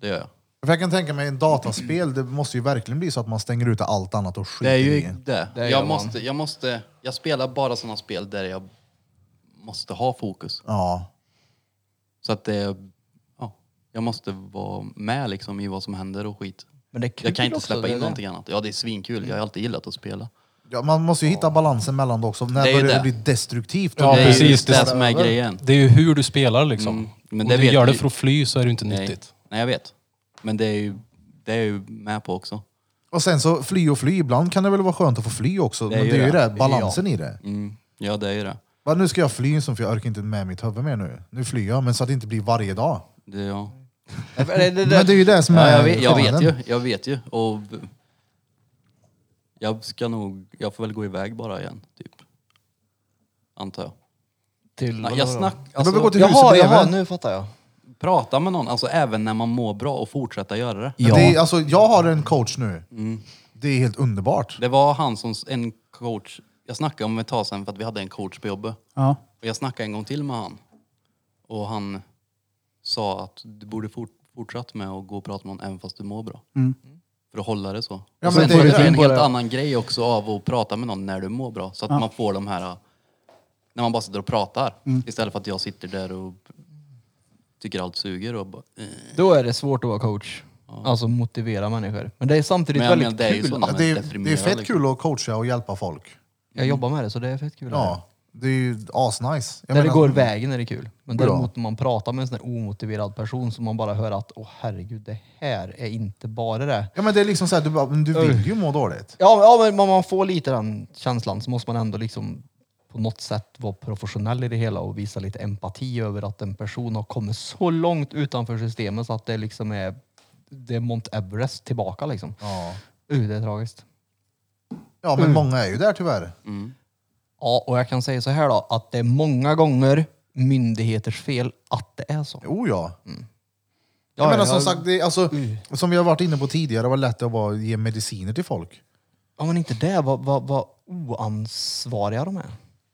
C: det gör jag.
A: För jag kan tänka mig en dataspel, det måste ju verkligen bli så att man stänger ute allt annat och
C: Det
A: skiter
C: är ju
A: i
C: det.
E: Det gör
C: jag,
E: man.
C: måste, jag måste, jag spelar bara sådana spel där jag måste ha fokus.
A: Ja.
C: Så att det, ja, jag måste vara med liksom i vad som händer och skit.
E: Men det är kul
C: Jag kan inte
E: också,
C: släppa
E: det
C: in
E: är det.
C: någonting annat. Ja, det är svinkul. Jag har alltid gillat att spela.
A: ja. Man måste ju hitta balansen mellan det också. När
C: Det är ju
A: börjar det
C: det.
A: bli destruktivt?
D: Ja,
C: det är ju
D: precis.
C: just
D: Det
C: det,
D: stämmer
C: som är grejen.
D: Det är ju hur du spelar liksom.
C: Mm, men
D: Men
C: det
D: Om du
C: vet
D: gör det
C: vi.
D: för att fly så är det ju inte
C: Nej,
D: nyttigt.
C: nej, jag vet. Men det är ju, det är ju med på också.
A: Och sen så fly och fly, ibland kan det väl vara skönt att få fly också.
C: är
A: men
C: ju
A: det är ju
C: det.
A: det, balansen i det.
C: Mm. Ja, det är ju det.
A: Va, nu ska jag fly, som för jag orkar inte med mitt huvud mer nu. Nu flyr jag, men så att det inte blir varje dag.
C: det ja.
E: Det, det,
A: Men det är ju det som är
C: Ja, jag, vet, jag vet
A: skillnaden.
C: ju. Jag vet ju. Och jag ska nog, jag får väl gå iväg bara igen, typ. Antar jag.
E: Till,
C: Nej, jag snack,
A: Du behöver gå
C: alltså,
A: till huset
E: Jaha,
A: bredvid.
E: jaha, nu fattar jag.
C: prata med någon, alltså även när man mår bra och fortsätta göra det.
A: Men Det är, alltså, jag har en coach nu.
C: Mm.
A: Det är helt underbart.
C: Det var han som, en coach, jag snackade om ett tag sedan för att vi hade en coach på jobbet.
B: Ja.
C: Och jag snackade en gång till med han. Och han sa att du borde fort, fortsatt med att gå och prata med någon även fast du mår bra. För att hålla det så.
A: Mm. men
C: och sen
A: det
C: det
A: är
C: är
A: ju
C: det en
A: det.
C: helt annan grej också av att prata med någon när du mår bra. Så att man får de här, när man bara sitter och pratar.
A: Mm.
C: Istället för att jag sitter där och tycker allt suger och bara, eh.
E: Då är det svårt att vara coach. Alltså motivera människor. Men det är samtidigt
C: Men jag
E: väldigt
C: menar, det är ju
E: kul.
C: så när
A: Ja,
C: man
A: Det
C: är
A: är, det är
C: deprimerad,
A: fett
C: liksom.
A: kul att coacha och hjälpa folk.
E: Jag jobbar med det så det är fett kul.
A: Ja, det är ju asnice. Jag
E: När det
A: menar-
E: går vägen är det kul. Men
A: Bra.
E: däremot när man pratar med en sån här omotiverad person så man bara hör att åh herregud, det här är inte bara det.
A: Ja, men det är liksom så här, du, bara, men du vill ju må dåligt.
E: Ja, men- ja men man- man får lite den känslan så måste man ändå liksom på något sätt vara professionell i det hela och visa lite empati över att en person har kommit så långt utanför systemet så att det liksom är, det är Mount Everest tillbaka liksom.
A: Ja,
E: Uh, det är tragiskt.
A: ja
E: Mm.
A: men många är ju där tyvärr.
E: Ja, och jag kan säga så här då, att det är många gånger myndigheters fel att det är så.
A: Jo, ja.
E: Mm.
A: jag
E: Ja,
A: menar
E: ja, Mm.
A: som
E: jag-
A: sagt, det, är- alltså, som vi har varit inne på tidigare, det var lätt att bara ge mediciner till folk.
E: Ja, men inte det. Vad, vad, vad oansvariga de är.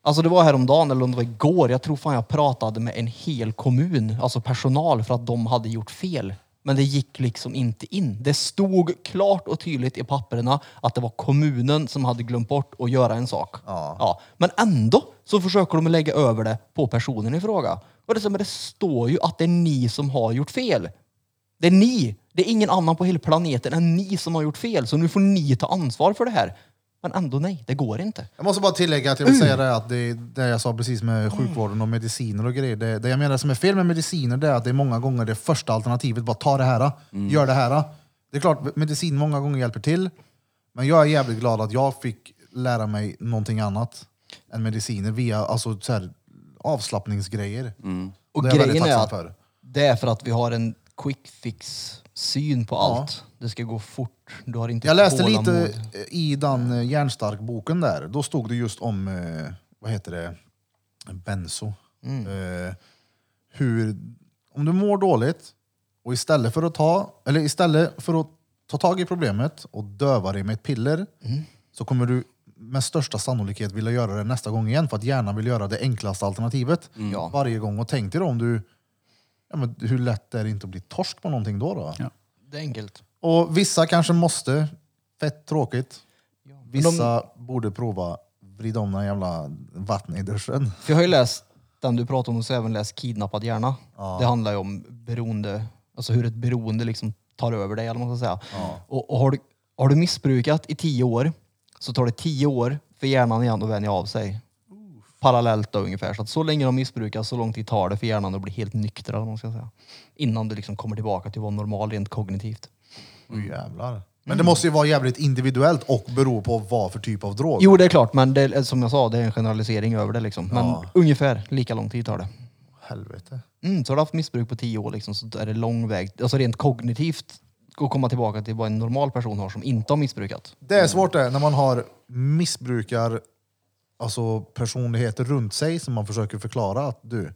E: Alltså det var häromdagen, eller om det var igår, jag tror fan jag pratade med en hel kommun, alltså personal, för att de hade gjort fel. Men det gick liksom inte in. Det stod klart och tydligt i papperna att det var kommunen som hade glömt bort att göra en sak.
A: Ja.
E: Men ändå så försöker de lägga över det på personen i fråga. Och det, är så här, men det står ju att det är ni som har gjort fel. Det är ni. Det är ingen annan på hela planeten än ni som har gjort fel. Så nu får ni ta ansvar för det här. Men ändå nej, det går inte.
A: Jag måste bara tillägga att jag vill säga
E: Mm.
A: det att det, det jag sa precis med sjukvården och mediciner och grejer. Det, det jag menar som är fel med mediciner det är att det är många gånger det första alternativet. Bara ta det här, gör det här. Det är klart, medicin många gånger hjälper till. Men jag är jävligt glad att jag fick lära mig någonting annat än mediciner via alltså, så här, avslappningsgrejer.
E: Och
A: Det är jag väldigt
E: grejen är
A: tacksam
E: att
A: för.
E: det är för att vi har en quick fix syn på allt. Det ska gå fort. Du har inte
A: Jag läste
E: tålamod.
A: lite i den eh, Järnstark-boken där. Då stod det just om, eh, vad heter det, benzo.
E: Mm.
A: Eh, hur, om du mår dåligt och istället för att ta, eller istället för att ta tag i problemet och döva det med ett piller
E: Mm.
A: så kommer du med största sannolikhet vilja göra det nästa gång igen för att hjärnan vill göra det enklaste alternativet
E: Mm. Ja.
A: varje gång. Och tänk dig då om du, ja, men hur lätt är det inte att bli torsk på någonting då? då?
E: Det är enkelt.
A: Och vissa kanske måste. Fett tråkigt. Vissa borde prova vrida om den jävla vattnet i duschen.
E: Mm. För jag har ju läst Den du pratade om hos även läst Kidnappad hjärna. Det handlar ju om beroende, alltså hur ett beroende liksom tar över dig eller vad man ska säga. Och, och har, du, har du missbrukat i tio år så tar det tio år för hjärnan igen att vänja av sig. Parallellt då ungefär. Så att så länge de missbrukar, så lång tid tar det för hjärnan att bli helt nykter eller vad man ska säga. Innan du liksom kommer tillbaka till att vara normal rent kognitivt.
A: Oj, jävlar. Men
E: Mm.
A: det måste ju vara jävligt individuellt och bero på vad för typ av drog.
E: Jo, det är klart, men det, är- som jag sa, det är en generalisering över det liksom. Men ungefär lika lång tid tar det.
A: Helvete.
E: Mm, så har du haft missbruk på tio år liksom, så är det lång väg. Alltså rent kognitivt att komma tillbaka till vad en normal person har som inte har missbrukat.
A: Det är svårt det, när man har missbrukar alltså personligheter runt sig som man försöker förklara att du,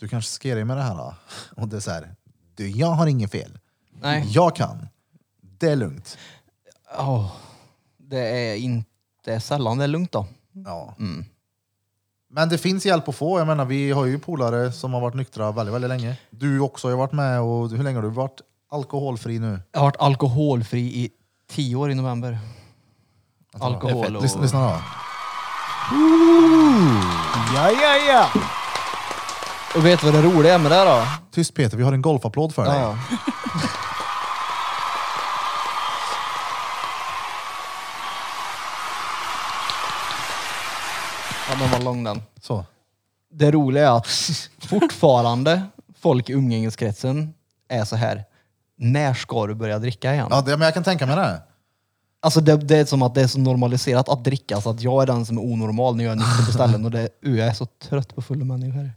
A: du kanske ska ge dig med det här. då. Och det är så här, du, jag har inget fel.
E: Nej.
A: Jag kan. Det är lugnt.
E: Ja, det är inte sällan det är lugnt då.
A: Ja.
B: Mm.
A: Men det finns hjälp att få. Jag menar, vi har ju polare som har varit nyktra väldigt, väldigt länge. Du också har ju varit med och hur länge har du varit alkoholfri nu?
E: Jag har varit alkoholfri i tio år i november.
A: Alltså,
E: Alkohol och...
A: Lyssna, lyssna då.
B: Ja, ja, ja!
E: Och vet du vad det roliga är med det då?
A: Tyst Peter, vi har en golfapplåd för dig.
E: Ja. ja, den var lång den.
A: Så.
E: det roliga är att fortfarande folk i umgängeskretsen är så här. När ska du börja dricka igen?
A: Ja, det, men jag kan tänka mig det.
E: Alltså det, det är som att det är så normaliserat att dricka så att jag är den som är onormal när jag är nykter på ställen och det, uh, jag är så trött på fulla människor.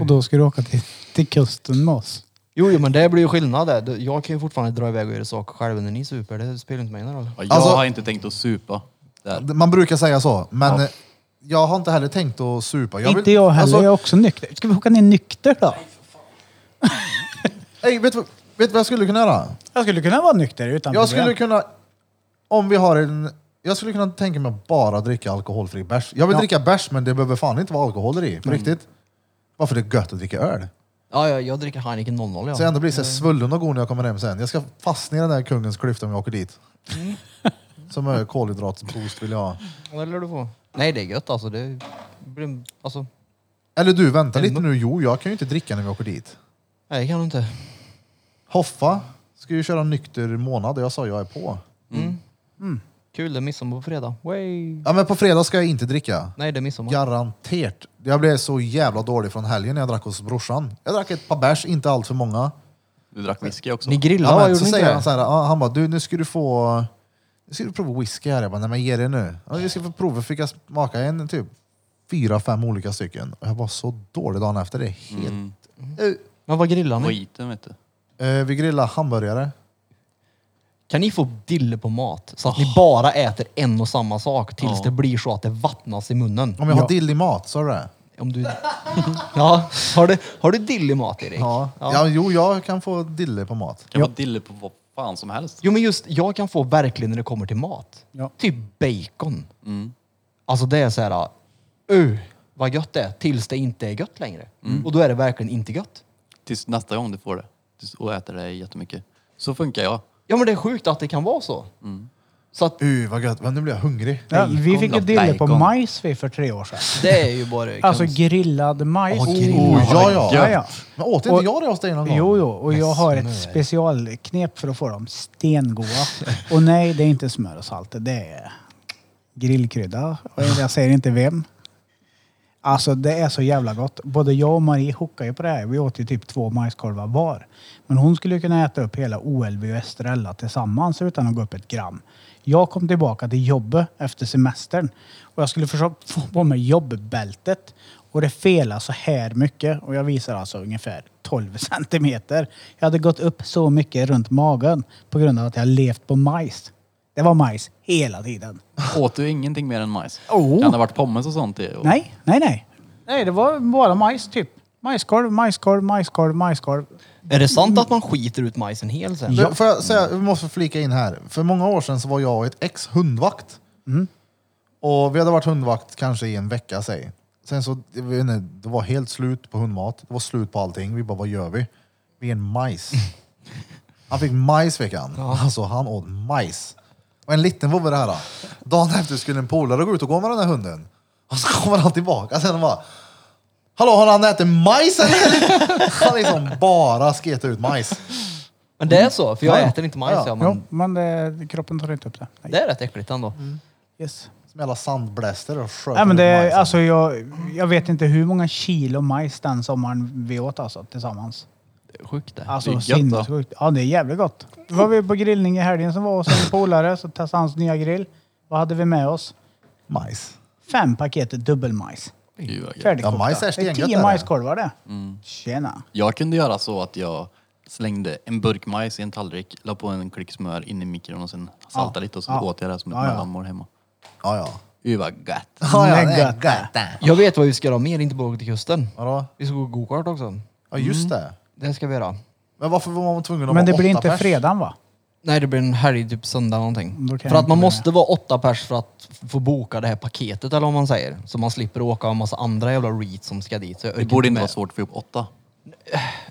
B: Och då ska du åka till, till kusten med oss.
E: Jo, jo men det blir ju skillnad där. Det- Jag kan ju fortfarande dra iväg och göra saker själv när ni super. Det spelar inte mig någon roll.
C: Jag
A: Alltså-
C: har inte tänkt att supa. Där.
A: Man brukar säga så, men eh, jag har inte heller tänkt att supa. Jag vill-
B: inte jag heller, jag är
A: Alltså,
B: också nykter. Ska vi åka ner nykter då?
A: ey, vet, du vad- vet du vad jag skulle kunna göra?
B: Jag skulle kunna vara nykter utan
A: Jag
B: problem.
A: skulle kunna... Om vi har en... Jag skulle kunna tänka mig att bara dricka alkoholfri bärs. Jag vill dricka bärs, men det behöver fan inte vara alkohol i. På riktigt. Varför det är gött att dricka öl.
E: Ja, jag, jag dricker Heineken 00 ja.
A: Så jag ändå blir så här svullen och god när jag kommer hem sen. Jag ska fastna i den där kungens klyfta om jag åker dit. Som är kolhydratsboost vill jag ha.
E: Ja, Det lär du få. Nej, det är gött alltså. Det blir, alltså
A: Eller du, vänta lite nu. Jo, jag kan ju inte dricka när vi åker dit.
E: nej, det kan du inte.
A: Hoffa ska ju köra nykter månad och jag sa jag är på.
E: Kul, det är midsommar på fredag. Way.
A: Ja men på fredag ska jag inte dricka.
E: Nej, det är midsommar.
A: Garanterat. Jag blev så jävla dålig från helgen när jag drack hos brorsan. Jag drack ett par bärs, inte allt för många.
C: Du drack whisky också.
E: Ni grillade
A: Ja,
E: va?
A: men,
E: Gjorde
A: så
E: ni
A: säger
E: inte
A: han
E: det?
A: så här, ja, han bara, du nu ska du få... Nu ska du prova whisky här. Jag bara, nej men ge det nu. Ja, jag ska få prova. Fick jag smaka en typ fyra, fem olika stycken. Och jag var så dålig dagen efter. Det är helt...
E: Men vad grillar ni?
C: Skiten vet du.
A: Eh, vi grillade hamburgare.
E: Kan ni få dille på mat? Så att
A: Ah.
E: ni bara äter en och samma sak tills
C: Ja.
E: det blir så att det vattnas i munnen.
A: Om jag har dill i mat, sa du det?
E: Om du... ja, har du, har du dill i mat Erik?
A: Ja. ja. Jo, jag kan få dille på mat.
C: Kan vara dille på vad fan som helst.
E: Jo men just, jag kan få verkligen när det kommer till mat.
B: Ja.
E: Typ bacon. Alltså det är så här, uh, vad gött det är, tills det inte är gött längre. Och då är det verkligen inte gött.
C: Tills nästa gång du får det. Tills, och äter det jättemycket. Så funkar jag.
E: Ja men det är sjukt att det kan vara så. Så att
A: Uh, vad gött. Men nu blir jag hungrig.
B: Ja, vi fick ju
C: Bacon då,
B: dille på
C: bacon.
B: majs vi för tre år sedan.
E: det är ju bara...
B: Alltså grillad majs.
E: Åh, grillad.
A: Oh, ja, ja.
B: Ja, ja.
A: Men åt inte
B: Och-
A: jag det hos dig någon gång?
B: Jo, jo, och jag har ett specialknep för att få dem stengoda. Och nej, det är inte smör och salt. Det är grillkrydda. Och jag säger inte vem. Alltså det är så jävla gott. Både jag och Marie hookade ju på det här. Vi åt ju typ två majskorvar var. Men hon skulle ju kunna äta upp hela OLV och Estrella tillsammans utan att gå upp ett gram. Jag kom tillbaka till jobbet efter semestern och jag skulle försöka få på mig jobbbältet. Och det felade så här mycket och jag visar alltså ungefär 12 centimeter. Jag hade gått upp så mycket runt magen på grund av att jag levt på majs. Det var majs hela tiden.
C: Åt du ingenting mer än majs?
B: Oh.
C: Kan det ha varit pommes och sånt i? Och
B: Nej, nej, nej. Nej, det var bara majs typ. Majskorv, majskorv, majskorv, majskorv.
E: Är det sant att man skiter ut majsen hel sen?
A: Men Får jag säga, vi måste flika in här. För många år sedan så var jag och ett ex hundvakt. Och vi hade varit hundvakt kanske i en vecka, säg. Sen så, jag vet inte, det var helt slut på hundmat. Det var slut på allting. Vi bara, vad gör vi? Vi är en majs. Han fick majs fick han. Alltså han åt majs. Och en liten vovve det här. Då. Dagen efter skulle en polare gå ut och gå med den här hunden. Och så kommer han tillbaka sen och bara Hallå, har han ätit majs eller? han liksom bara sketar ut majs.
E: Men det är så, för jag
A: Ja.
E: äter inte majs.
A: Ja.
E: Ja, men
B: Jo, men det, kroppen tar inte upp det. Nej.
E: Det är rätt äckligt ändå.
B: Yes.
A: Som jävla sandbläster och sköter
B: Nej, men
A: ut
B: det,
A: majsen.
B: alltså, jag, jag vet inte hur många kilo majs den sommaren vi åt alltså, tillsammans.
E: Sjukt det.
B: Alltså
C: Det är gött,
B: sinnessjukt. Ja, det är jävligt gott. Då var vi på grillning i helgen som var hos en polare, så testade hans nya grill. Vad hade vi med oss?
A: Majs.
B: Fem paket dubbelmajs.
C: Gud, vad gött.
B: Färdigkokta.
A: Ja, majs är
B: det är
A: stengött,
B: tio
A: är det.
B: majskorvar det. Tjena.
C: Jag kunde göra så att jag slängde en burk majs i en tallrik, la på en klick smör in i mikron och sen saltade lite och så
B: Ja.
C: åt jag det som ett
B: Ja, ja.
C: mellanmål hemma.
A: Ja, ja.
C: Gud vad gött.
A: Ja, ja,
B: Det
A: det
B: är
A: är gött.
E: Jag vet vad vi ska göra mer, inte bara åka till kusten.
A: Vadå?
E: Vi ska gå gokart också.
A: Ja, just det.
E: Det ska vi göra.
A: Men varför var man tvungen att
B: Men det
A: vara
B: blir
A: åtta
B: inte
A: pers?
B: fredagen va?
E: Nej, det blir en helg, typ söndag någonting.
B: Då kan
E: För
B: jag
E: att man
B: inte
E: måste vara åtta pers för att f- få boka det här paketet eller vad man säger. Så man slipper åka en massa andra jävla reads som ska dit. Så jag
C: Det
E: orkar
C: borde inte
E: med.
C: vara svårt att få ihop åtta.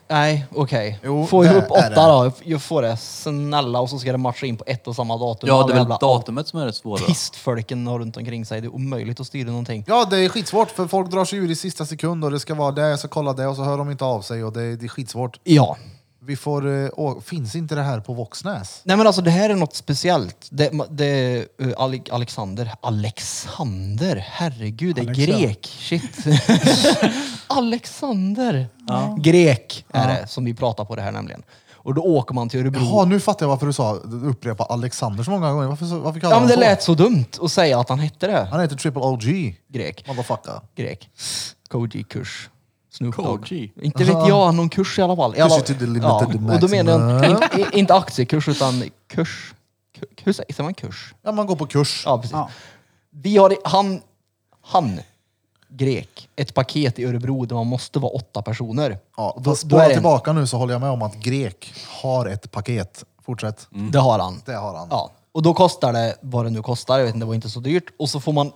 E: Nej, okej.
A: Jo,
E: Få
A: det
E: ihop
A: är
E: åtta
A: det.
E: då. Jag får det snälla och så ska det matcha in på ett och samma datum.
C: Ja, det
E: Alla
C: är väl
E: jävla
C: datumet som är det svåra.
E: Pistfolken har runt omkring sig. Det är omöjligt att styra någonting.
A: Ja, det är skitsvårt för folk drar sig ur i sista sekund och det ska vara det, jag ska kolla det och så hör de inte av sig och det, det är skitsvårt.
E: Ja.
A: Vi får, eh, å, finns inte det här på Våxnäs?
E: Nej men alltså det här är något speciellt. Det, ma- det, eh, Ale- Alexander, Alexander, herregud det är
B: Alexander.
E: grek. Shit. Alexander! Grek är det som vi pratar på det här nämligen. Och då åker man till Örebro.
A: Jaha, nu fattar jag varför du sa du upprepa Alexander så många gånger. Varför, så- varför kallar
E: ja men
A: han
E: det
A: så?
E: lät så dumt att säga att han hette det.
A: Han heter Triple OG.
E: Grek.
A: Motherfucker.
E: Grek. Koji-kurs. Snoop Dogg.
C: Koji.
E: Inte vet jag, någon kurs i alla fall. I alla,
A: Kurs till the limited
E: ja. Och då menar jag
A: maximum.
E: inte, inte aktiekurs utan kurs. Ku- Hur säger säger man kurs?
A: Ja, man går på kurs.
E: Ja, precis.
B: Ja.
E: Vi har, han, han, grek, ett paket i Örebro där man måste vara åtta personer.
A: Ja,
E: Och
A: då,
E: då är
A: spåra
E: det en-
A: tillbaka nu så håller jag med om att grek har ett paket. Fortsätt.
E: Det har han.
A: Det har han.
E: Mm. Ja. Och då kostar det vad det nu kostar, jag vet inte, det var inte så dyrt. Och så får man,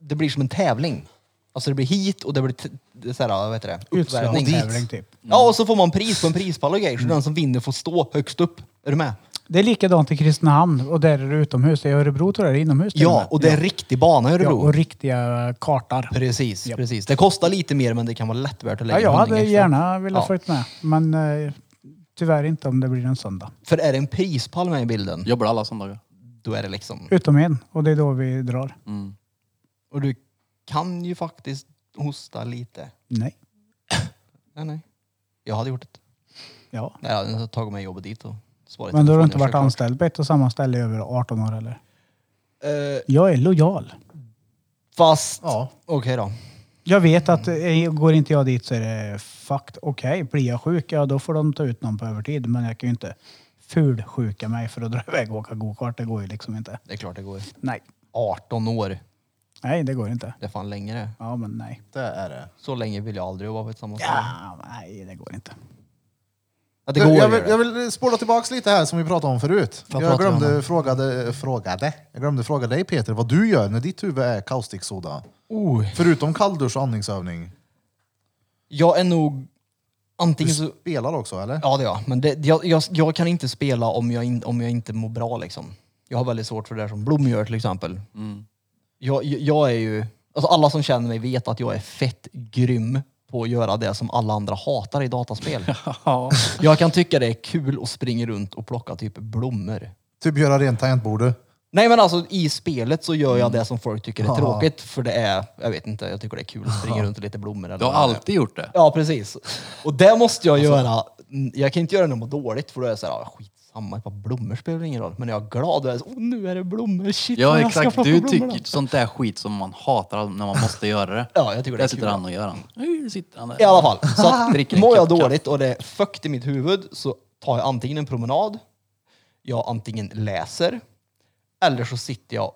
E: det blir som en tävling. Alltså det blir hit och det blir, t- det så här, vad heter det? Uppvärmning.
B: Utslagstävling typ.
E: Ja, och så får man pris på en prispall och grejer. Så den som vinner får stå högst upp. Är du med?
B: Det är likadant i Kristinehamn och där är det utomhus. I Örebro tror jag det är inomhus till
E: Ja, och det är en riktig bana i
B: med. ja,
E: Örebro.
B: och riktiga kartar.
E: Precis,
B: Ja.
E: precis. Det kostar lite mer men det kan vara lätt värt att lägga
B: Ja, jag
E: en hundring
B: hade
E: extra.
B: gärna velat
E: Ja.
B: följt med, men eh, tyvärr inte om det blir en söndag.
E: För är det en prispall med i bilden,
C: Jobbar alla söndagar.
E: då är det liksom...
B: Utom en, och det är då vi drar.
E: Mm. Och du kan ju faktiskt hosta lite.
B: Nej.
E: Nej, nej. Jag hade gjort det.
B: Ja.
E: Nej, jag hade tagit mig jobbet dit och svarat.
B: Men då har du
E: telefonen,
B: inte varit
E: självklart.
B: anställd på ett och samma ställe i över 18 år eller?
E: Eh,
B: Jag är lojal.
E: fast...
A: Ja.
E: Okej då.
B: Jag vet att
E: Mm.
B: eh, går inte jag dit så är det fucked. Okej, blir jag sjuk, ja då får de ta ut någon på övertid. Men jag kan ju inte fulsjuka mig för att dra iväg och åka gokart. Det går ju liksom inte.
E: Det är klart det går.
B: Nej.
E: 18 år.
B: Nej, det går inte.
E: Det är fan längre det.
B: Ja, men nej.
A: Det är det.
E: Så länge vill jag aldrig vara på ett samma ställe.
B: Ja, nej, det går inte.
E: Ja, det går
A: jag,
E: ju
A: vill,
E: det.
A: jag vill spåra tillbaks lite här som vi pratade om förut.
E: Vad
A: jag
E: pratar vi om
A: glömde
E: då?
A: frågade, frågade. Jag glömde fråga dig Peter vad du gör när ditt huvud är kaustiksoda.
E: Oh.
A: Förutom kalldusch och andningsövning.
E: Jag är nog...
A: Du
E: Antingen så...
A: spelar också eller?
E: Ja, det är jag. Men det, jag, jag, jag kan inte spela om jag, in, om jag inte mår bra. Liksom. Jag har väldigt svårt för det där som Blom gör till exempel.
C: Mm.
E: Jag, jag- jag är ju... Alltså alla som känner mig vet att jag är fett grym på att göra det som alla andra hatar i dataspel. jag kan tycka det är kul att springa runt och plocka typ blommor.
A: Typ göra rent tangentbordet.
E: Nej men alltså i spelet så gör jag
C: Mm.
E: det som folk tycker är tråkigt för det är, jag vet inte, jag tycker det är kul att springa runt och lite blommor. Eller
C: Du har
E: vad det är.
C: alltid gjort det.
E: Ja, precis. Och det måste jag
C: Alltså-
E: göra. Mm, Jag kan inte göra det när jag mår dåligt, för då är jag såhär, ah, skitsamma, ett par blommor spelar ingen roll. Men när jag är glad, då är jag så, oh, nu är det blommor, shit vad
C: Ja
E: jag ska
C: exakt,
E: plocka
C: du
E: blommorna."
C: tycker sånt där skit som man hatar när man måste göra det.
E: Ja, jag tycker det är
C: Där sitter
E: kul.
C: han och gör han. Nu sitter han där.
E: I alla fall, så att,
C: Dricker en
E: mår jag
C: kopp kaffe.
E: dåligt och det är fukt i mitt huvud så tar jag antingen en promenad, jag antingen läser, eller så sitter jag,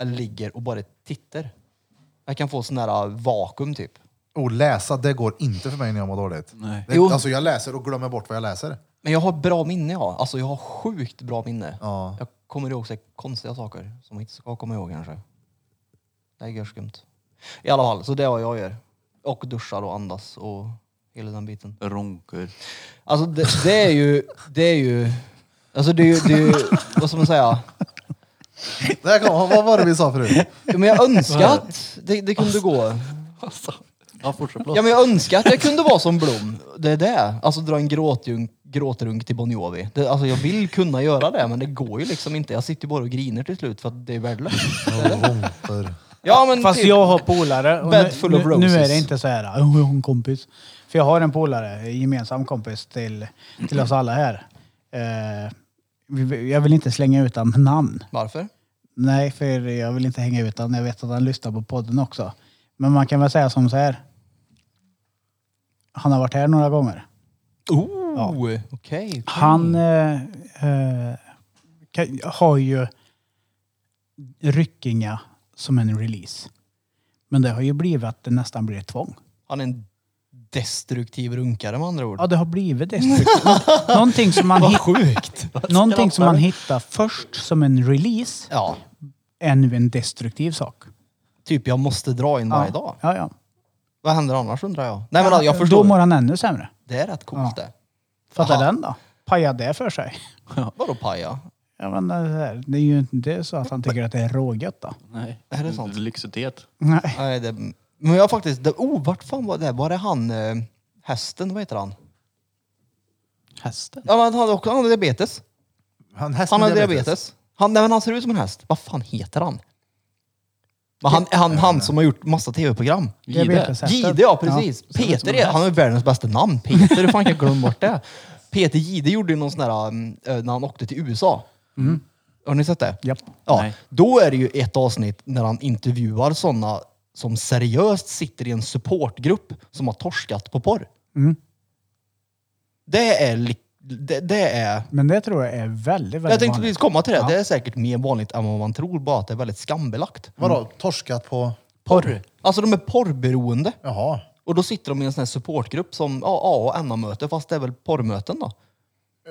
E: eller ligger och bara tittar. Jag kan få sån här vakuum typ.
A: Och oh, läsa, det går inte för mig när jag mår dåligt.
C: Nej.
A: Det,
E: Jo.
A: alltså jag läser och glömmer bort vad jag läser.
E: Men jag har bra minne, ja. Alltså jag har sjukt bra minne.
A: Ja.
E: Jag kommer ihåg så här konstiga saker som man inte ska komma ihåg kanske. Det är görskumt. I alla fall, så det är vad jag gör. Och duschar och andas och hela den biten.
C: Ronkar.
E: Alltså det, det är ju... Det är ju... Alltså det är ju... Det är ju vad ska man säga?
A: Där kom, vad var det vi sa förut?
E: Ja, Men jag önskar att det, det kunde gå.
C: Ja, fortsätt. Förlåt.
E: Ja, men jag önskar att jag kunde vara som Blom. Det är det. Alltså dra en gråtjunk, gråtrunk till Bon Jovi. Det, alltså, jag vill kunna göra det, men det går ju liksom inte. Jag sitter ju bara och griner till slut för att det är värdelöst.
A: För...
E: Ja, men
B: Fast
E: typ-
B: jag har polare. och
E: Bed
B: nu-
E: full of
B: nu- Nu är det
E: roses.
B: inte så här, "Åh, jag har en kompis. För jag har en polare, en gemensam kompis till, till oss alla här. Eh, vi- jag vill inte slänga ut hans namn.
E: Varför?
B: Nej, för jag vill inte hänga ut honom. Jag vet att han lyssnar på podden också. Men man kan väl säga som så här. Han har varit här några gånger.
E: Oh, okej. okej.
B: Han eh, eh, kan, har ju Ryckinga som en release. Men det har ju blivit att det nästan blir ett tvång.
E: Han är en destruktiv runkare med andra ord.
B: Ja, det har blivit destruktivt. Nå- någonting som man,
E: Vad
B: hit,
E: sjukt!
B: någonting som man hittar först som en release
E: Ja,
B: är nu en destruktiv sak.
E: typ jag måste dra in varje dag.
B: Ja, ja.
E: Vad händer annars undrar jag? Nej men alltså, jag förstår.
B: Då mår han ännu sämre.
E: Det är rätt coolt det.
B: Fattar
E: Aha.
B: den då? Pajar det för sig?
E: Vadå paja?
B: Ja, men eh, det, här, det är ju inte så att han tycker att det är rågött då.
C: Nej.
E: Är det sant?
C: Lyxitet.
B: Nej.
E: Nej, det, men jag har faktiskt... Det, oh, vart fan var det? Var det han... Eh, hästen, vad heter han?
C: Hästen?
E: Ja, men han hade också han hade diabetes.
A: Han, hästen
E: Han hade diabetes. Han, nej, men han ser ut som en häst. Vad fan heter han? Men han, han, han som har gjort massa tv-program.
B: Diabeteshästen.
E: Gide, ja precis. Peter, är, han har ju världens bästa namn. Peter, hur fan kan jag glömma bort det? Peter Gide gjorde ju någon sån här, mm, eh, när han åkte till USA. Har ni sett det?
B: Japp.
E: Ja,
C: Nej.
E: då är det ju ett avsnitt när han intervjuar sådana som seriöst sitter i en supportgrupp som har torskat på porr. Det är... li- Det, det är
B: Men det tror jag är väldigt,
E: jag
B: väldigt
E: tänkte
B: vanligt.
E: precis komma till det. Det är säkert mer vanligt än vad man tror, bara att det är väldigt skambelagt.
A: Vadå, torskat på...
E: Porr. Alltså de är porrberoende.
A: Jaha.
E: Och då sitter de i en sån här supportgrupp som ja, A och NA-möte, fast det är väl porrmöten då?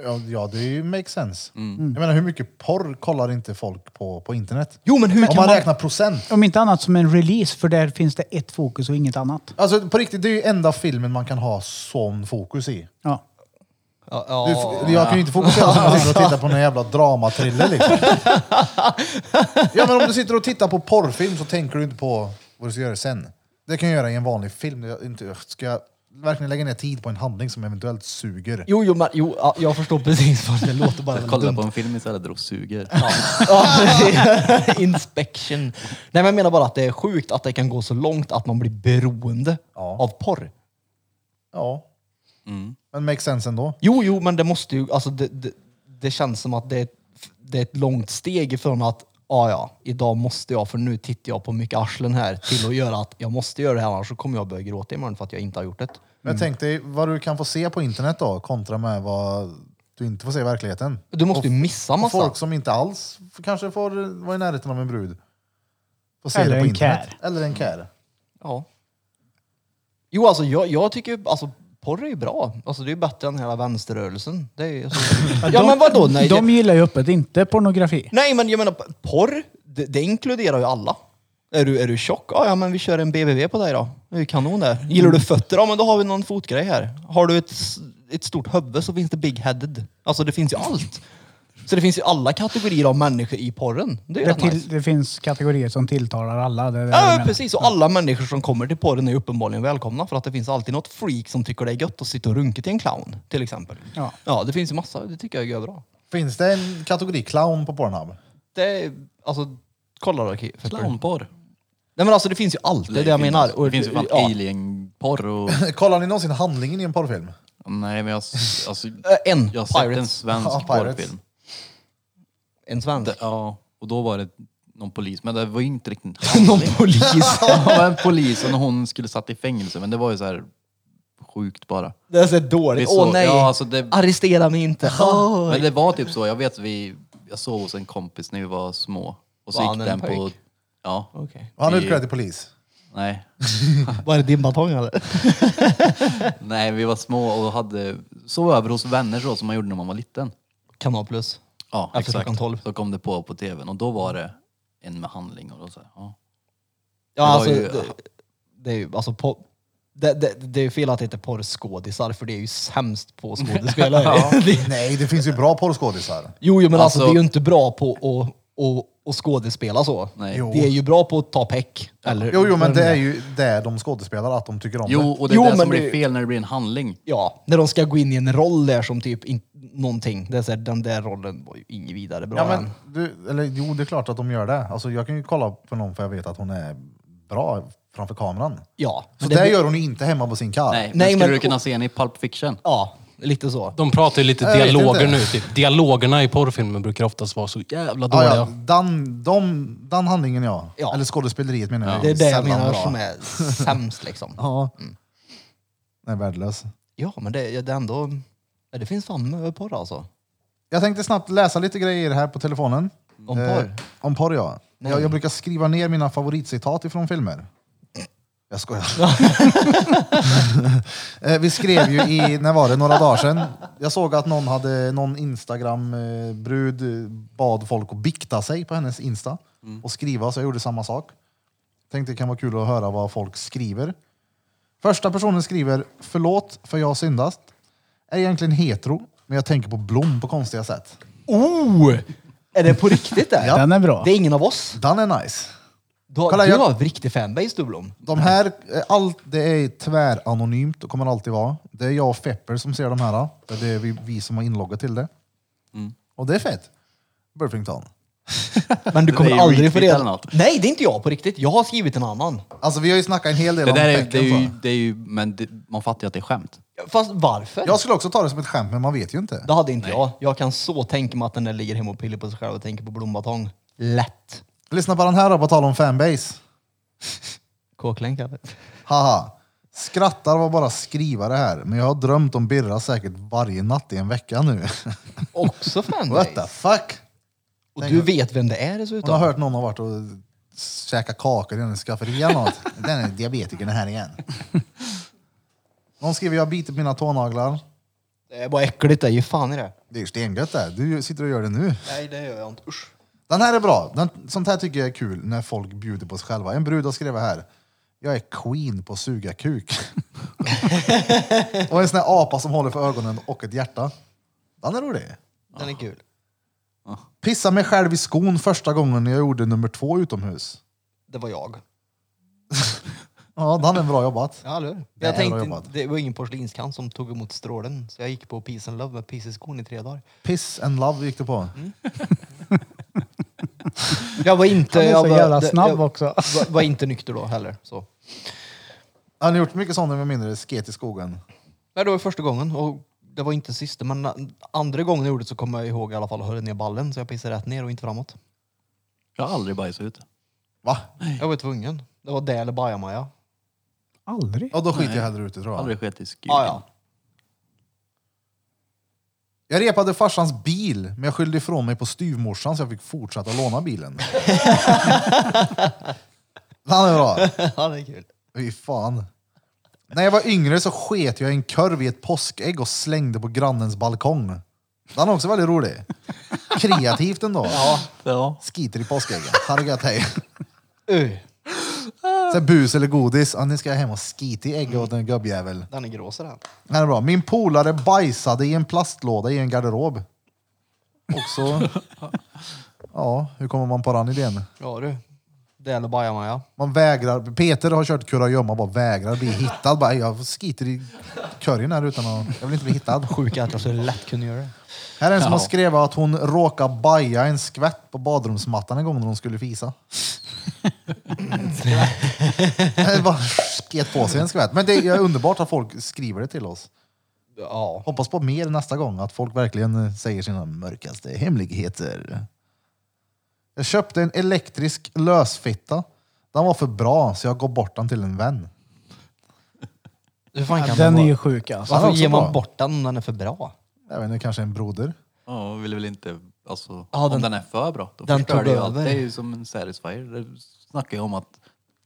A: Ja, ja det är ju makes sense.
E: Mm.
A: Jag menar, hur mycket porr kollar inte folk på, på internet?
E: Jo, men hur
A: Om
E: kan
A: man
E: man-
A: räknar procent.
B: Om inte annat som en release, för där finns det ett fokus och inget annat.
A: Alltså på riktigt, det är ju enda filmen man kan ha sån fokus i.
B: Ja.
E: Ja,
A: Du,
E: ja.
A: jag kan ju inte fokusera som man sitter och tittar på någon jävla dramatriller liksom. Ja men om du sitter och tittar på porrfilm så tänker du inte på vad du ska göra sen. Det kan jag göra i en vanlig film. Jag inte, ska jag verkligen lägga ner tid på en handling som eventuellt suger?
E: Jo, jo, men, jo, ja, jag förstår precis vad det låter bara väldigt
C: Kolla
E: dumt.
C: på en film istället och suger.
E: Ja, precis. Inspection. Nej, men jag menar bara att det är sjukt att det kan gå så långt att man blir beroende
A: Ja.
E: av porr.
A: Ja.
E: Mm.
A: Men makes sense ändå.
E: Jo, jo, men det måste ju, alltså det, det, det känns som att det är, ett- det är ett långt steg ifrån att ja, ja, idag måste jag, för nu tittar jag på mycket arslen här, till att göra att jag måste göra det här, annars så kommer jag börja gråta imorgon för att jag inte har gjort det.
A: Men
B: Mm.
A: jag tänkte vad du kan få se på internet då kontra med vad du inte får se i verkligheten.
E: Du måste ju missa
A: Och
E: massa.
A: folk som inte alls f- kanske får vara i närheten av en brud. Får se
B: Eller
A: det på
B: en
A: internet. Eller en kär.
E: Ja. Jo, alltså jag, jag tycker ju- alltså porr är ju bra. Alltså det är ju bättre än hela vänsterrörelsen. Det är ju så... ja, men vadå? Nej, det,
B: de gillar ju öppet inte pornografi.
E: Nej, men jag menar porr, det, det inkluderar ju alla. Är du, är du tjock? Ja, ja, men vi kör en BBV på dig då. Det är ju kanon där.
B: Mm.
E: Gillar du fötter? Ja, men då har vi någon fotgrej här. Har du ett, s- ett stort huvud så finns det big headed. Alltså det finns ju allt. Så det finns ju alla kategorier av människor i porren. Det är ju
B: Det,
E: rätt
B: till,
E: nice.
B: det finns kategorier som tilltalar alla. Det är det jag
E: Ja,
B: menar.
E: men precis. Och alla människor som kommer till porren är ju uppenbarligen välkomna för att det finns alltid något freak som tycker det är gött att sitta och runka till en clown, till exempel.
B: Ja.
E: ja det finns ju massa. Det tycker jag är bra.
A: Finns det en kategori clown på Pornhub?
E: Det är, alltså, kolla då. Kipper.
C: Clownporr.
E: Nej men alltså det finns ju allt, det är det jag menar. Och-
C: Det finns ju fan
E: ja.
C: alienporr och...
A: Kollar ni någonsin handlingen i en porrfilm?
C: Nej men jag... s- Alltså,
E: Äh, En,
C: jag har sett en
E: Pirates.
C: svensk
A: Ja, Pirates.
C: porrfilm.
E: En svensk.
C: Det- Ja, och då var det någon polis, men det var ju inte riktigt
E: Någon polis.
C: Ja, det var en polis och hon skulle satt i fängelse, men det var ju så här sjukt bara.
E: Det är så
C: Vi
E: dåligt. Åh
C: såg-
E: nej.
C: ja, alltså det-
E: Arrestera mig inte. Åh.
C: Men det var typ så, jag vet vi, jag sov hos en kompis när vi var små. Och så
E: Var
C: gick
E: han en
C: den på...
E: pojk?
C: Ja,
E: Okej.
A: Var han
C: I-
A: utklädd till polis?
C: nej.
E: Var det din batong eller?
C: Nej, vi var små och hade, sov över hos vänner så som man gjorde när man var liten.
E: Kanal plus.
C: Ja,
E: Efter klockan tolv.
C: Så kom det på på tvn och då var det en med handling och då så här, ja.
E: Ja
C: Det var
E: alltså,
C: ju-
E: det, det är ju alltså på, det, det, det är ju fel att det heter porrskådisar för det är ju sämst på skådespelare. Det-
A: Nej, det finns ju bra porrskådisar.
E: jo, jo men alltså,
C: Alltså-
E: det är ju inte bra på att och, och skådespela så.
C: Nej.
A: Jo.
E: De är ju bra på att ta peck. Eller,
A: Jo, jo, men det är ju det de skådespelar, att de tycker om
C: Jo, och det är
E: Jo,
C: det
E: men
C: som blir
E: det-
C: fel när det blir en handling.
E: Ja, när de ska gå in i en roll där som typ in, någonting. Det är så här, den där rollen var ju inget vidare bra
A: det. Ja,
E: än.
A: men, du, eller, jo, det är klart att de gör det. Alltså, jag kan ju kolla på någon för jag vet att hon är bra framför kameran.
E: Ja,
A: Så
E: men det
A: det
E: blir-
A: gör hon ju inte hemma på sin kar.
C: Nej, men
E: Nej,
C: skulle
E: men-
C: du kunna se henne i Pulp Fiction?
E: ja, lite så.
D: De pratar ju lite
A: Jag vet
D: dialoger
A: inte.
D: nu. Typ. Dialogerna i porrfilmer brukar oftast vara så jävla
A: Ja,
D: dåliga.
A: ja, den, de, den handlingen ja.
E: Ja.
A: Eller skådespeleriet menar jag.
E: Det är det jag
A: Sällan
E: menar
A: bra.
E: som är sämst liksom.
A: Ja. Den är värdelös.
E: Ja, men det, det är ändå... ja, Det finns fan möporr alltså.
A: Jag tänkte snabbt läsa lite grejer här på telefonen. Eh,
E: Om porr?
A: om porr ja. Jag, jag brukar skriva ner mina favoritcitat ifrån filmer. Jag skojar. Eh, Vi skrev ju i, när var det, några dagar sedan. Jag såg att någon hade, någon Instagram-brud bad folk att bikta sig på hennes Insta
E: Mm.
A: och skriva, så jag gjorde samma sak. Tänkte det kan vara kul att höra vad folk skriver. Första personen skriver, förlåt för jag har syndast. Är egentligen hetero, men jag tänker på Blom på konstiga sätt.
E: Oh! Är det på riktigt det?
B: Den är bra.
E: Det är ingen av oss.
A: Den är nice.
E: Du har,
A: Kolla,
E: du
A: jag-
E: har riktig fanbase du Blom.
A: De här, eh, allt, det är tväranonymt och kommer alltid vara. Det är jag och Fepper som ser de här. Det är det vi, vi som har inloggat till det.
C: Mm.
A: Och det är fett. Burfington.
E: Men du
C: Det
E: kommer
C: är ju
E: aldrig få
C: retweet eller
E: reda
C: något.
E: Nej, det är inte jag på riktigt. Jag har skrivit en annan.
A: Alltså vi har ju snackat en hel del
C: Det
A: om
C: där är, det
A: Becken,
C: är, ju,
A: så.
C: det är ju, men det, man fattar ju att det är skämt.
E: Fast varför?
A: Jag skulle också ta det som ett skämt, men man vet ju inte.
E: Det hade inte jag. Jag kan så tänka mig att den där ligger hemma och pillar på sig själv och tänker på blombatong. Lätt.
A: Lyssna på den här då, på tal om fanbase.
E: Kåklänk eller?
A: Haha. Skrattar var bara skriva det här, men jag har drömt om Birra säkert varje natt i en vecka nu.
E: Också fanbase.
A: What the fuck?
E: Och du vet vem det är dessutom.
A: Hon har hört någon har varit och käkat kakor i en skafferi eller något. Den är diabetikern här igen. Någon skriver jag biter på mina tånaglar.
E: Det är bara äckligt det. Ge fan i det.
A: Det är ju stengött det. Du sitter och gör det nu.
E: Nej, det gör jag inte. Usch.
A: Den här är bra. Den, sånt här tycker jag är kul när folk bjuder på sig själva. En brud har skrivit här. Jag är queen på att suga kuk. och en sån här apa som håller för ögonen och ett hjärta. Den är rolig.
E: Den är kul.
A: Pissa mig själv i skon första gången jag gjorde nummer två utomhus.
E: Det var jag.
A: Ja, den är bra jobbat.
E: Ja, eller hur?
A: Det
E: Jag
A: är bra
E: tänkte,
A: jobbat.
E: det var ingen porslinskant som tog emot strålen, så jag gick på Peace and Love med Peace i skon i tre dagar.
A: Piss and love gick du på.
E: Jag var inte...
B: Han är
E: jag
B: så
E: var,
B: jävla
E: det-
B: snabb
E: jag,
B: också.
E: Var, var inte nykter då heller. Så.
A: Har ni gjort mycket sånt när ni var mindre? Sket i skogen?
E: Nej, det var första gången och det var inte sista, men na- andra gången jag gjorde det så kommer jag ihåg i alla fall att höra ner ballen, så jag pissade rätt ner och inte framåt.
C: Jag har aldrig bajsat ute.
A: Va?
E: Jag var tvungen. Det var det eller bajamaja.
B: Aldrig.
A: Ja, då skiter jag hellre ute tror jag.
C: Aldrig skett i skuren.
E: Ah, ja.
A: Jag repade farsans bil, men jag skyllde ifrån mig på styvmorsan så jag fick fortsätta låna bilen. Han är bra.
E: ja, det är kul.
A: Fy fan. När jag var yngre så sket jag i en korv i ett påskägg och slängde på grannens balkong. Den är också väldigt rolig. Kreativt ändå. Ja.
C: Ja.
A: Skiter i påskäggen. Hargat hej.
E: Uh,
A: Så här bus eller godis. Ja, nu ska jag hem och skita i ägg åt en gubbjävel.
E: den är grå så den.
A: Det här är bra. Min polare bajsade i en plastlåda i en garderob. Också... Ja, hur kommer man på den idén?
E: Ja du. Det eller bajamaja.
A: Man vägrar... Peter har kört kurragömma och bara vägrar bli hittad. Bara, jag skiter i korgen här utan att... Jag vill inte bli hittad.
E: Sjuka att jag så lätt kunde göra det.
A: Här är en som har skrivit att hon råkade baja en skvätt på badrumsmattan en gång när hon skulle fisa. Det bara sket på sig en skvätt. Men det är underbart att folk skriver det till oss.
E: Ja.
A: Hoppas på mer nästa gång, att folk verkligen eh, säger sina mörkaste hemligheter. Jag köpte en elektrisk lösfitta. Den var för bra, så jag gav bort den till en vän.
E: Hur fan
B: Ja,
E: kan
B: den
E: man
B: är
E: vara-
B: ju sjuk alltså.
A: Den är
E: Varför
A: också
E: ger man
A: bra.
E: bort den om den är för bra?
A: Jag vet inte, kanske en broder.
C: Ja, vill väl inte, alltså,
E: Ja,
C: om
E: den-
C: den, är för bra, då
E: den
C: förstör
E: tog
C: det ju allt.
E: över.
C: Det är ju som en satisfier. Det snackar ju om att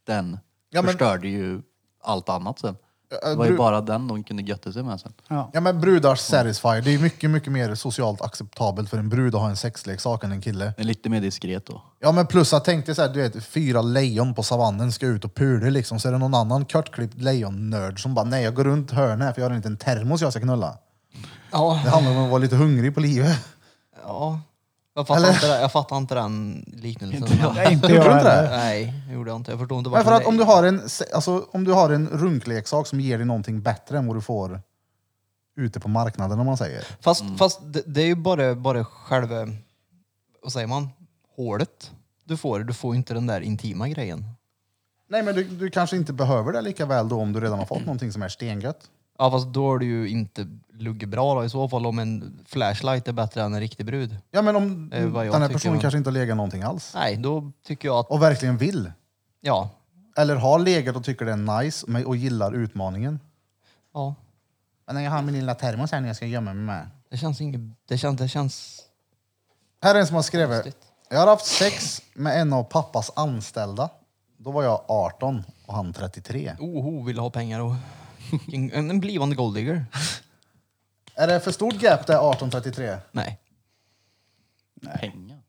C: den
A: Ja, men-
C: förstörde ju allt annat sen.
A: ja,
C: Det var ju
A: du-
C: bara den de kunde götta sig med sen.
B: Ja.
A: Ja men brudars satisfier, det är mycket, mycket mer socialt acceptabelt för en brud att ha en sexleksak än en kille.
C: Det är lite mer diskret då.
A: Ja men plus jag tänkte så här, du vet, fyra lejon på savannen ska ut och pula liksom, så är det någon annan kortklippt lejonnörd som bara nej jag går runt hörnet här för jag har en liten termos jag ska knulla.
E: Ja.
A: Det handlar om att vara lite hungrig på livet.
E: ja. Jag fattar, inte, det- jag fattar inte den liknelsen.
B: Nej,
A: Gjorde
B: inte
A: du
B: jag
A: inte det?
B: heller.
E: Nej, det gjorde jag inte. Jag förstår inte
A: Men
E: varför.
A: för att om du
E: det-
A: har en, alltså, om du har en runkleksak som ger dig någonting bättre än vad du får ute på marknaden om man säger.
E: Fast, fast det, det är ju bara, bara själva, vad säger man, hålet du får. Du får ju inte den där intima grejen.
A: Nej men du, du kanske inte behöver det lika väl då om du redan har fått någonting som är stengött.
E: Ja fast då är du ju inte lugg bra då i så fall om en flashlight är bättre än en riktig brud.
A: Ja men om
E: Det är vad jag
A: den här
E: tycker,
A: personen
E: men-
A: kanske inte har legat någonting alls.
E: Nej, då tycker jag att,
A: Och verkligen vill.
E: ja.
A: Eller har legat och tycker det är nice men- och gillar utmaningen.
E: ja.
A: Men jag har min lilla termos här när jag ska gömma mig med.
E: Det känns inget, det känns, det känns,
A: Här är en som har skrivit. Jag har haft sex med en av pappas anställda. Då var jag 18 och han 33.
E: oho, vill ha pengar och en, en blivande golddigger.
A: Är det för stort gap det 18-33?
E: Nej.
C: Pengar.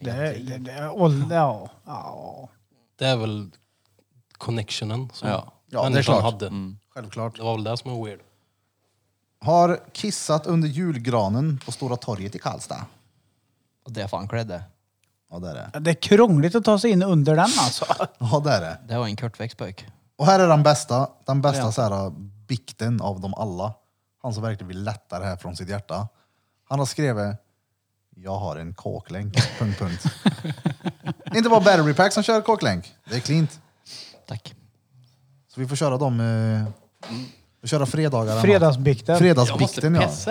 B: Det, det, det, ål- ja, ja.
D: Det är väl connectionen som
C: Ja.
A: Ja, det är
D: människan
A: klart.
D: hade.
A: Självklart.
D: Det var väl det som var weird.
A: Har kissat under julgranen på Stora torget i Karlstad.
E: Och det är fan klädde.
A: Ja, det är det.
B: Det är krångligt att ta sig in under den alltså.
A: Ja, det är det.
E: Det var en kortväxt pojk.
A: Och här är den bästa, den bästa så här, äh, bikten av dem alla. Han som verkligen vill lätta det här från sitt hjärta. Han har skrivit Jag har en kåklänk. punkt, punkt. Det är inte bara Battery Pack som kör kåklänk. Det är klint.
E: Tack.
A: Så vi får köra dem. Eh, vi får köra fredagar.
B: Fredagsbikten.
A: Fredagsbikten ja.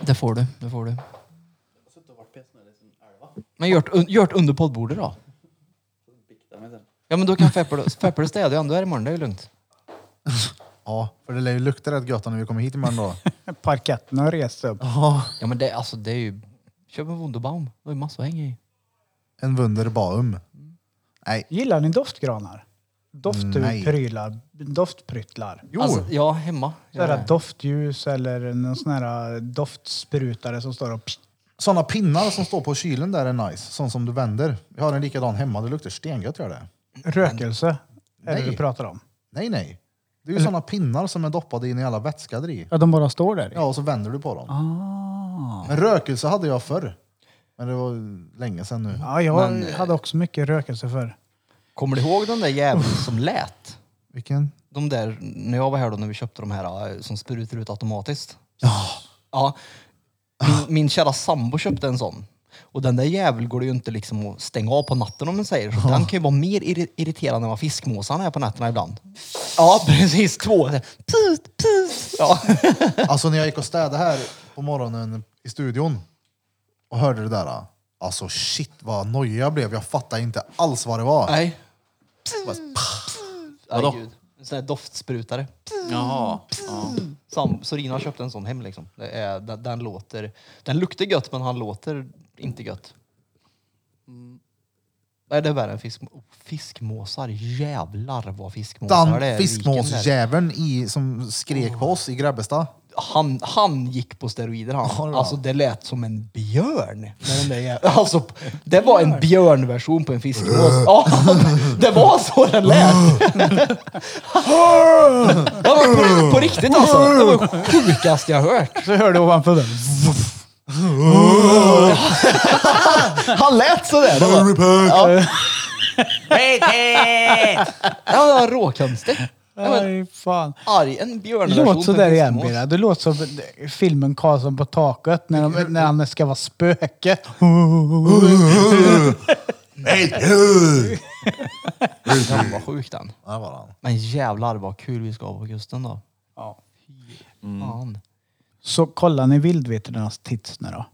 E: Det får du, det får du. Men gjort, un- gjort under poddbordet då? Ja men då kan Feppel Feppel städa ändå här imorgon, det är ju lugnt.
A: Ja, för det lär ju lukta rätt gött när vi kommer hit imorgon då.
B: Parketten har rest upp.
E: Ja men det, alltså, det är ju... Köp en Wunderbaum, det är ju massor att hänga i.
A: En Wunderbaum. Nej.
B: Gillar ni doftgranar? Doftprylar? Doftpryttlar?
A: Jo.
E: Alltså, ja, hemma.
B: Sådär
E: Ja.
B: doftljus eller någon sån här doftsprutare som står och... pst.
A: Såna pinnar som står på kylen där är nice. Sån som du vänder. Jag har en likadan hemma. Det luktar stengött gör det.
B: Rökelse är det
A: Nej.
B: du pratar om.
A: Nej, nej. Det är ju såna pinnar som är doppade in i alla vätskadar i.
B: Ja, de bara står där.
A: Ja, och så vänder du på dem. Men rökelse hade jag förr. Men det var länge sedan nu.
B: Ja, jag hade också mycket rökelse för.
E: Kommer du ihåg den där jäveln som lät?
A: Vilken?
E: De där, när jag var här då när vi köpte de här eh, som sprutar ut automatiskt.
A: Ja.
E: Ja, min, min kära sambo köpte en sån. Och den där jäveln går det ju inte liksom att stänga av på natten om man säger. Så den kan ju vara mer irri- irriterande än vad fiskmåsarna är på nätterna ibland. Ja, precis. Två. Put, put. Ja.
A: Alltså när jag gick och städade här på morgonen i studion och hörde det där. Alltså shit vad nojig jag blev. Jag fattade inte alls vad det var.
E: Nej.
A: Bara,
E: Vadå?
C: Vadå?
E: gud. En sån där doftsprutare.
C: Jaha. Ja.
E: Sam, Sorina har köpt en sån hem liksom. Det är, den, den låter... Den luktar gött men han låter inte gött.
A: Mm.
E: Nej, det är värre än fisk, oh, fiskmåsar. Jävlar vad fiskmåsar det
A: Den
E: är i viken där.
A: fiskmåsjäveln i- som skrek på oss i Grebbestad.
E: han, han gick på steroider
A: Ja, det
E: han.
A: var
E: Alltså det lät som en björn. Med den där jävla- alltså, det var en björnversion på en fiskmås. Ja, det var så den lät. Ja, men på, på riktigt alltså. Det var det sjukaste jag hört.
B: Så hörde jag ovanför den.
E: Han lät sådär. Det var... Ja. Ja, det var råkonstigt. Jag var
B: Nej, fan.
E: arg. En björnversion på
B: Låt
E: en
B: sådär igen
E: fiskmås.
B: Birra. Du låter som filmen Karlsson på taket när, de, när han ska vara spöke.
E: Den var sjuk den.
A: Där var han.
E: Men jävlar vad kul vi ska ha på kusten då.
B: Ja.
C: Mm.
E: Fan.
B: Så kollar ni vildvitternas tits nu då?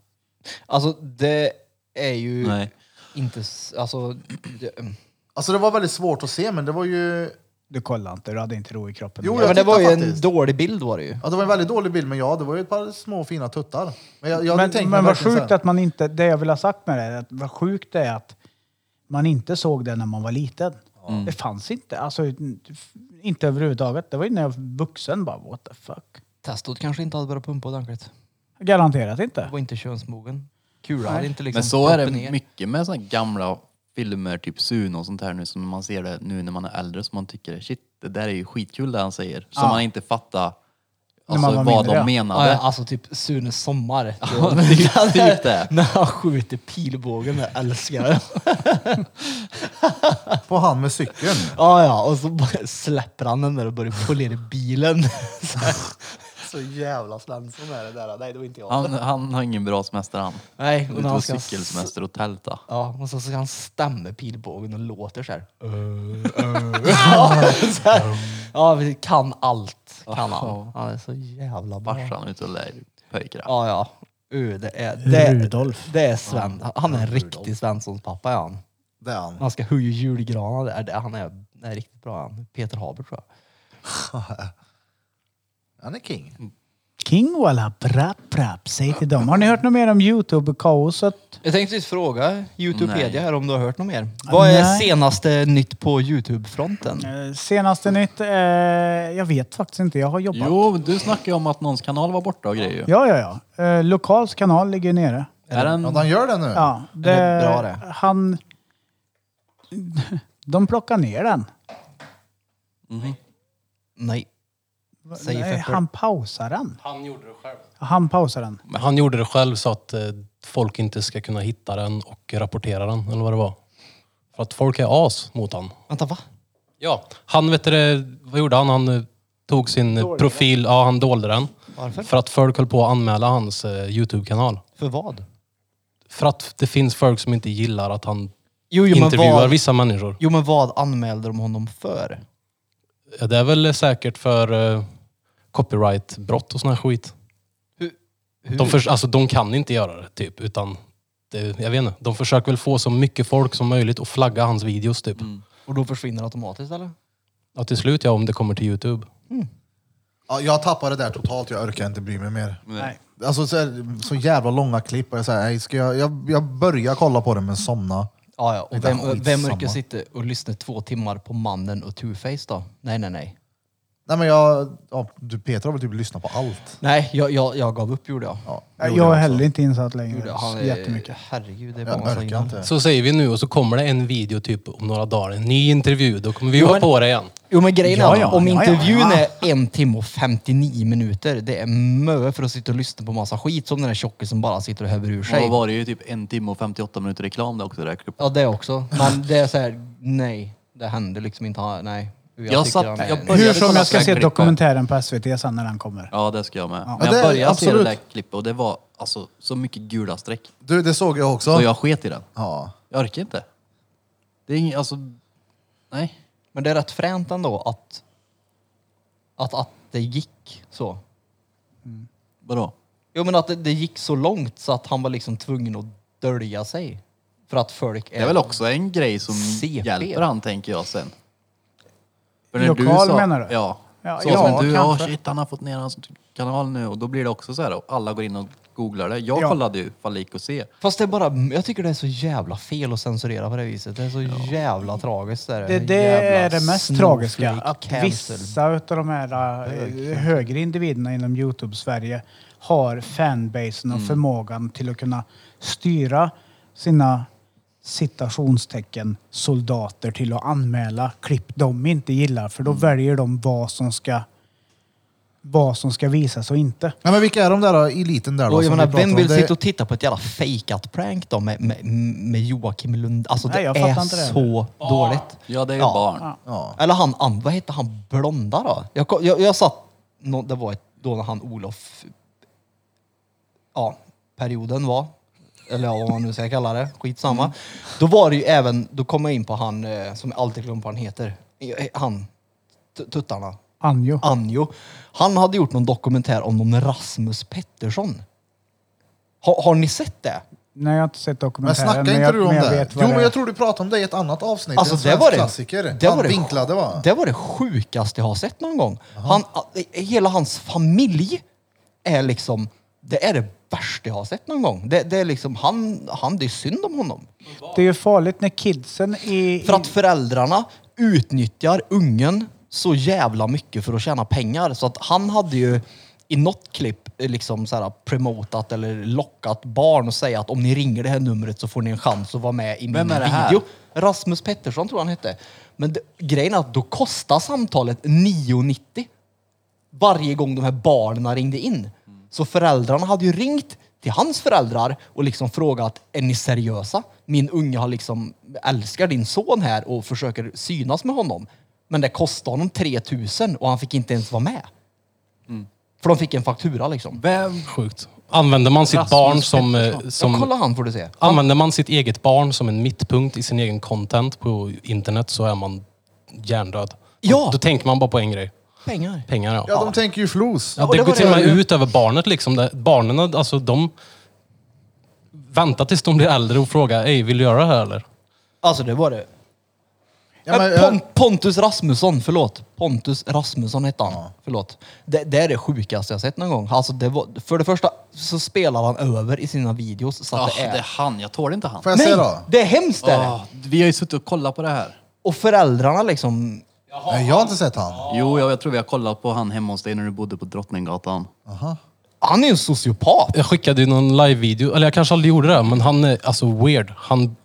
E: Alltså det är ju
C: Nej.
E: inte... s- Alltså... Det, mm.
A: Alltså det var väldigt svårt att se men det var ju...
B: Du kollar inte, du hade inte ro i kroppen.
A: Jo,
E: ja,
A: jag
E: men det var ju
A: tittar
E: en
A: faktiskt.
E: dålig bild var det ju.
A: Ja, det var en väldigt dålig bild men ja, det var ju ett par små fina tuttar. Men, jag, jag hade
B: men
A: tänkt mig
B: men vad
A: verkligen så
B: sjukt
A: här-
B: att man inte, det jag vill ha sagt med det är att vad sjukt det är att man inte såg det när man var liten. Det fanns inte, alltså inte överhuvudtaget. Det var ju när jag var vuxen bara, what the fuck.
E: Testot kanske inte hade börjat pumpa ordentligt.
B: Garanterat
E: Det
B: inte.
E: var inte könsmogen. Kulan hade inte liksom
C: Men så är det
E: poppat ner.
C: mycket med såna gamla filmer, typ Suno och sånt här nu som man ser det nu när man är äldre som man tycker shit, det där är ju skitkul det han säger. Som man inte fattar
B: man
C: Alltså
B: var
C: vad
B: mindre,
C: de
B: ja.
E: Ja,
C: menade.
E: alltså typ Sunes sommar.
C: typ- typ det.
E: När han skjuter pilbågen, jag älskar det.
A: På han med cykeln.
E: Ja, ja, och så bara släpper han den där och börjar polera bilen. Så, här. så jävla Svensson är det där. Nej, det var inte jag.
C: Han, han har ingen bra semester han.
E: Nej,
C: Ut
E: och när han
C: på
E: ska...
C: cykelsemester och tälta.
E: Ja, och så ska han stämma pilbågen och låter så här. Ja, så här. Ja, vi kan allt. Kan han. Han är så jävla bra.
C: Farsan ute och lär pojkar.
E: Ja, ja. Uh, det är, det,
B: Rudolf.
E: Det är Sven. Han är en riktig Svenssons pappa är han.
A: Det är han.
E: Han ska höja julgranar. Det är det. Han är, det är riktigt bra han. Peter Haber tror jag.
A: Han är king.
B: King walla, prapp prapp, säg till dem. Har ni hört något mer om Youtube-kaoset?
E: Jag tänkte just fråga
C: Nej.
E: Youtubepedia här om du har hört något mer. Vad är
B: Nej.
E: senaste nytt på Youtube-fronten?
B: Eh, Senaste nytt? Eh, jag vet faktiskt inte, jag har jobbat.
C: Jo, du snackade ju om att någons kanal var borta och grejer ju.
B: Ja, ja, ja. Eh, Lokals kanal ligger ju nere.
C: Är den...
A: Ja, han gör det nu.
B: Ja,
E: det är bra det.
B: Han... De plockar ner den.
E: Nej. Säger
B: Nej,
E: Pepper.
B: han pausar den.
G: Han gjorde det själv.
B: Han pausar den.
D: Men han gjorde det själv så att eh, folk inte ska kunna hitta den och rapportera den, eller vad det var. För att folk är as mot han.
E: Vänta, va?
D: Ja, han vet du, det, vad gjorde han? Han eh, tog sin eh, profil, ja han dolde den.
E: Varför?
D: För att folk höll på att anmäla hans eh, Youtube-kanal.
E: För vad?
D: För att det finns folk som inte gillar att han
E: Jo, jo, men
D: intervjuar
E: vad,
D: vissa människor.
E: jo, men vad anmälde de honom för?
D: Ja, Det är väl säkert för eh, copyrightbrott och sån här skit.
E: Hur- hur?
D: De, förs- alltså, de kan inte göra det typ, utan det, jag vet inte. De försöker väl få så mycket folk som möjligt att flagga hans videos typ.
E: Och då försvinner det automatiskt eller?
D: Ja, till slut ja, om det kommer till Youtube.
A: Ja, jag tappade det där totalt, jag orkar inte bry mig mer.
C: Nej.
A: Alltså så, här, så jävla långa klipp. Och jag, så här, "Nej, ska jag, jag, jag börjar kolla på det men somna.
E: Ja, ja. Och
A: Det är
E: vem, vem
A: skitsamma.
E: orkar sitta och lyssna två timmar på mannen och Two-Face då? Nej, nej, nej.
A: Nej men jag, ja, du Peter har väl typ lyssnat på allt.
E: Nej, jag, jag, jag gav upp gjorde jag.
A: Ja,
B: Jag,
A: gjorde
B: är
A: också.
B: heller inte insatt längre.
E: Gjorde jag. Han är,
B: Jättemycket.
E: Herregud, det är
A: Jag
E: bara så
A: orkar
E: innan.
A: inte.
D: Så säger vi nu och så kommer det en video typ om några dagar, en ny intervju. Då kommer vi vara
E: men-
D: på det igen.
E: Jo men grejen
B: Ja,
E: är,
B: ja,
E: om
B: ja,
E: intervjun
B: ja,
E: är en timme och 59 minuter, det är mö för att sitta och lyssna på massa skit som den där tjocke som bara sitter och häver ur
C: Och då
E: sig.
C: var det ju typ en timme och 58 minuter reklam där också. Där.
E: Ja det också. Men det är så här, nej, det händer liksom inte. ha- Nej. Hur
C: Jag
E: tycker
C: satt-
E: han
C: jag
E: är-
C: började-
B: Hur som
C: kolla
B: jag ska
C: på
B: se
C: klippet.
B: dokumentären på SVT sen när den kommer.
C: Ja, det ska jag med.
A: Ja,
C: Men
A: det-
C: jag började se det
A: absolut.
C: där klippet och det var alltså så mycket gula streck.
A: Du, det såg jag också.
C: Så jag sket i den.
A: Ja.
C: Jag orkar inte. Det är inget, alltså... Nej.
E: Men det är rätt fränt ändå att, att, att det gick så.
C: Vadå?
E: Jo men att det, det gick så långt så att han var liksom tvungen att dölja sig. För att folk
C: Det är väl också en grej som
E: CP.
C: hjälper han, tänker jag sen. För
B: Lokal, menar du?
C: Ja.
B: Ja,
C: så
B: ja,
C: som du, ja
B: kanske.
C: shit han har fått ner hans kanal nu och då blir det också så här och alla går in och googlar det. Jag
B: Ja.
C: kollade ju Falik och se.
E: Fast det är bara, jag tycker det är så jävla fel att censurera på det viset. Det är så jävla tragiskt. Det,
B: Det, det är det mest tragiska. Att vissa utav de här eh, högre individerna inom Youtube-Sverige har fanbasen och
E: Mm.
B: förmågan till att kunna styra sina citationstecken soldater till att anmäla klipp de inte gillar för då
E: Mm.
B: väljer de vad som ska vad som ska visas och inte.
A: Nej, men vilka är de där då, eliten där då?
E: Och jag
A: som
E: menar,
A: vi pratar
E: vem
A: om?
E: vill
A: Det-
E: sitta och titta på ett jävla fejkat prank då med, med, med Joakim Lund? Alltså
B: Nej,
E: det
B: jag
E: är
B: fattar inte det.
E: så dåligt.
C: Ja, det är ju
E: Ja.
C: barn.
A: Ja.
E: Eller han, an- vad hette han blonda då? Jag, ko- jag, jag satt, nå- det var ett, då när han Olof, ja, perioden var, eller ja, vad man nu ska kalla det, skitsamma. Då var det ju även, då kom jag in på han eh, som jag alltid glömmer vad han heter, Eh, eh, han, t- tuttarna,
B: Anjo.
E: Anjo. Han hade gjort någon dokumentär om någon Rasmus Pettersson. Ha, har ni sett det?
B: Nej, jag har inte sett
A: Men
B: dokumentären.
A: snacka inte
B: jag,
A: du om
B: jag
A: det?
B: vet
A: Jo
B: vad
A: men
B: det är.
A: jag tror du pratade om det i ett annat avsnitt.
E: Alltså
A: en
E: det
A: svensk
E: var det,
A: klassiker.
E: det, var
A: Han
E: det,
A: vinklade va?
E: det var det sjukaste jag har sett någon gång. Han, eh, hela hans familj är liksom, det är det värsta jag har sett någon gång. Det, det är liksom, han, han, det är synd om honom.
B: Det är ju farligt när kidsen i...
E: För att föräldrarna utnyttjar ungen så jävla mycket för att tjäna pengar. Så att han hade ju i något klipp eh, liksom så här promotat eller lockat barn och säga att om ni ringer det här numret så får ni en chans att vara med i min
C: Vem är det här?
E: video. Rasmus Pettersson tror jag han hette. Men det, grejen är att då kostar samtalet 9,90. varje gång de här barnen ringde in. Så föräldrarna hade ju ringt till hans föräldrar och liksom frågat, är ni seriösa? Min unge har liksom, älskar din son här och försöker synas med honom. Men det kostade honom 3000 och han fick inte ens vara med. För de fick en faktura liksom.
C: Vem?
D: Sjukt. Använder man sitt barn som... eh,
E: Ja, kolla
D: som
E: han får du se.
D: använder man sitt eget barn som en mittpunkt i sin egen content på internet så är man hjärndöd.
E: Ja.
D: Då tänker man bara på en grej.
E: Pengar.
D: Pengar ja.
A: Ja, de tänker ju flos.
D: Ja,
E: och
D: det
E: det
D: går
E: var
D: till och
E: det-
D: med ut över barnet liksom. Det- Barnen, alltså de väntar tills de blir äldre och frågar, ej vill du göra det här eller?
E: Alltså det var det.
A: Ja, men,
E: Eh, Pon
A: jag,
E: Pontus Rasmusson, förlåt. Pontus Rasmusson hette han. Förlåt. Det, det är det sjukaste jag sett någon gång. Alltså det var, för det första så spelar han över i sina videos så att
C: Ah,
E: det är...
C: det är han, jag tål inte han.
A: får jag
E: Nej!
A: säga då?
E: Det är hemskt det är det.
C: Ah, vi har ju suttit och kollat på det här.
E: Och föräldrarna liksom...
A: Nej, jag har inte sett han.
C: Jo, jag, jag tror vi har kollat på han hemma hos dig när du bodde på Drottninggatan.
E: Han är ju en sociopat.
D: Jag skickade ju någon live-video, eller jag kanske aldrig gjorde det, men han är alltså weird. Han,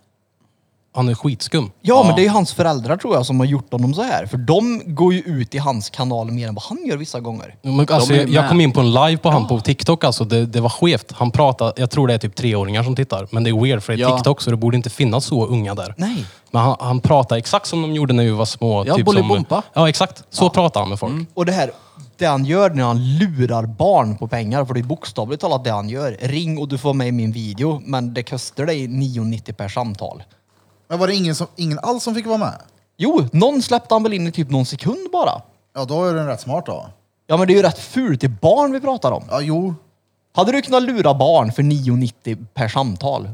D: han är skitskum.
E: Ja,
A: Ah.
E: men det är ju hans föräldrar tror jag som har gjort honom så här. För de går ju ut i hans kanal mer än vad han gör vissa gånger.
D: Men, alltså,
C: är
D: jag, jag
C: med.
D: kom in på en live på han på TikTok alltså, det, det var skevt. Han pratade, jag tror det är typ treåringar som tittar, men det är weird för det är
C: Ja.
D: TikTok så det borde inte finnas så unga där.
E: Nej.
D: Men han, han pratade exakt som de gjorde när vi var små. typ
C: Ja,
D: som-
C: Bolibompa. Mm.
D: Ja, exakt. Så pratade han med folk.
E: Och det här, det han gör när han lurar barn på pengar, för det är bokstavligt talat det han gör. Ring och du får med i min video, men det kostar dig 9,90 per samtal.
A: Men var det ingen, som, ingen alls som fick vara med?
E: Jo, någon släppte han väl in i typ någon sekund bara.
A: Ja, då är den rätt smart då.
E: Ja men det är ju rätt fult, det är barn vi pratar om.
A: Ja, jo.
E: Hade du kunnat lura barn för 9,90 per samtal?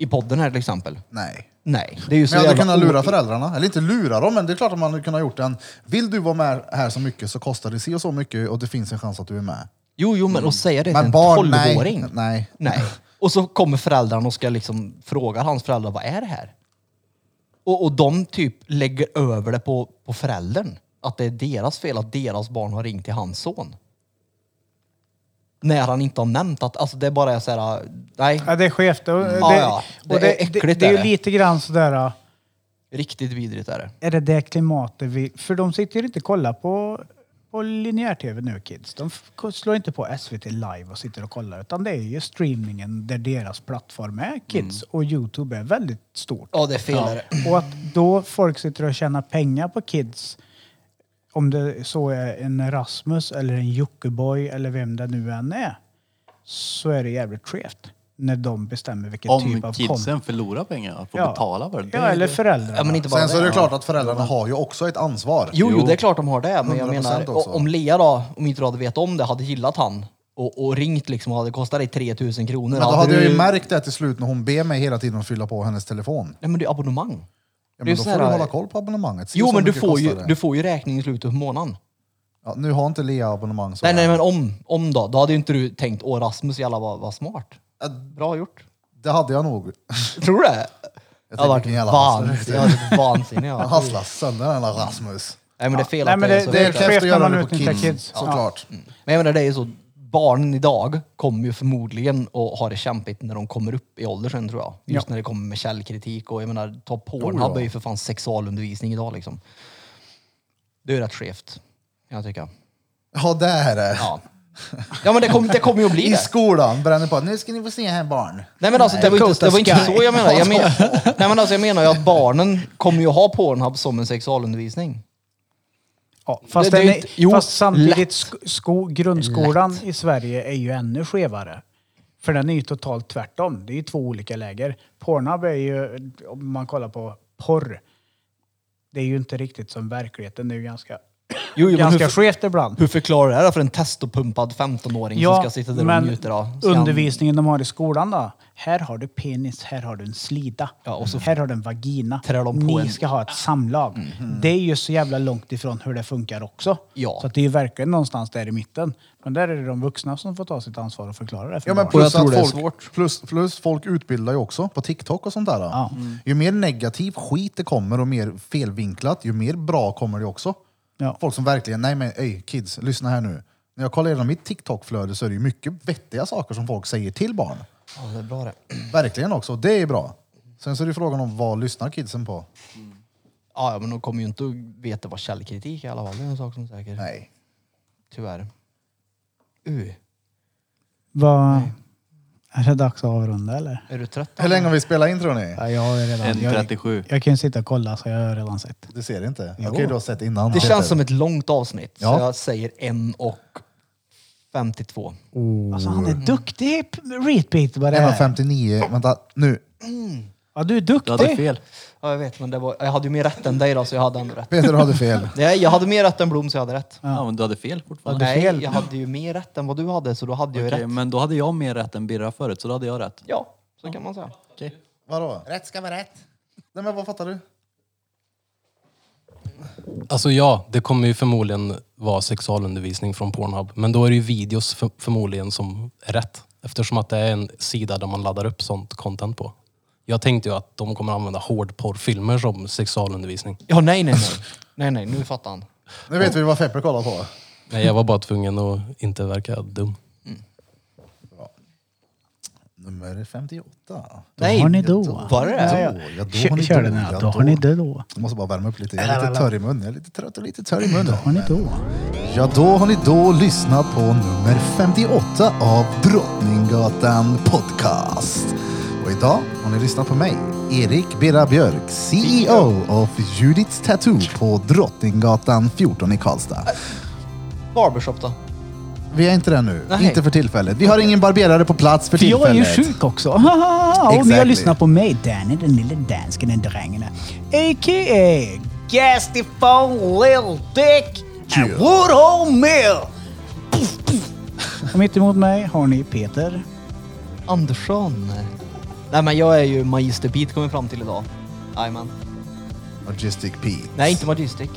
E: I podden här till exempel.
A: Nej.
E: Nej, det är ju så
A: Men jag hade
E: jävla
A: kunnat lura
E: o-
A: föräldrarna. Eller inte lura dem, men det är klart att man hade kunnat gjort en... Vill du vara med här så mycket så kostar det si och så mycket och det finns en chans att du är med.
E: Jo, jo men att säga det till
A: Mm. Men
E: en
A: barn, nej.
E: tolvåring.
A: Nej.
E: nej. Och så kommer föräldrarna och ska liksom fråga hans föräldrar, vad är det här? Och, och de typ lägger över det på, på föräldern. Att det är deras fel att deras barn har ringt till hans son. När han inte har nämnt att, alltså det bara är så här, nej,
B: Ja, det är skevt. Och, det,
E: Ja, ja.
B: och det, det, det,
E: äckligt,
B: är
E: är
B: ju
E: det.
B: lite grann sådär,
E: riktigt vidrigt är det.
B: är det det klimatet vi... För de sitter ju inte och kollar på, på linjär-tv nu, kids. De f- slår inte på SVT live och sitter och kollar, utan det är ju streamingen där deras plattform är, kids. Och Youtube är väldigt stort.
E: Ja, det är fel är det.
B: Och att då folk sitter och tjänar pengar på kids, om det så är en Rasmus eller en Jockiboi eller vem det nu än är, så är det jävligt skevt när de bestämmer vilken typ
C: Om
B: av
C: kidsen förlorar pengar, att få betala för det.
B: Ja, eller föräldrarna.
E: Ja, men inte bara
A: Sen så är det
E: Ja.
A: klart att föräldrarna har ju också ett ansvar.
E: Jo, jo, det är klart de har det. Men jag
A: 100%
E: menar,
A: också.
E: o- om Lea då, om inte du hade vetat om det, hade gillat han och, och ringt liksom och hade kostat dig 3000 kronor.
A: Men då hade jag
E: du-
A: ju märkt det till slut när hon ber mig hela tiden att fylla på hennes telefon.
E: Nej, men det är abonnemang.
A: Ja,
E: Det är
A: men då
E: så
A: får du
E: här-
A: hålla koll på abonnemanget. Se
E: Jo,
A: så
E: men du
A: mycket
E: får, ju,
A: kostar det.
E: du får ju räkning i slutet på månaden.
A: Ja, nu har inte Lea abonnemang. Så
E: Nej, nej, men om, om då. Då hade ju inte du tänkt, åh Rasmus jävlar vad, vad smart.
A: Ja,
E: Bra gjort.
A: Det hade jag nog.
E: Tror du det? Jag
A: tänker
E: hade varit
A: vilken jävla
E: vansinnig. Jag hade varit vansinnig.
A: Han
E: ja.
A: hasslar sönder den där Rasmus.
E: Nej, men det är fel
B: Nej,
E: att
B: men
E: det är
B: det-
E: så.
A: Det är
B: vet jag.
A: kräft att göra
B: Man
A: det på
B: utnyttjar
A: kids,
B: kids. Ja.
A: såklart.
E: Men jag menar, det är ju så. Barnen idag kommer ju förmodligen att ha det kämpigt när de kommer upp i ålder sen tror jag. Just när det kommer med källkritik och jag menar, ta Pornhub är ju för fan sexualundervisning idag liksom. Det är ju rätt skevt, kan jag tycka.
A: Ja, det är det.
E: Ja. Ja men det kommer det kommer ju att bli
A: I
E: det.
A: skolan bränner på. Nu ska ni få se här barn.
E: Nej men alltså det var ju inte, det var inte så jag menar. Jag menar nej men alltså jag menar ju att barnen kommer ju ha Pornhub som en sexualundervisning.
B: Ja, fast,
E: Det- det är
B: den är,
E: inte- jo,
B: fast samtidigt,
E: lätt.
B: sko, sko, grundskolan i Sverige är ju ännu skevare. För den är ju totalt tvärtom. Det är ju två olika läger. Pornhub är ju, om man kollar på porr, det är ju inte riktigt som verkligheten. Det är ju ganska,
E: Jo, jo, men
B: ganska
E: hur-
B: skevt ibland.
E: Hur förklarar du det här för en testopumpad 15-åring som ska sitta där och
B: men
E: njuta av? Ska han-
B: undervisningen de har i skolan då. Här har du penis, här har du en slida.
E: Ja, och så-
B: här har du en vagina.
E: Trär de på
B: Ni
E: en- Mhm.
B: ska ha ett samlag. Det är ju så jävla långt ifrån hur det funkar också.
E: Ja.
B: Så att det är ju verkligen någonstans där i mitten. Men där är det de vuxna som får ta sitt ansvar och förklara det för
A: Ja, men
B: barnen.
E: Och jag
A: plus,
E: tror
A: att
E: det är
A: folk,
E: svårt.
A: Plus, plus folk utbildar ju också på TikTok och sånt där. Ju mer negativ skit det kommer och mer felvinklat, ju mer bra kommer det också.
B: Ja.
A: Folk som verkligen, nej men ey, kids, lyssna här nu. När jag kollar igenom mitt TikTok-flöde så är det ju mycket vettiga saker som folk säger till barn.
E: Ja, det är bra det.
A: Verkligen också, och det är bra. Sen så är det frågan om vad lyssnar kidsen på?
E: Ja, ja, men de kommer ju inte att veta vad källkritik är i alla fall. Det är en sak som är säker.
A: Nej.
E: Tyvärr. Uh,
B: Vad... Är det dags att avrunda eller?
E: är du trött?
A: Hur länge har vi spelat in tror ni?
B: Ja, jag har ju redan... Jag,
C: 1.37.
B: jag kan ju sitta och kolla så jag har redan sett.
A: Du ser inte? Okej, du har sett innan.
E: Det känns som ett långt avsnitt.
A: Ja.
E: Så jag säger en och 52.
B: Alltså han är
E: Mm.
B: duktig p- repeat vad det är.
A: 1.59, vänta nu.
B: Ja, du är
C: Du hade
B: duktig.
C: fel.
E: Ja, jag vet, men det var, jag hade ju mer rätt än dig då, så jag hade ändå rätt.
A: Peter du hade fel.
E: Nej, jag hade mer rätt än Blom, så jag hade rätt.
C: Ja, men du hade fel fortfarande.
E: Nej, jag hade ju mer rätt än vad du hade, så då hade jag ju
C: Okej,
E: rätt.
C: men då hade jag mer rätt än Birra förut, så då hade jag rätt.
E: Ja, så kan man säga.
A: Vadå? Rätt ska vara rätt. Nej men vad fattar du?
D: Alltså ja, det kommer ju förmodligen vara sexualundervisning från Pornhub. Men då är det ju videos för, förmodligen som är rätt. Eftersom att det är en sida där man laddar upp sånt content på. Jag tänkte ju att de kommer använda hårdporrfilmer som sexualundervisning.
E: Ja, nej, nej, nej. Nej, nej, nu fattar han.
A: Nu vet vi vad Fepper kollar på.
D: Nej, jag var bara tvungen att inte verka dum.
A: Nummer 58.
B: Då har ni då.
E: Var det det?
B: Oh. Ja,
A: Då,
B: ja.
A: ja, då
B: Kör-
A: har ni
B: Kör
A: då,
B: den
A: ja,
B: här. Då
A: då.
B: har ni det då.
A: Jag måste bara värma upp lite. Jag är lite törr i munnen. Jag är lite trött och lite törr i munnen.
B: Har ni då.
A: Ja, då har ni då lyssnat på nummer 58 av Drottninggatan Podcast. Och idag har ni lyssnat på mig, Erik Birra Björk, CEO av Judiths Tattoo på Drottninggatan 14 i Karlstad.
E: Barbershop då?
A: Vi är inte där nu,
E: Nej.
A: inte för tillfället. Vi har ingen barberare på plats för
B: För
A: tillfället.
B: jag är ju sjuk också. Och ni har
A: Exactly.
B: lyssnat på mig, Danny, den lille dansken, den drängen. A.k.a. Gastifon Lil Dick and Woodhole Mill. Puff, puff. Och mitt emot mig har ni Peter.
E: Andersson. Nej, men jag är ju Magister Pete kommer fram till idag. Jajamän.
A: Majestic Pete.
E: Nej, inte Magistic.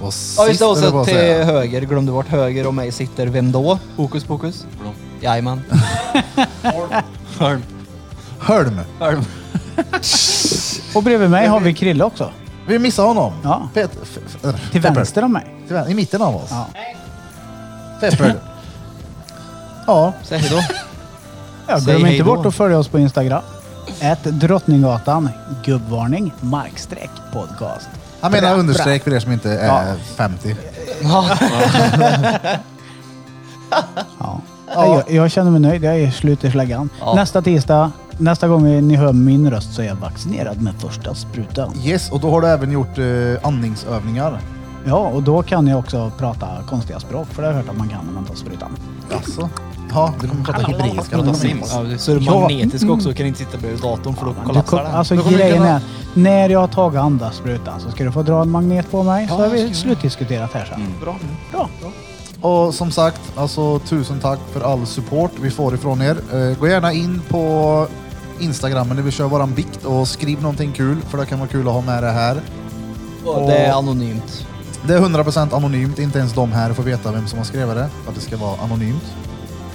A: Och
E: Ja,
A: sist,
E: just det. Och
A: höll jag på
E: så
A: att
E: till
A: säga.
E: höger, glömde bort höger och mig sitter vem då? Hokus pokus?
C: Blom.
E: Jajamän.
C: Hörn.
A: Hölm.
C: Hörn.
B: Och bredvid mig har vi Krille också.
A: Vi missar honom.
B: Ja.
A: Pet- f- f- äh,
B: Till
A: Pepper.
B: vänster om mig.
A: Till vän- I mitten av oss.
B: Ja.
A: Pepper. ja.
E: Säg hejdå.
B: Ja,
E: Säg
B: glöm
E: hej
B: inte
E: då.
B: bort att följa oss på Instagram. Ett Drottninggatan, gubbvarning, markstreck, podcast.
A: Han menar understreck för er som inte är 50.
B: Ja.
A: Ja.
B: Jag, jag känner mig nöjd. Jag är slut i slaggan.
E: Ja.
B: Nästa tisdag, nästa gång ni hör min röst så är jag vaccinerad med första sprutan.
A: Yes, och då har du även gjort eh, andningsövningar.
B: Ja, och då kan jag också prata konstiga språk, för det har jag hört att man kan när man tar sprutan.
A: Jaså? Ja, du kommer prata hebreiska.
C: Prata sims.
E: Ja, så är du
B: Ja. Mm.
E: magnetisk också och kan inte sitta bredvid datorn för då
B: Du
E: kollapsar
B: kom,
E: den.
B: alltså
A: Då kommer vi
B: grejen
A: kunna-
B: är, när jag har tagit andra sprutan så ska du få dra en magnet på mig, så har vi slutdiskuterat här
A: Mm.
B: sen.
E: Bra.
B: Bra.
A: Och som sagt, alltså tusen tack för all support vi får ifrån er. Eh, gå gärna in på Instagram när vi kör våran bikt och skriv någonting kul, för det kan vara kul att ha med det här.
E: Det är anonymt.
A: Det är 100% anonymt, inte ens de här får veta vem som har skrivit det, för att det ska vara anonymt.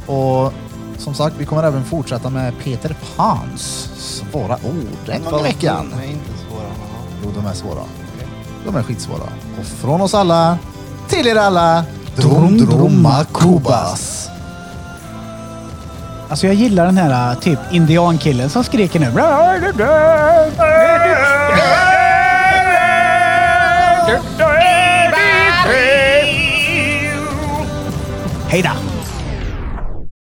A: Och som sagt, vi kommer även fortsätta med Peter Pans svåra ord en gång i veckan.
E: Nej, inte svåra. Aha.
A: Jo, de är svåra. De är skitsvåra. Och från oss alla, till er alla, Drom Droma Kubas.
B: Alltså jag gillar den här typ indiankillen som skriker nu. Hej då!